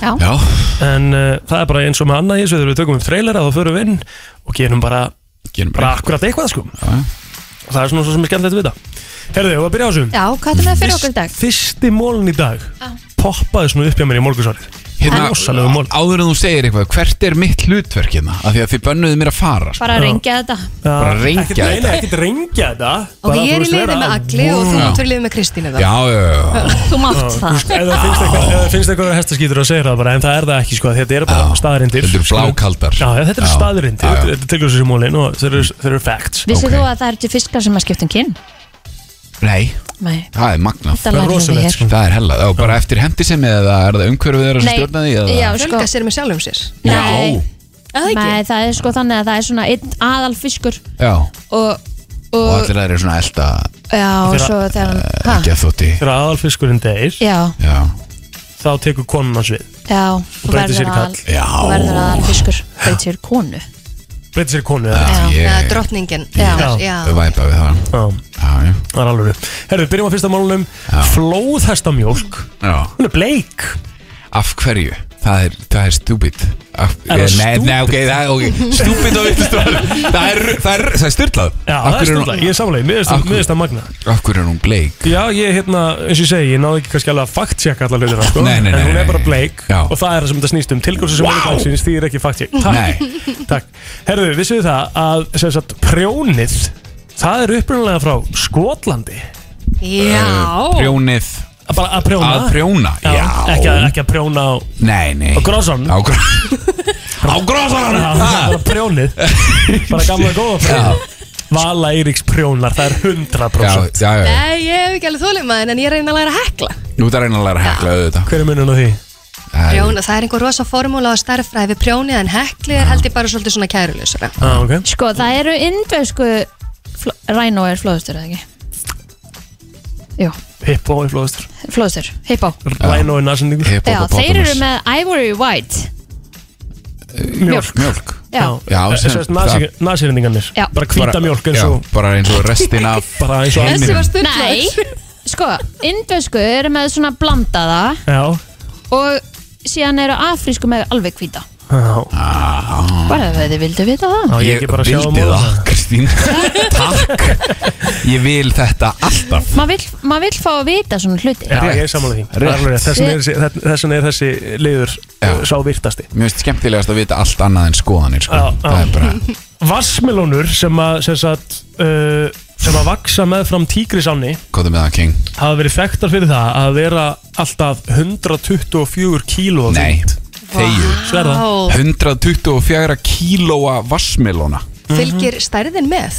E: Já,
F: Já.
D: En uh, það er bara eins og með annað í þessu Þegar við tökum upp trailera þá förum við inn Og gerum bara,
F: gerum
D: bara akkurat eitthvað sko. Og það er svona svo sem er skemmtilegt að vita Herðu, ég var að byrja á þessu
E: Já, hvað er með fyrir okkur í dag?
D: Fyrsti mólin í dag
E: Já.
D: poppaði svona upp hjá mér í morgunsárið
F: Hérna,
D: Rosalegu mól
F: áður en þú segir eitthvað Hvert er mitt hlutverk hérna? Af því að þið bönnuðu mér að fara sko.
E: Bara að rengja þetta
F: Bara að rengja
D: Ekkert- nei,
F: þetta.
D: nei, ekkert rengja þetta
E: Ok, ég er í liði með
J: Agli og þú
F: Já.
J: mátt verið liðið með Kristínu þá
F: Já, já, já
E: Þú mátt það
D: Eða finnst eitthvað, eða Eh, finnst eitthvað hestaskýtur að segja það bara En það er það ekki sko, þetta eru bara staðrindir
F: Þetta eru blákaldar.
D: Já, já, þetta eru
F: Já.
D: staðrindir,
F: Já, já.
D: þetta er tilgjóðsins í mólin og þeir eru, þeir eru facts
E: Vissið þú að það eru til fiskar sem að skipta um kyn?
F: Nei,
E: Nei
F: það er magnað
E: Þetta lærðum við Rosalegt, hér. sko.
F: Það er hella, og bara eftir hendi sem eða er það umhverfið þeirra sem
E: Nei,
F: stjórna því eða?
E: já, sko
J: Fjölga sér með
R: um
J: sjálfum sér
E: Nei,
J: það ekki?
E: Nei, það er sko þannig að það er svona einn aðal fiskur
F: já
E: og,
F: Og
E: og
F: allir það eru svona elda
E: já, og
D: Þeirra- Eh,
E: svo þegar hann ha?
F: geðþótti
D: Þegar aðalfiskurinn deyr
E: Já,
F: Já,
D: Þá tekur konan hans við
E: já Þú
D: breytir sér í
E: verður
D: kall.
E: aðal Þú verður aðal fiskur Breytir sér í konu
D: Breytir sér í konu eða?
J: Já,
F: ég-
J: eða drottningin
E: Já.
J: já.
F: væpa við það Já, já,
D: Það er alveg Herðu, byrjum á fyrsta málunum Flóðhestamjólk
F: já
D: Hún er bleik
F: Af hverju? Það Það er, það er stúbid
D: Er það
F: Nei, nei, ok, það er ok [LAUGHS] Stúbid og vittlustráð Það er, það er, það er styrlað
D: Já, það er stundlega, ég er samlega, mér
F: Af hverju-
D: finnst það magna
F: Af hverju er hún bleik?
D: Já, ég, hérna, eins og ég segi, ég náði ekki kannski alveg að fact-checka alla hlutina, sko
F: Nei, nei, nei,
D: En hún
F: nei,
D: er bara
F: nei.
D: bleik
F: Já.
D: og það er það sem þetta snýst um Tilgjóðs sem
F: Vá!
D: wow. hún er þýðir ekki fact-check Takk, takk Herðu, vissuðu það að, sem sagt, prjónið Það er upprunalega frá Skotlandi
F: Já. Eh, Prjónið
D: Bara að prjóna
F: Að prjóna, já.
D: Ekki að, ekki að prjóna á
F: Nei, nei
D: Á grósan
F: Á grósan
D: Já, bara
F: [LAUGHS]
D: prjónið Bara gamla góða prjónið Vala Eiríks prjónar, það er 100%
F: Já, já,
R: Nei, ég hef ekki alveg þólimaðin en ég reyna að læra að hekla
F: Nú það reyna að læra að hekla auðvitað
D: Hver er munun á því?
R: Prjóna, það er einhver rosa formúla á starffræði við prjónið en hekli er held ég bara svolítið svona kærulösara
D: ah, okay.
E: Sko, það eru indversku Rhino er flóðustur, eða ekki?
D: Hippo í flóðustur
E: Flóðustur, hippo
D: Rhino í nasendingur
E: Já, þeir eru með Ivory White
D: Mjólk
F: Mjólk
E: Já.
F: Já, sem-
D: sem Nasirendingarnir
E: Já.
D: Bara hvita
F: Bara-
D: mjólk eins og
F: já, bara eins og restin af
D: [LAUGHS] Bara eins
F: heiminum.
E: Nei, [LAUGHS] sko, indversku eru með svona blandaða
D: Já
E: og síðan eru afrísku með alveg hvita
D: Já
E: Bara ef þið vildu vita það
D: Mm. Já, ég
F: Ég
D: ekki bara að sjá um
F: vildi
D: það.
F: það,
D: [LAUGHS]
F: Kristín Takk Ég vil þetta alltaf
E: Maður vill, mað vill fá að vita svona hluti
D: Já, ég er samanlega því Það er alveg rétt. Þess vegna er þessi- þess- Þess vegna er þessi liður uh, sá virtasti
F: Mér finnst skemmtilegast að vita allt annað en skoðanir sko.
D: Já,
F: Það er bara
D: Vassmelónur sem að sem, sagt, uh, sem að vaksa með fram tígrisáni
F: Góðu með það King
D: hafa verið þekktar fyrir það að vera alltaf 124 kíló
F: Nei, þegju
D: Sverða
F: 124 kílóa vassmelóna
R: Fylgir stærðin með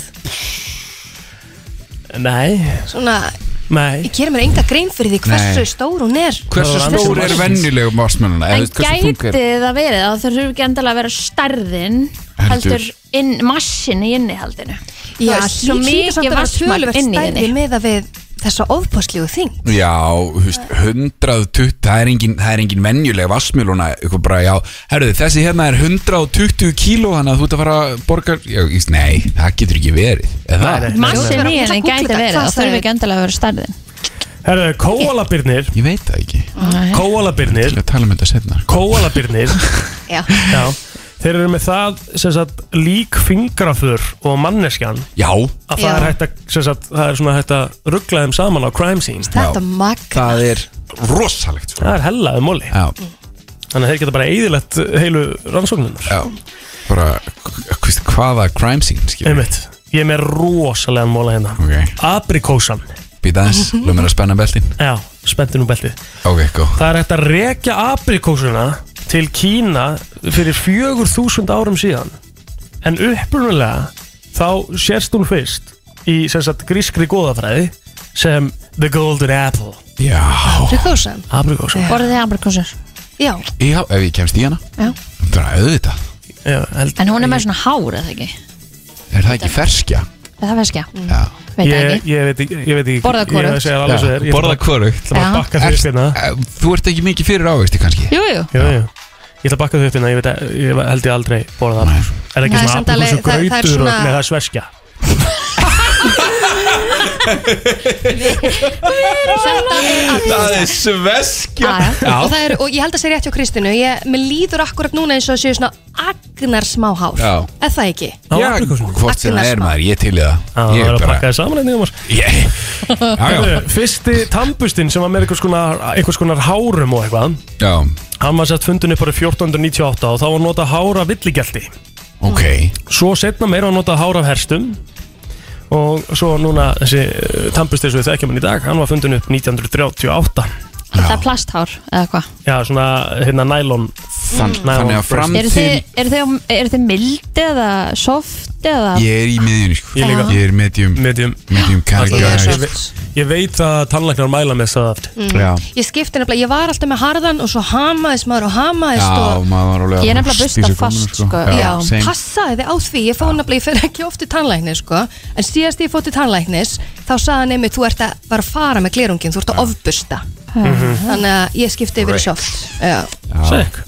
D: Nei
R: Svona,
D: Nei
R: ég gerir mér enga grein fyrir því hversu
F: Nei.
R: stór hún er
F: Hversu stór er venjuleg vassmelóna?
E: En gæti það verið að þau þurfum ekki endilega að vera stærðin
F: Heldur.
E: heldur inn, massin í innihaldinu
R: Já,
E: Það er svo
R: hlýtur samt
E: mikið
R: að vera
E: vassmagn
R: töluvert
E: inn í
R: stærri
E: henni
R: með að við þessa ofpáslíu þing
F: Já, þú veist, 120 Það er engin, það er engin venjuleg vassmjöluna Eitthvað bara, já, herruðu, þessi hérna er 120 kíló Þannig að þú ert að fara að borga já, ég, Nei, það getur ekki verið eða?
E: Massin í henni
R: Ég ætla að
E: gæti
R: googla það,
E: verið það
R: hvað sagði-
E: þurfum ekki endilega að vera stærðin
D: Herðu, kóalabirnir
F: Ég veit það ekki
D: Kóalabirnir
F: Til að tala um þetta setna
D: Kóalabirnir
R: Já.
D: Þeir eru með það sem sagt, lík fingrafur og manneskjan
F: Já
D: að það
R: Já.
D: er hægt að, sem sagt, það er svona hægt að ruggla þeim saman á crime scene
R: Þetta mag
F: Það er rosalegt sko.
D: Það er hellaði móli
F: Já.
D: Þannig að þeir geta bara eðilegt heilu rannsóknunar
F: Já Bara, þú veist, hvaða crime scene skilur við?
D: Einmitt, ég er með rosalega móla hérna
F: Ok,
D: Aprikósan
F: býta
D: [LAUGHS]
F: aðeins, lögum við að spenna beltin
D: Já, spenntu nú beltið
F: Ok, go
D: Það er hægt að rekja aprikósuna til Kína fyrir 4000 árum síðan en upprunalega þá sérst hún fyrst í sem sagt grískri góðafræði sem The Golden Apple
F: Já
R: Aprikósan
D: Aprikósan
E: Borðið þið ambrikósur
R: Já,
F: Já, ef ég kemst í hana
E: Já.
F: Bara auðvitað
E: En hún er með svona hár, eða ekki?
F: Er það ekki ferskja?
E: Það er ferskja
R: Mm.
F: Já
E: Veit það
D: Ég,
E: ekki
D: ég veit ekki, ég veit ekki
E: Borða hvorugt.
D: Ég segja alveg
F: Já,
D: svo þér
F: borða hvorugt.
D: Það var
E: Já.
D: að bakka þau upp hérna
F: Þú ert ekki mikið fyrir ávegsti kannski
E: Jú, jú
D: Jú, jú Ég ætla að bakka þau upp hérna Ég, veit, að- ég held ég aldrei borða það Er það ekki
R: Það er
D: svona
R: samt alveg- það- það er
D: aprikósu grautur og-
R: svona-
D: Nei, það er sveskja
R: þetta er allt
F: Það er sveskja
R: og, það er, og ég held að segja rétt hjá Kristínu ég, Mér líður akkurat núna eins og það séu svona agnar smá hár
F: Já.
R: Er það ekki?
F: Já, hvort sem það er
R: Agnarsmá.
F: maður, ég til í það
D: Það
F: Ég
D: er að
F: bara
D: pakka þið saman einnig um oss
F: já.
D: Fyrsti tampustinn sem var með einhvers konar, einhvers konar hárum og eitthvað
F: Já,
D: Hann var sett fundin upp árið 1498 og þá var nota hára villigelti
F: ok
D: Svo setna meira var nota hára af herstum Og svo núna þessi eh, tampustinn sem við þekkjum hann í dag Hann var fundin upp 1938
E: Það er plasthár, eða hvað?
D: Já, svona hérna nælon
F: Þann- þannig að fram
E: Eru þið- eru þið- eru þið mild eða soft eða
F: Ég er í miðjunni sko.
D: Ég líka.
F: Ég er medium
D: Medium
F: Medium
D: Alltaf, ég,
F: karga
D: ve- ég veit að tannlæknar mæla með það aft
R: Mm.
F: Já.
R: Ég skipti nefnilega, ég var alltaf með harðan og svo hamaðist maður og
F: Já,
R: hamaðist og
F: maður var alveg
R: Ég er
F: að
R: nefnilega
F: rústa í
R: bursta
F: sig
R: fast,
F: gólfinu, sko.
R: Já,
F: same.
R: passaði þið á því, ég fór nefnilega, ég fer ekki oft í tannlækni sko, en síðast ég fór til tannlæknis þá sagði hann einmitt, þú ert að bara fara með glerungin, þú ert að ofbusta
F: Mhm.
R: þannig að ég skipti yfir í sjóft Já,
D: Sæk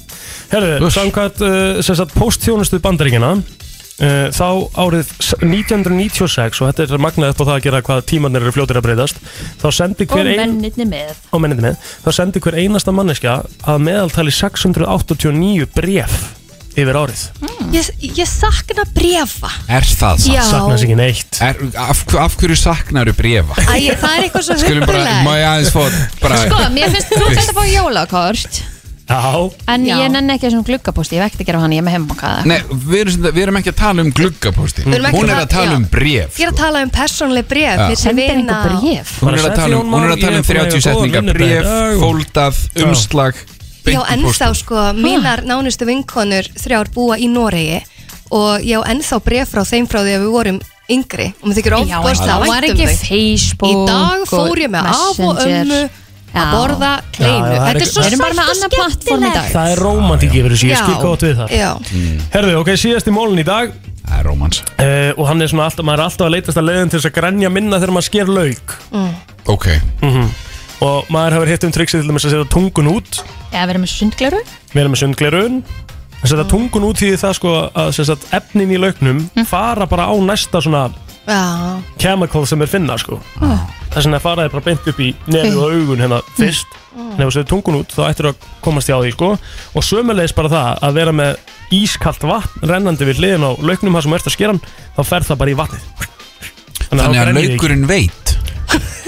D: Herðu, samkvæmt uh, sem sagt, postþjónustu bandaríkina uh, þá árið s- 1996 og þetta er magnað upp á það að gera hvað tímanir eru fljótir að breyðast þá sendi
E: Og
D: hver ein
E: mennirni með
D: og menniti með þá sendi hver einasta manneskja að meðaltali 689 bref yfir árið
R: Ég, Hmm. ég sakna brefa
F: Er það
R: Já. Saknas
D: ekki neitt
F: er, af, af hverju saknaru brefa?
E: Æ, það er eitthvað svo
F: Skulum bara,
E: huggulega
F: má ég aðeins fá bara
E: Sko, mér finnst þú þetta að fá jólakort
D: Já
E: En
F: Já.
E: ég nenni ekki að svona gluggaposti Ég vekti að gera hann, ég er með heimbakaða
F: Nei, við erum, sem sagt- við erum ekki að tala um gluggaposti
R: Við erum ekki
F: Hún er
R: að-
F: að tala
R: já.
F: um bref
R: Ég er að tala um persónleg bref
F: Já.
R: ja.
E: Sendir einhver
R: bref?
F: Hún er að tala um, hún er að tala um 30 setninga bref, fóldað, umslag beint
R: Já,
F: í
R: ennþá
F: pósti.
R: sko, mínar nánustu vinkonur þrjár búa í Noregi og ég á ennþá bref frá þeim frá því að við vorum yngri og mér þykir um
E: Já, en
R: ofbörsta
E: þá var ekki
R: Í
E: Facebook
R: dag fór ég með
E: og
R: af og
E: Messenger.
R: ömmu að borða kleinu
D: Já, það er
R: Þetta er
D: ekki-
R: svo
D: Við erum bara
R: sætt
E: með
R: og
E: annað platform í
R: skemmtilegt
E: dag.
D: Það er romantík yfir þessu,
R: Já.
D: ég skil gott við þar
R: Já.
D: Herðu, ok, síðasti mólin í dag
F: Mm.
D: Eh,
F: Það er romans
D: Og hann er svona alltaf, maður er alltaf að leitast að leiðin til þess að grænja minna þegar maður sker lauk
E: Mm.
F: Ok
D: -hmm. Og maður hefur hitt um triksi til dæmis að setja tungun út
E: Eða verið með sundgleru
D: Við erum með sundglerun Að setja tungun út í það sko að sem sagt, efnin í lauknum
R: Mhm.
D: fara bara á næsta svona
R: Já,
D: chemical sem er finna sko
R: Ah.
D: Þess vegna fara þið bara beint upp í nefið og augun hérna fyrst
R: Mm.
D: En ef þú setur tungun út þá ættir að komast hjá því sko Og sömulegis bara það að vera með ískalt vatn rennandi við hliðin á lauknum þar sem þú ert að skera hann Þá fer það bara í vatnið þá
F: Þannig að
D: grennir þig ekki.
F: laukurinn veit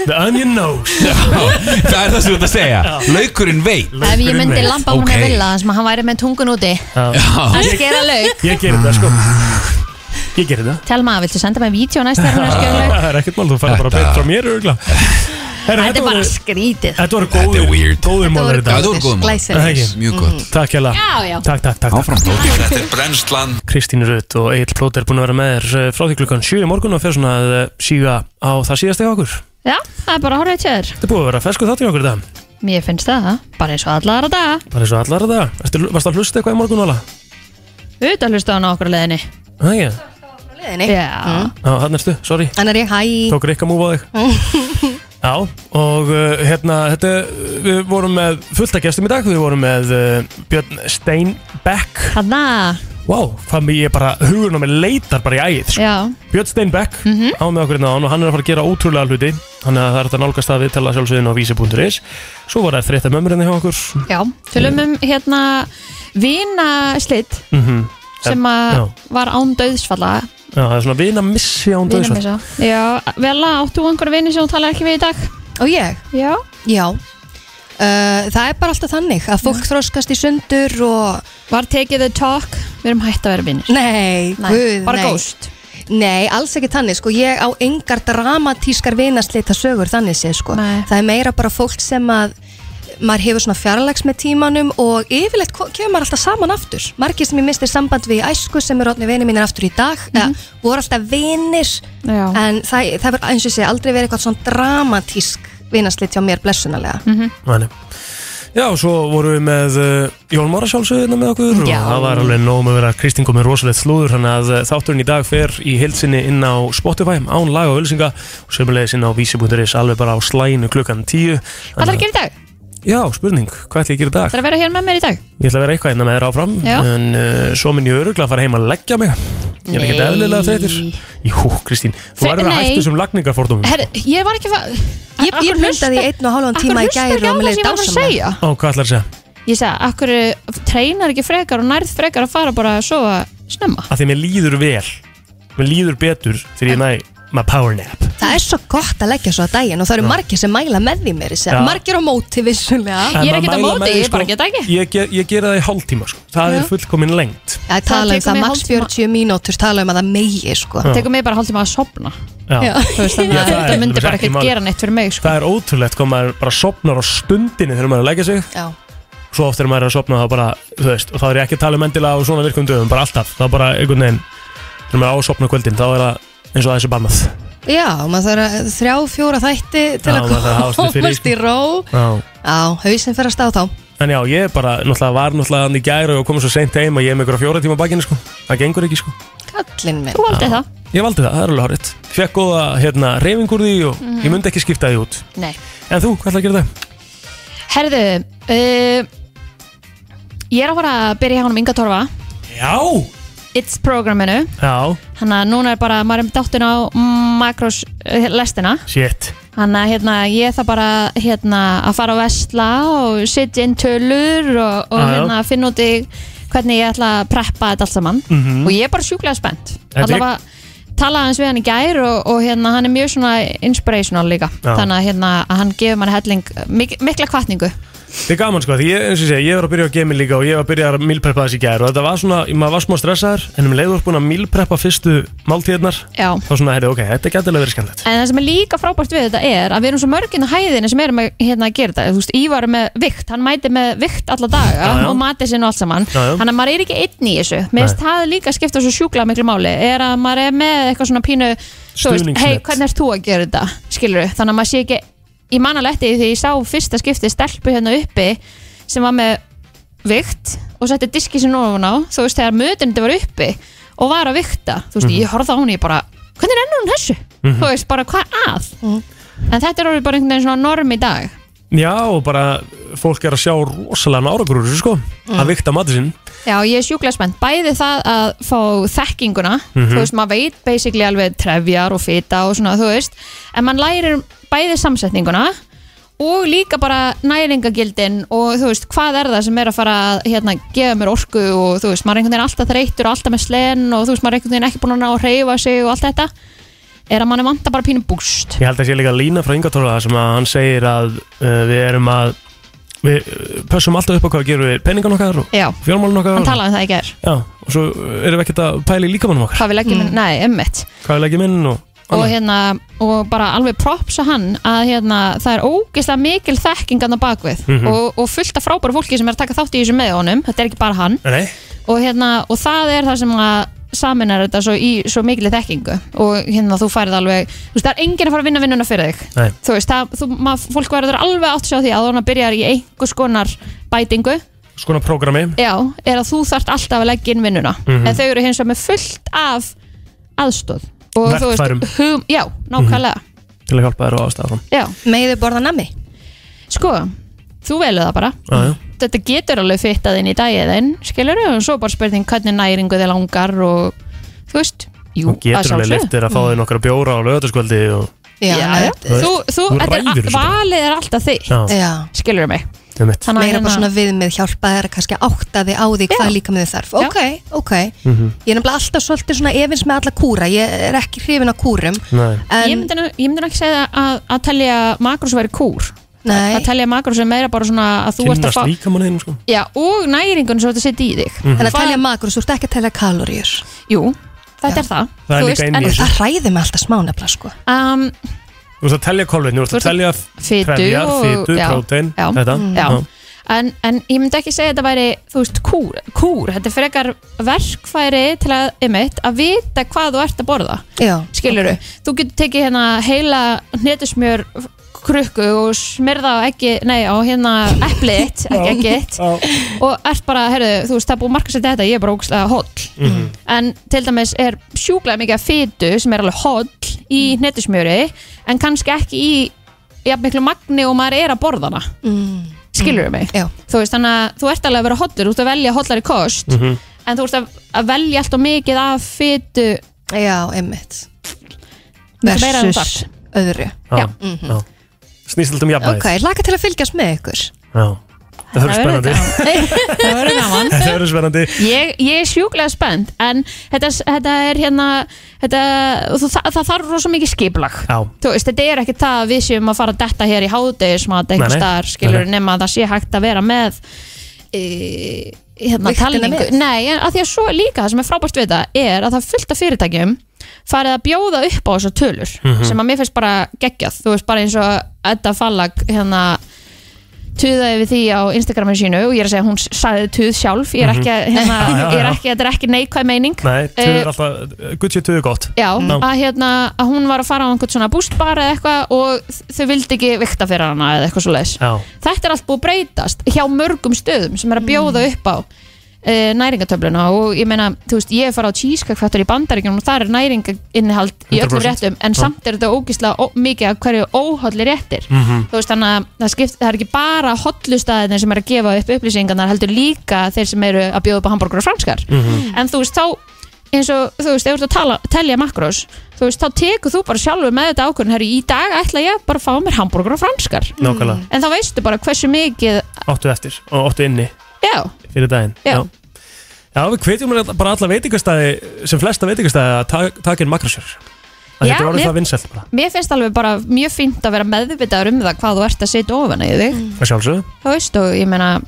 D: The onion knows
F: Það er það sem þú ert að segja Laukurinn veit
E: Ef ég myndi lampa hún að
F: Ok.
E: vilja Það sem að hann væri með tungun úti Að
D: Já.
E: skera lauk
D: Ég gerir
F: [LAUGHS]
D: það sko Ég gerir það
E: Telma, viltu senda mig vídeo næst þegar
D: [LAUGHS]
E: hún er sko- að skera lauk
D: Það er ekkert mál, þú færi bara beint frá mér örugglega. Herra,
E: Þetta er bara
D: voru-
E: skrítið
D: Þetta voru góðir Góðir málar í dag
F: Þetta voru góðir. Já, þetta voru góðir málar.
D: Það ekki?
F: Mjög gott.
D: Mhm. Takk hella
E: Já, já.
D: Takk, takk, takk Áfram
F: Þetta er brennslan
D: Kristín Rutt og Egil Plóter er búin að vera með þér eh, frá því klukkan 7 í morgun og fer svona að eh, síga á það síðasta hjá okkur Þetta
E: Já, það er bara að horfa í tjöður
D: er búið að vera fersku þáttur hjá okkur í dag
E: Mér finnst það, bara eins og allara daga
D: Bara eins og allara það Ertu, Varst að hlusta eitthvað í morgun alveg?
E: Uta hlusta hann á okkur á leiðinni
D: Það ekki?
R: leiðinni Mm.
E: Já,
D: Já, hann erstu, sorry
R: Þannig er ég hæ Mm.
D: Tók Rikka múf á þig Já, og uh, hérna, þetta, við vorum með fullt að gestum í dag, við vorum með uh, Björn Steinbeck
E: Hanna
D: Vá, hvað mér ég bara, hugurinn á mér leitar bara í æð sko.
E: Já,
D: Björn Steinbeck
E: Mhm.
D: á með okkur hérna án og hann er að fara að gera ótrúlega hluti þannig að það er hægt að nálgast það við tala sjálfsögðin á vísi.is svo var það þreytta mömmurinni hjá okkur
E: já, tölum um hérna Vina slitt
D: mm
E: sem
D: já.
E: að var án döðsfalla
D: já, það er svona vina missi án döðsvall
E: Vinamissa Já, Vela, áttu einhverja vini sem þú talar ekki við í dag?
R: Og ég?
E: Já
R: Já Uh, það er bara alltaf þannig að fólk þroskast í sundur og
E: Var tekið the talk, við erum hægt að vera vinnir
R: Nei,
E: Nei,
R: guð,
E: bara
R: nei
E: ghost.
R: Nei, alls ekki þannig, sko, ég á engar dramatískar vinasleita sögur þannig sé, sko Það er meira bara fólk sem að maður hefur svona fjarlags með tímanum og yfirleitt ko- kemur maður alltaf saman aftur Margir sem ég misti samband við í æsku sem eru orðni vinir mínir aftur í dag eða, voru alltaf vinir
E: Mhm. Já.
R: en það, það verður eins og sé aldrei verið eitthvað svona dramatísk vinaslit hjá mér blessunarlega mm -hmm.
E: Mhm.
D: Þannig. Já, og svo vorum við með uh, Jón Mára sjálfsögðina með okkur
R: Já.
D: og það var alveg nóg með að vera Kristín komið rosalegt slúður þannig að eh, þátturinn í dag fer í heilsinni inn á Spotify án laga og ölsinga og sömulegis inn á vísi.is alveg bara á slæinu klukkan 10
E: Hvað ætlar að gera í dag?
D: Já, spurning, hvað ætla ég að gera í dag?
E: Það að vera hér með mér í dag?
D: Ég ætla að vera eitthvað hérna með þér áfram
E: Já.
D: En uh, svo minn ég öruglega að fara heim að leggja mig Ég er ekkert
E: Nei.
D: eðlilega þreytur Jú, Kristín, þú
E: Þe-
D: verður að
E: nei.
D: hættu sem lagningarfordómum
E: Herri, ég var ekki að fa-
R: Ég, ég blundaði í einn og hálfan
E: Af hverju
R: tíma í
E: hlustar
R: gær
E: ekki á
R: og mér
E: það
R: leiði
E: sem ég var að
R: dásamlega
D: Ó, hvað ætlar að segja?
E: Ég sagði, akkur uh, treinar ekki frekar og nærð frekar að fara bara að sofa snemma
D: Að því mér líður vel Mér líður betur þegar ég næ my power nap
R: Það er svo gott að leggja svo að daginn og það eru
D: Já.
R: margir sem mæla með því mér
D: Já.
R: Margir á móti vissulega
D: En maður mæla með því, sko,
E: ekki
D: Ég, ge- ég gera það í hálftíma, sko Það
R: Já.
D: er fullkomin lengt
R: Já, tala um
E: tekur
R: það,
E: mig
R: max
E: hálftíma-
R: 40 mínútur tala um að það megi sko.
D: Já. Tekur
E: mig bara hálftíma að sopna
D: Já.
E: Já, þú veist, þannig
D: Já,
E: að
D: það
E: þetta
D: er
E: myndi bara
D: ekki
E: ekkert
D: málið.
E: gera neitt fyrir mig sko.
D: Það er ótrúlegt hvað maður bara sopnar á stundinni þegar maður er að leggja sig
R: Já.
D: Svo oft er maður er að sopna þá bara, þú veist Og þá er ég ekki að tala um endilega á svona virkum dögum Bara alltaf, þá bara einhvern veginn Þegar maður er á að sopna á kvöldin, þá er það eins og þessi bannað
R: Já, maður þarf að þrjá, fjóra þætti til
D: Já,
R: að
D: maður þarf að hafa svolítið fyrir,
R: komast í
D: sko.
R: ró
D: Já.
R: Já, hausinn fer að stá þá
D: En já, ég bara, náttúrulega var náttúrulega hann í gæri og kom svo seint heim að ég er með ykkur fjóra tíma á bakinu sko. Það gengur ekki sko.
R: Kallinn minn
E: Þú aldrei það
D: Ég valdi það, það er alveg horrið. Fekk góða hérna, reyfing úr því og
E: Mhm.
D: ég myndi ekki skipta því út.
E: Nei.
D: En þú, hvað ætlaði að gera það?
E: Herðu uh, Ég er að fara að byrja hjá honum Inga Torfa
D: Já!
E: It's programminu
D: Já,
E: Þannig að núna er bara, maður er dáttin á makros uh, lestina
D: shit
E: Þannig að hérna, ég þarf bara hérna, að fara á vestla og setja inn tölur og, og
D: Já, já.
E: hérna, finna út í hvernig ég ætla að preppa þetta allt saman
D: Mhm.
E: og ég er bara sjúklega spennt
D: Þetta er-
E: allavega talaði hans við hann í gær og, og hérna, hann er mjög svona inspirational líka
D: Já.
E: þannig að hérna, að hann gefur mann helling mik mikla kvatningu
D: Þetta er gaman sko, því ég, eins og ég segi, ég var að byrja á gaming líka og ég var að byrja að milpreppa þessi gær og þetta var svona, maður var smá stressaður en um leiður búin að milpreppa fyrstu máltíðarnar
E: Já.
D: þá svona, heyrðu, ok, þetta gæti alveg verið skemmtilegt
E: En það sem er líka frábært við þetta er að við erum svo mörginn á hæðinni sem erum að, hérna, að gera þetta. Þú veist, Ívar er með vikt, hann mæti með vikt alla daga
D: Já, já.
E: og matið sinn og allt saman.
D: Já, já.
E: Þannig að maður er ekki einn í þessu. Mér finnst
D: Nei.
E: það líka skipta svo sjúkla miklu máli. Er að maður er með eitthvað svona pínu, þú veist,
D: Stuðningsnet.
E: hei, hvernig ert þú að gera þetta? Skilur Þannig að maður sé ekki, ég man alveg eftir því þegar ég sá fyrsta skipti stelpu hérna uppi sem var með vikt og setti diski sinni ofan á þú veist þegar mötundi var uppi og var að vikta, þú veist
D: Mhm.
E: ég horfði á hún og ég bara hvernig rennur hún þessu,
D: Mhm.
E: þú veist bara hvað er að en þetta er orðið bara einhvern veginn svona norm í dag
D: Já, og bara fólk er að sjá rosalega náragrúr, sko,
E: Mm.
D: að vikta matið sinn
E: já ég er sjúklega spennt, bæði það að fá þekkinguna,
D: Mhm.
E: þú veist maður veit basically alveg trefjar og fita og svona þú veist, en mann lærir bæði samsetninguna og líka bara næringagildin og þú veist, hvað er það sem er að fara að hérna, gefa mér orku og þú veist, maður er einhvern veginn alltaf þreytur og alltaf með slen og þú veist, maður er einhvern veginn ekki búin að ná að reyfa sig og allt þetta er að mann vantar bara pínu búst
D: Ég held að sé líka lína frá Ingatóra sem að hann segir að uh, við erum að við uh, pössum alltaf upp á hvað við gerum við penningan okkar og
E: Já.
D: fjármálun okkar
E: hann
D: og-
E: talaði um það í ger
D: Já, og svo uh, erum við ekkert að pæla í líkamannum okkar
E: hvað við leggjum, mm. nei, emmitt
D: hvað við leggjum inn og
E: og hérna, og bara alveg props að hann að hérna, það er ógeðslega mikil þekking hann á bakvið
D: Mhm.
E: og, og fullt af frábæru fólki sem er að taka þátt í þessu með honum þetta er ekki bara hann
D: Nei,
E: og, hérna, og það er það sem að saminar þetta svo í svo mikilvæg þekkingu og hérna þú færið alveg þú veist það er enginn að fara að vinna vinnuna fyrir þig
D: Nei.
E: þú veist það, þú, mað, fólk verður alveg átt sér á því að þannig að byrjar í einhvers konar bætingu
D: skona prógrami
E: já, er að þú þarft alltaf að leggja inn vinnuna
D: Mhm.
E: en þau eru hins vegar með fullt af aðstóð og þú
D: Verkfærum. Mhm.
E: veist hum, já, nákvæmlega
D: til að hjálpa þér á aðstæða
E: já. meðu borða nammi sko, þú velur það bara
D: þann
E: þetta getur alveg fittað inn í daginn skilur og svo bara spurning hvernig næringu þið langar og þú veist jú,
D: Hún getur
E: að
D: alveg
E: sjálfsögðu. Mm.
D: leitt þér að fá þér nokkra bjóra á lögataskvöldi og
E: já, já.
D: Þú veist,
E: þú, þú,
D: þú
E: þetta
D: ræður
E: er
D: þessu
E: a-
D: bara.
E: valið er alltaf þitt
D: Já.
R: Já.
E: skilur mig
D: Það er mitt.
E: Þannig að
R: meira bara
E: hérna-
R: svona viðmið hjálpa þér að kannski átta þig á því hvað líka með þarf ok, ok
D: Mhm.
R: ég er nefnilega alltaf svolítið svona efins með alla kúra ég er ekki hrifin á kúrum
D: Nei.
E: ég myndi, nú- ég myndi nú ekki segja að, að telja makrós væri kúr
R: Nei.
E: að telja makrós er meira bara svona að þú ert að
D: kynnast
E: fá
D: líkamanninum sko
E: Já, og næringun sem þú ert að setja í þig
D: Mhm. En að
E: telja
R: makrós, þú ert ekki að telja kaloríur
E: Jú, þetta er það
D: Það er
E: Þú
D: líka
E: veist,
D: inn í
E: en-
D: þessu.
R: það ræði mig alltaf smá nefnilega sko
E: um,
D: Þú ert að telja kolvetni, þú ert að telja
E: fitu
D: trefjar,
E: og-
D: fitu,
E: já,
D: prótein,
E: já, Mm.
D: þetta
E: já. En, en ég myndi ekki segja að þetta væri þú veist, kúr, kúr, þetta er frekar verkfæri til að, einmitt, að vita hvað þú ert að borða
R: Já,
E: skilur þú getur tekið hérna heila hnetusmjör krukku og smyrða á ekki, nei á hérna epliðitt, ekki
S: Já,
E: ekkit og ert bara, heyrðu, þú veist, það er búið markast þetta, ég er bara ógst að hóll
S: Mhm.
E: en til dæmis er sjúklega mikið af fitu sem er alveg holl í
R: Mm.
E: hnetusmjöri en kannski ekki í jafn miklu magni og maður er að borða hana
R: mm.
E: skilur mig
R: Já.
E: þú veist þannig að þú ert alveg að vera hollur þú ert að velja hollari kost
D: Mhm.
E: en þú ert að, að velja allt og mikið af fitu
R: já, einmitt versus
E: versus
R: öðru
D: Já,
R: Mhm.
D: já. Snýst alltaf um jafnvægið
R: ok, laka til að fylgjast með ykkur
D: Já, það verður spennandi
E: það verður
D: [LAUGHS]
E: gaman
D: Það verður spennandi
E: [LAUGHS] Ég, ég er sjúklega spennt en þetta, þetta er hérna þetta, þú, það, það þarf rosa mikið skiplag
D: Já.
E: þú veist, þetta er ekki það að við séum að fara að detta hér í hádegismat
D: Nei,
E: einhvers
D: nei.
E: staðar, skilur
D: Nei, nei.
E: nema að það sé hægt að vera með e, hérna
R: Vigtina
E: talningu
R: við.
E: Nei, en að því að svo er líka það sem er frábært við það er að það er fullt af fyrirtækjum farið að bjóða upp á þessar tölur
S: Mhm.
E: sem að mér finnst bara geggjað þú veist, bara eins og Edda Fallag hérna tuðaði við því á Instagraminu sínu og ég er að segja að hún sagði tuð sjálf ég er
D: Mhm.
E: ekki að, hérna,
D: [LAUGHS] Já, já, já.
E: ég er ekki, þetta er ekki neikvæð meining
D: Nei, tuður
E: Eh,
D: er alltaf, gutt sé tuður gott
E: Já,
D: Ná.
E: að, hérna, að hún var að fara á einhvern svona bústbar eða eitthvað og þ- þau vildi ekki vikta fyrir hana eða eitthvað svo leiðis
D: Já.
E: Þetta er allt búið að breytast hjá mörgum stöðum sem er að bjóða upp á e, næringatöfluna og ég meina, þú veist, ég er farið á cheesecake-fættur í bandaríkjunum og þar er næringainnihald í öllum
S: 100%.
E: réttum en
S: Já.
E: samt er þetta ógislega ó, mikið af hverju óhollir réttir
S: Mhm.
E: þú veist, þannig að það, skipt, það er ekki bara hollustæðinir sem er að gefa upp upplýsingarnar heldur líka þeir sem eru að bjóða upp á hambúrgur og franskar
S: Mhm.
E: en þú veist, þá eins og þú veist, ef þú ert að tala, telja makrós þú veist, þá tekur þú bara sjálfur með þetta ákvörðin herri, í dag ætla ég bara að fá mér hambúrgur og franskar
D: Nákvæmlega.
E: en þá veistu bara hversu mikið
D: Óttu eftir og óttu inni
E: já,
D: fyrir daginn
E: Já.
D: Já, við hvetjum bara alla veitingastæði sem flesta veitingastæði að ta- taka inn makrasjör að
E: Já,
D: þetta er orðið
E: mér-
D: það vinsælt bara
E: mér finnst alveg bara mjög fínt að vera meðvitaður um það hvað þú ert að setja ofan í þig
D: að sjálfsögðu
E: þú veist, og ég meina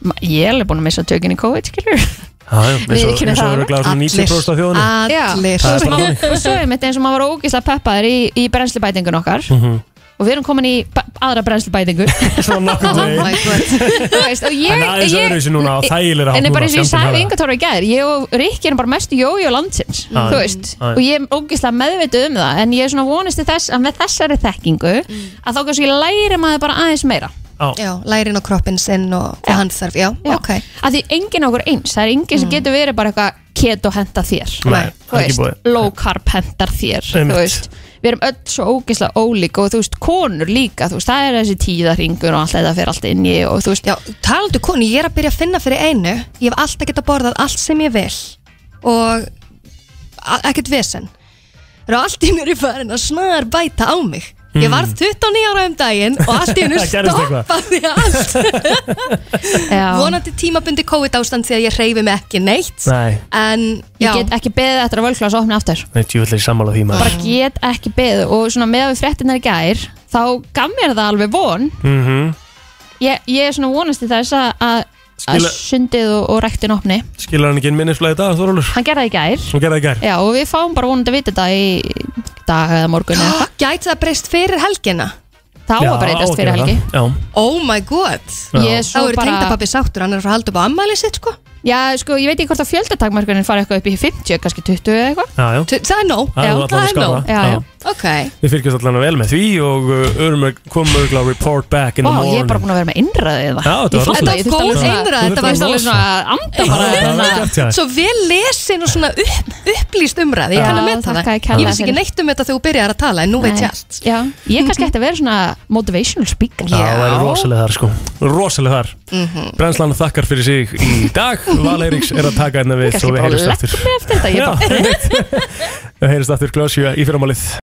E: ma- ég er alveg búin að missa tökinn í COVID, skilur
D: Já, já, eins og-
E: Viðurkennir
D: eins og
E: það.
D: eru glæður svona 90% af þjóðinu
E: allir
D: Það er bara þannig.
E: og svo er mitt eins og maður var ógislega peppaður í, í brennslubætingun okkar
D: Mhm.
E: og við erum komin í ba- aðra
D: [LAUGHS]
E: brennslubætingu
D: Oh
E: Þú veist, og ég,
D: En aðeins
E: ég-
D: öðruvísi núna, á þægilegra hátt
E: en er bara
D: núna,
E: eins og ég
D: skemmtilegra.
E: sagði við Inga Tóra í gær ég og Rikki erum bara mestu jójó landsins
D: Mm.
E: þú veist,
D: Aðeins.
E: og ég er ógislega meðvituð um það en ég er svona vonist til þess að með þessari þekkingu
D: Mm.
E: að þá kannski læri maður bara aðeins meira
D: [LAUGHS] Já,
R: lærin og kroppin sinn og hvað hann þarf, já,
E: Já.
R: ok Mm.
E: að því enginn okkur eins, það er enginn sem getur verið bara eitthvað keto henda þér
R: Nei, það
E: þú
R: er ekki
E: veist,
R: búið.
E: low carb hendar þér
R: Einmitt.
E: þú veist, við erum öll svo ógeðslega ólík og þú veist, konur líka, þú veist, það er þessi tíðarringur og allt þetta fyrir allt inn í og þú veist,
R: já, talandu konu, ég er að byrja að finna fyrir einu ég hef alltaf getað borðað allt sem ég vil og a- ekkert vesen og allt í mér er farin að snar bæta á mig ég var 29 ára um daginn og allt í mér
E: Mm. [LAUGHS] Það gerðist eitthvað.
R: stoppaði allt
E: [LAUGHS] já,
R: vonandi tímabundi COVID ástand því að ég reyfi mig ekki neitt
D: Nei,
R: en já,
E: ég get ekki beðið eftir að völklás opna aftur,
D: nei, tjúvillir sammála því maður
E: bara get ekki beðið og svona með að við fréttinnar í gær þá gaf mér það alveg von
D: Mhm.
E: ég, ég er svona vonast í þess að, að að
D: Skila-
E: sundið og, og rektin opni
D: Skilar hann ekki inn minnisflæði í dag, Þorólur?
E: hann gerði það í gær
D: Hún gerði það í gær
E: Já, og við fáum bara vonandi að vita þetta í dag eða morgun eða eitthvað.
R: gæti það breyst fyrir helgina
E: Það á
D: Já,
E: að breytast fyrir
D: á að
E: helgi.
D: gera það.
R: oh my god
D: Já. Ég er
E: svo
R: þá eru
E: bara-
R: tengdapappi sáttur, hann er að fara að halda upp á ammæli sitt sko
E: Já, sko, ég veit ekki hvort að fjöldatakmarkunin fara eitthvað upp í 50, kannski 20 eða eitthvað.
D: Já, já, já,
R: Það er nóg.
D: það er allan að skala
E: Já, já.
R: Ok.
D: Við fyrkjast allan vel með því og uh, örum að koma örgulega report back in
E: Vá,
D: the morning
E: ég er bara búin að vera með innræðið það.
D: Já, þetta var rosalegt.
E: Þetta var
D: Góð
E: góð
D: einræða,
E: innræðið,
D: þetta
E: þetta
D: var
E: var alveg svona
D: rosalegt.
E: að anda
D: Já,
E: bara.
D: það var vel gert hjá þér.
R: Svo vel lesin og svona upp, upplýst umræði, ég kann að
E: Já,
R: meta
E: þakka
R: það.
E: þér kærlega
R: Ég vissi ekki
E: fyrir.
R: neitt um þetta þegar þú byrjar að tala, en nú veit
E: Nei.
R: ég allt.
E: Já, ég kannski ætti að vera svona motivational speaker.
D: Já, það væri rosalega þar sko Rosalega þar
R: Mhm.
E: Hmm.
D: Brennslan þakkar fyrir sig í
E: [LAUGHS]
D: dag Val Eiríks er að taka hérna við
E: Kannski
D: og við
E: bara
D: heyrjumst
E: legg
D: aftur
R: [LAUGHS]
E: mig eftir þetta, ég bara...
D: Við heyrjumst aftur glöðsjö í fyrramálið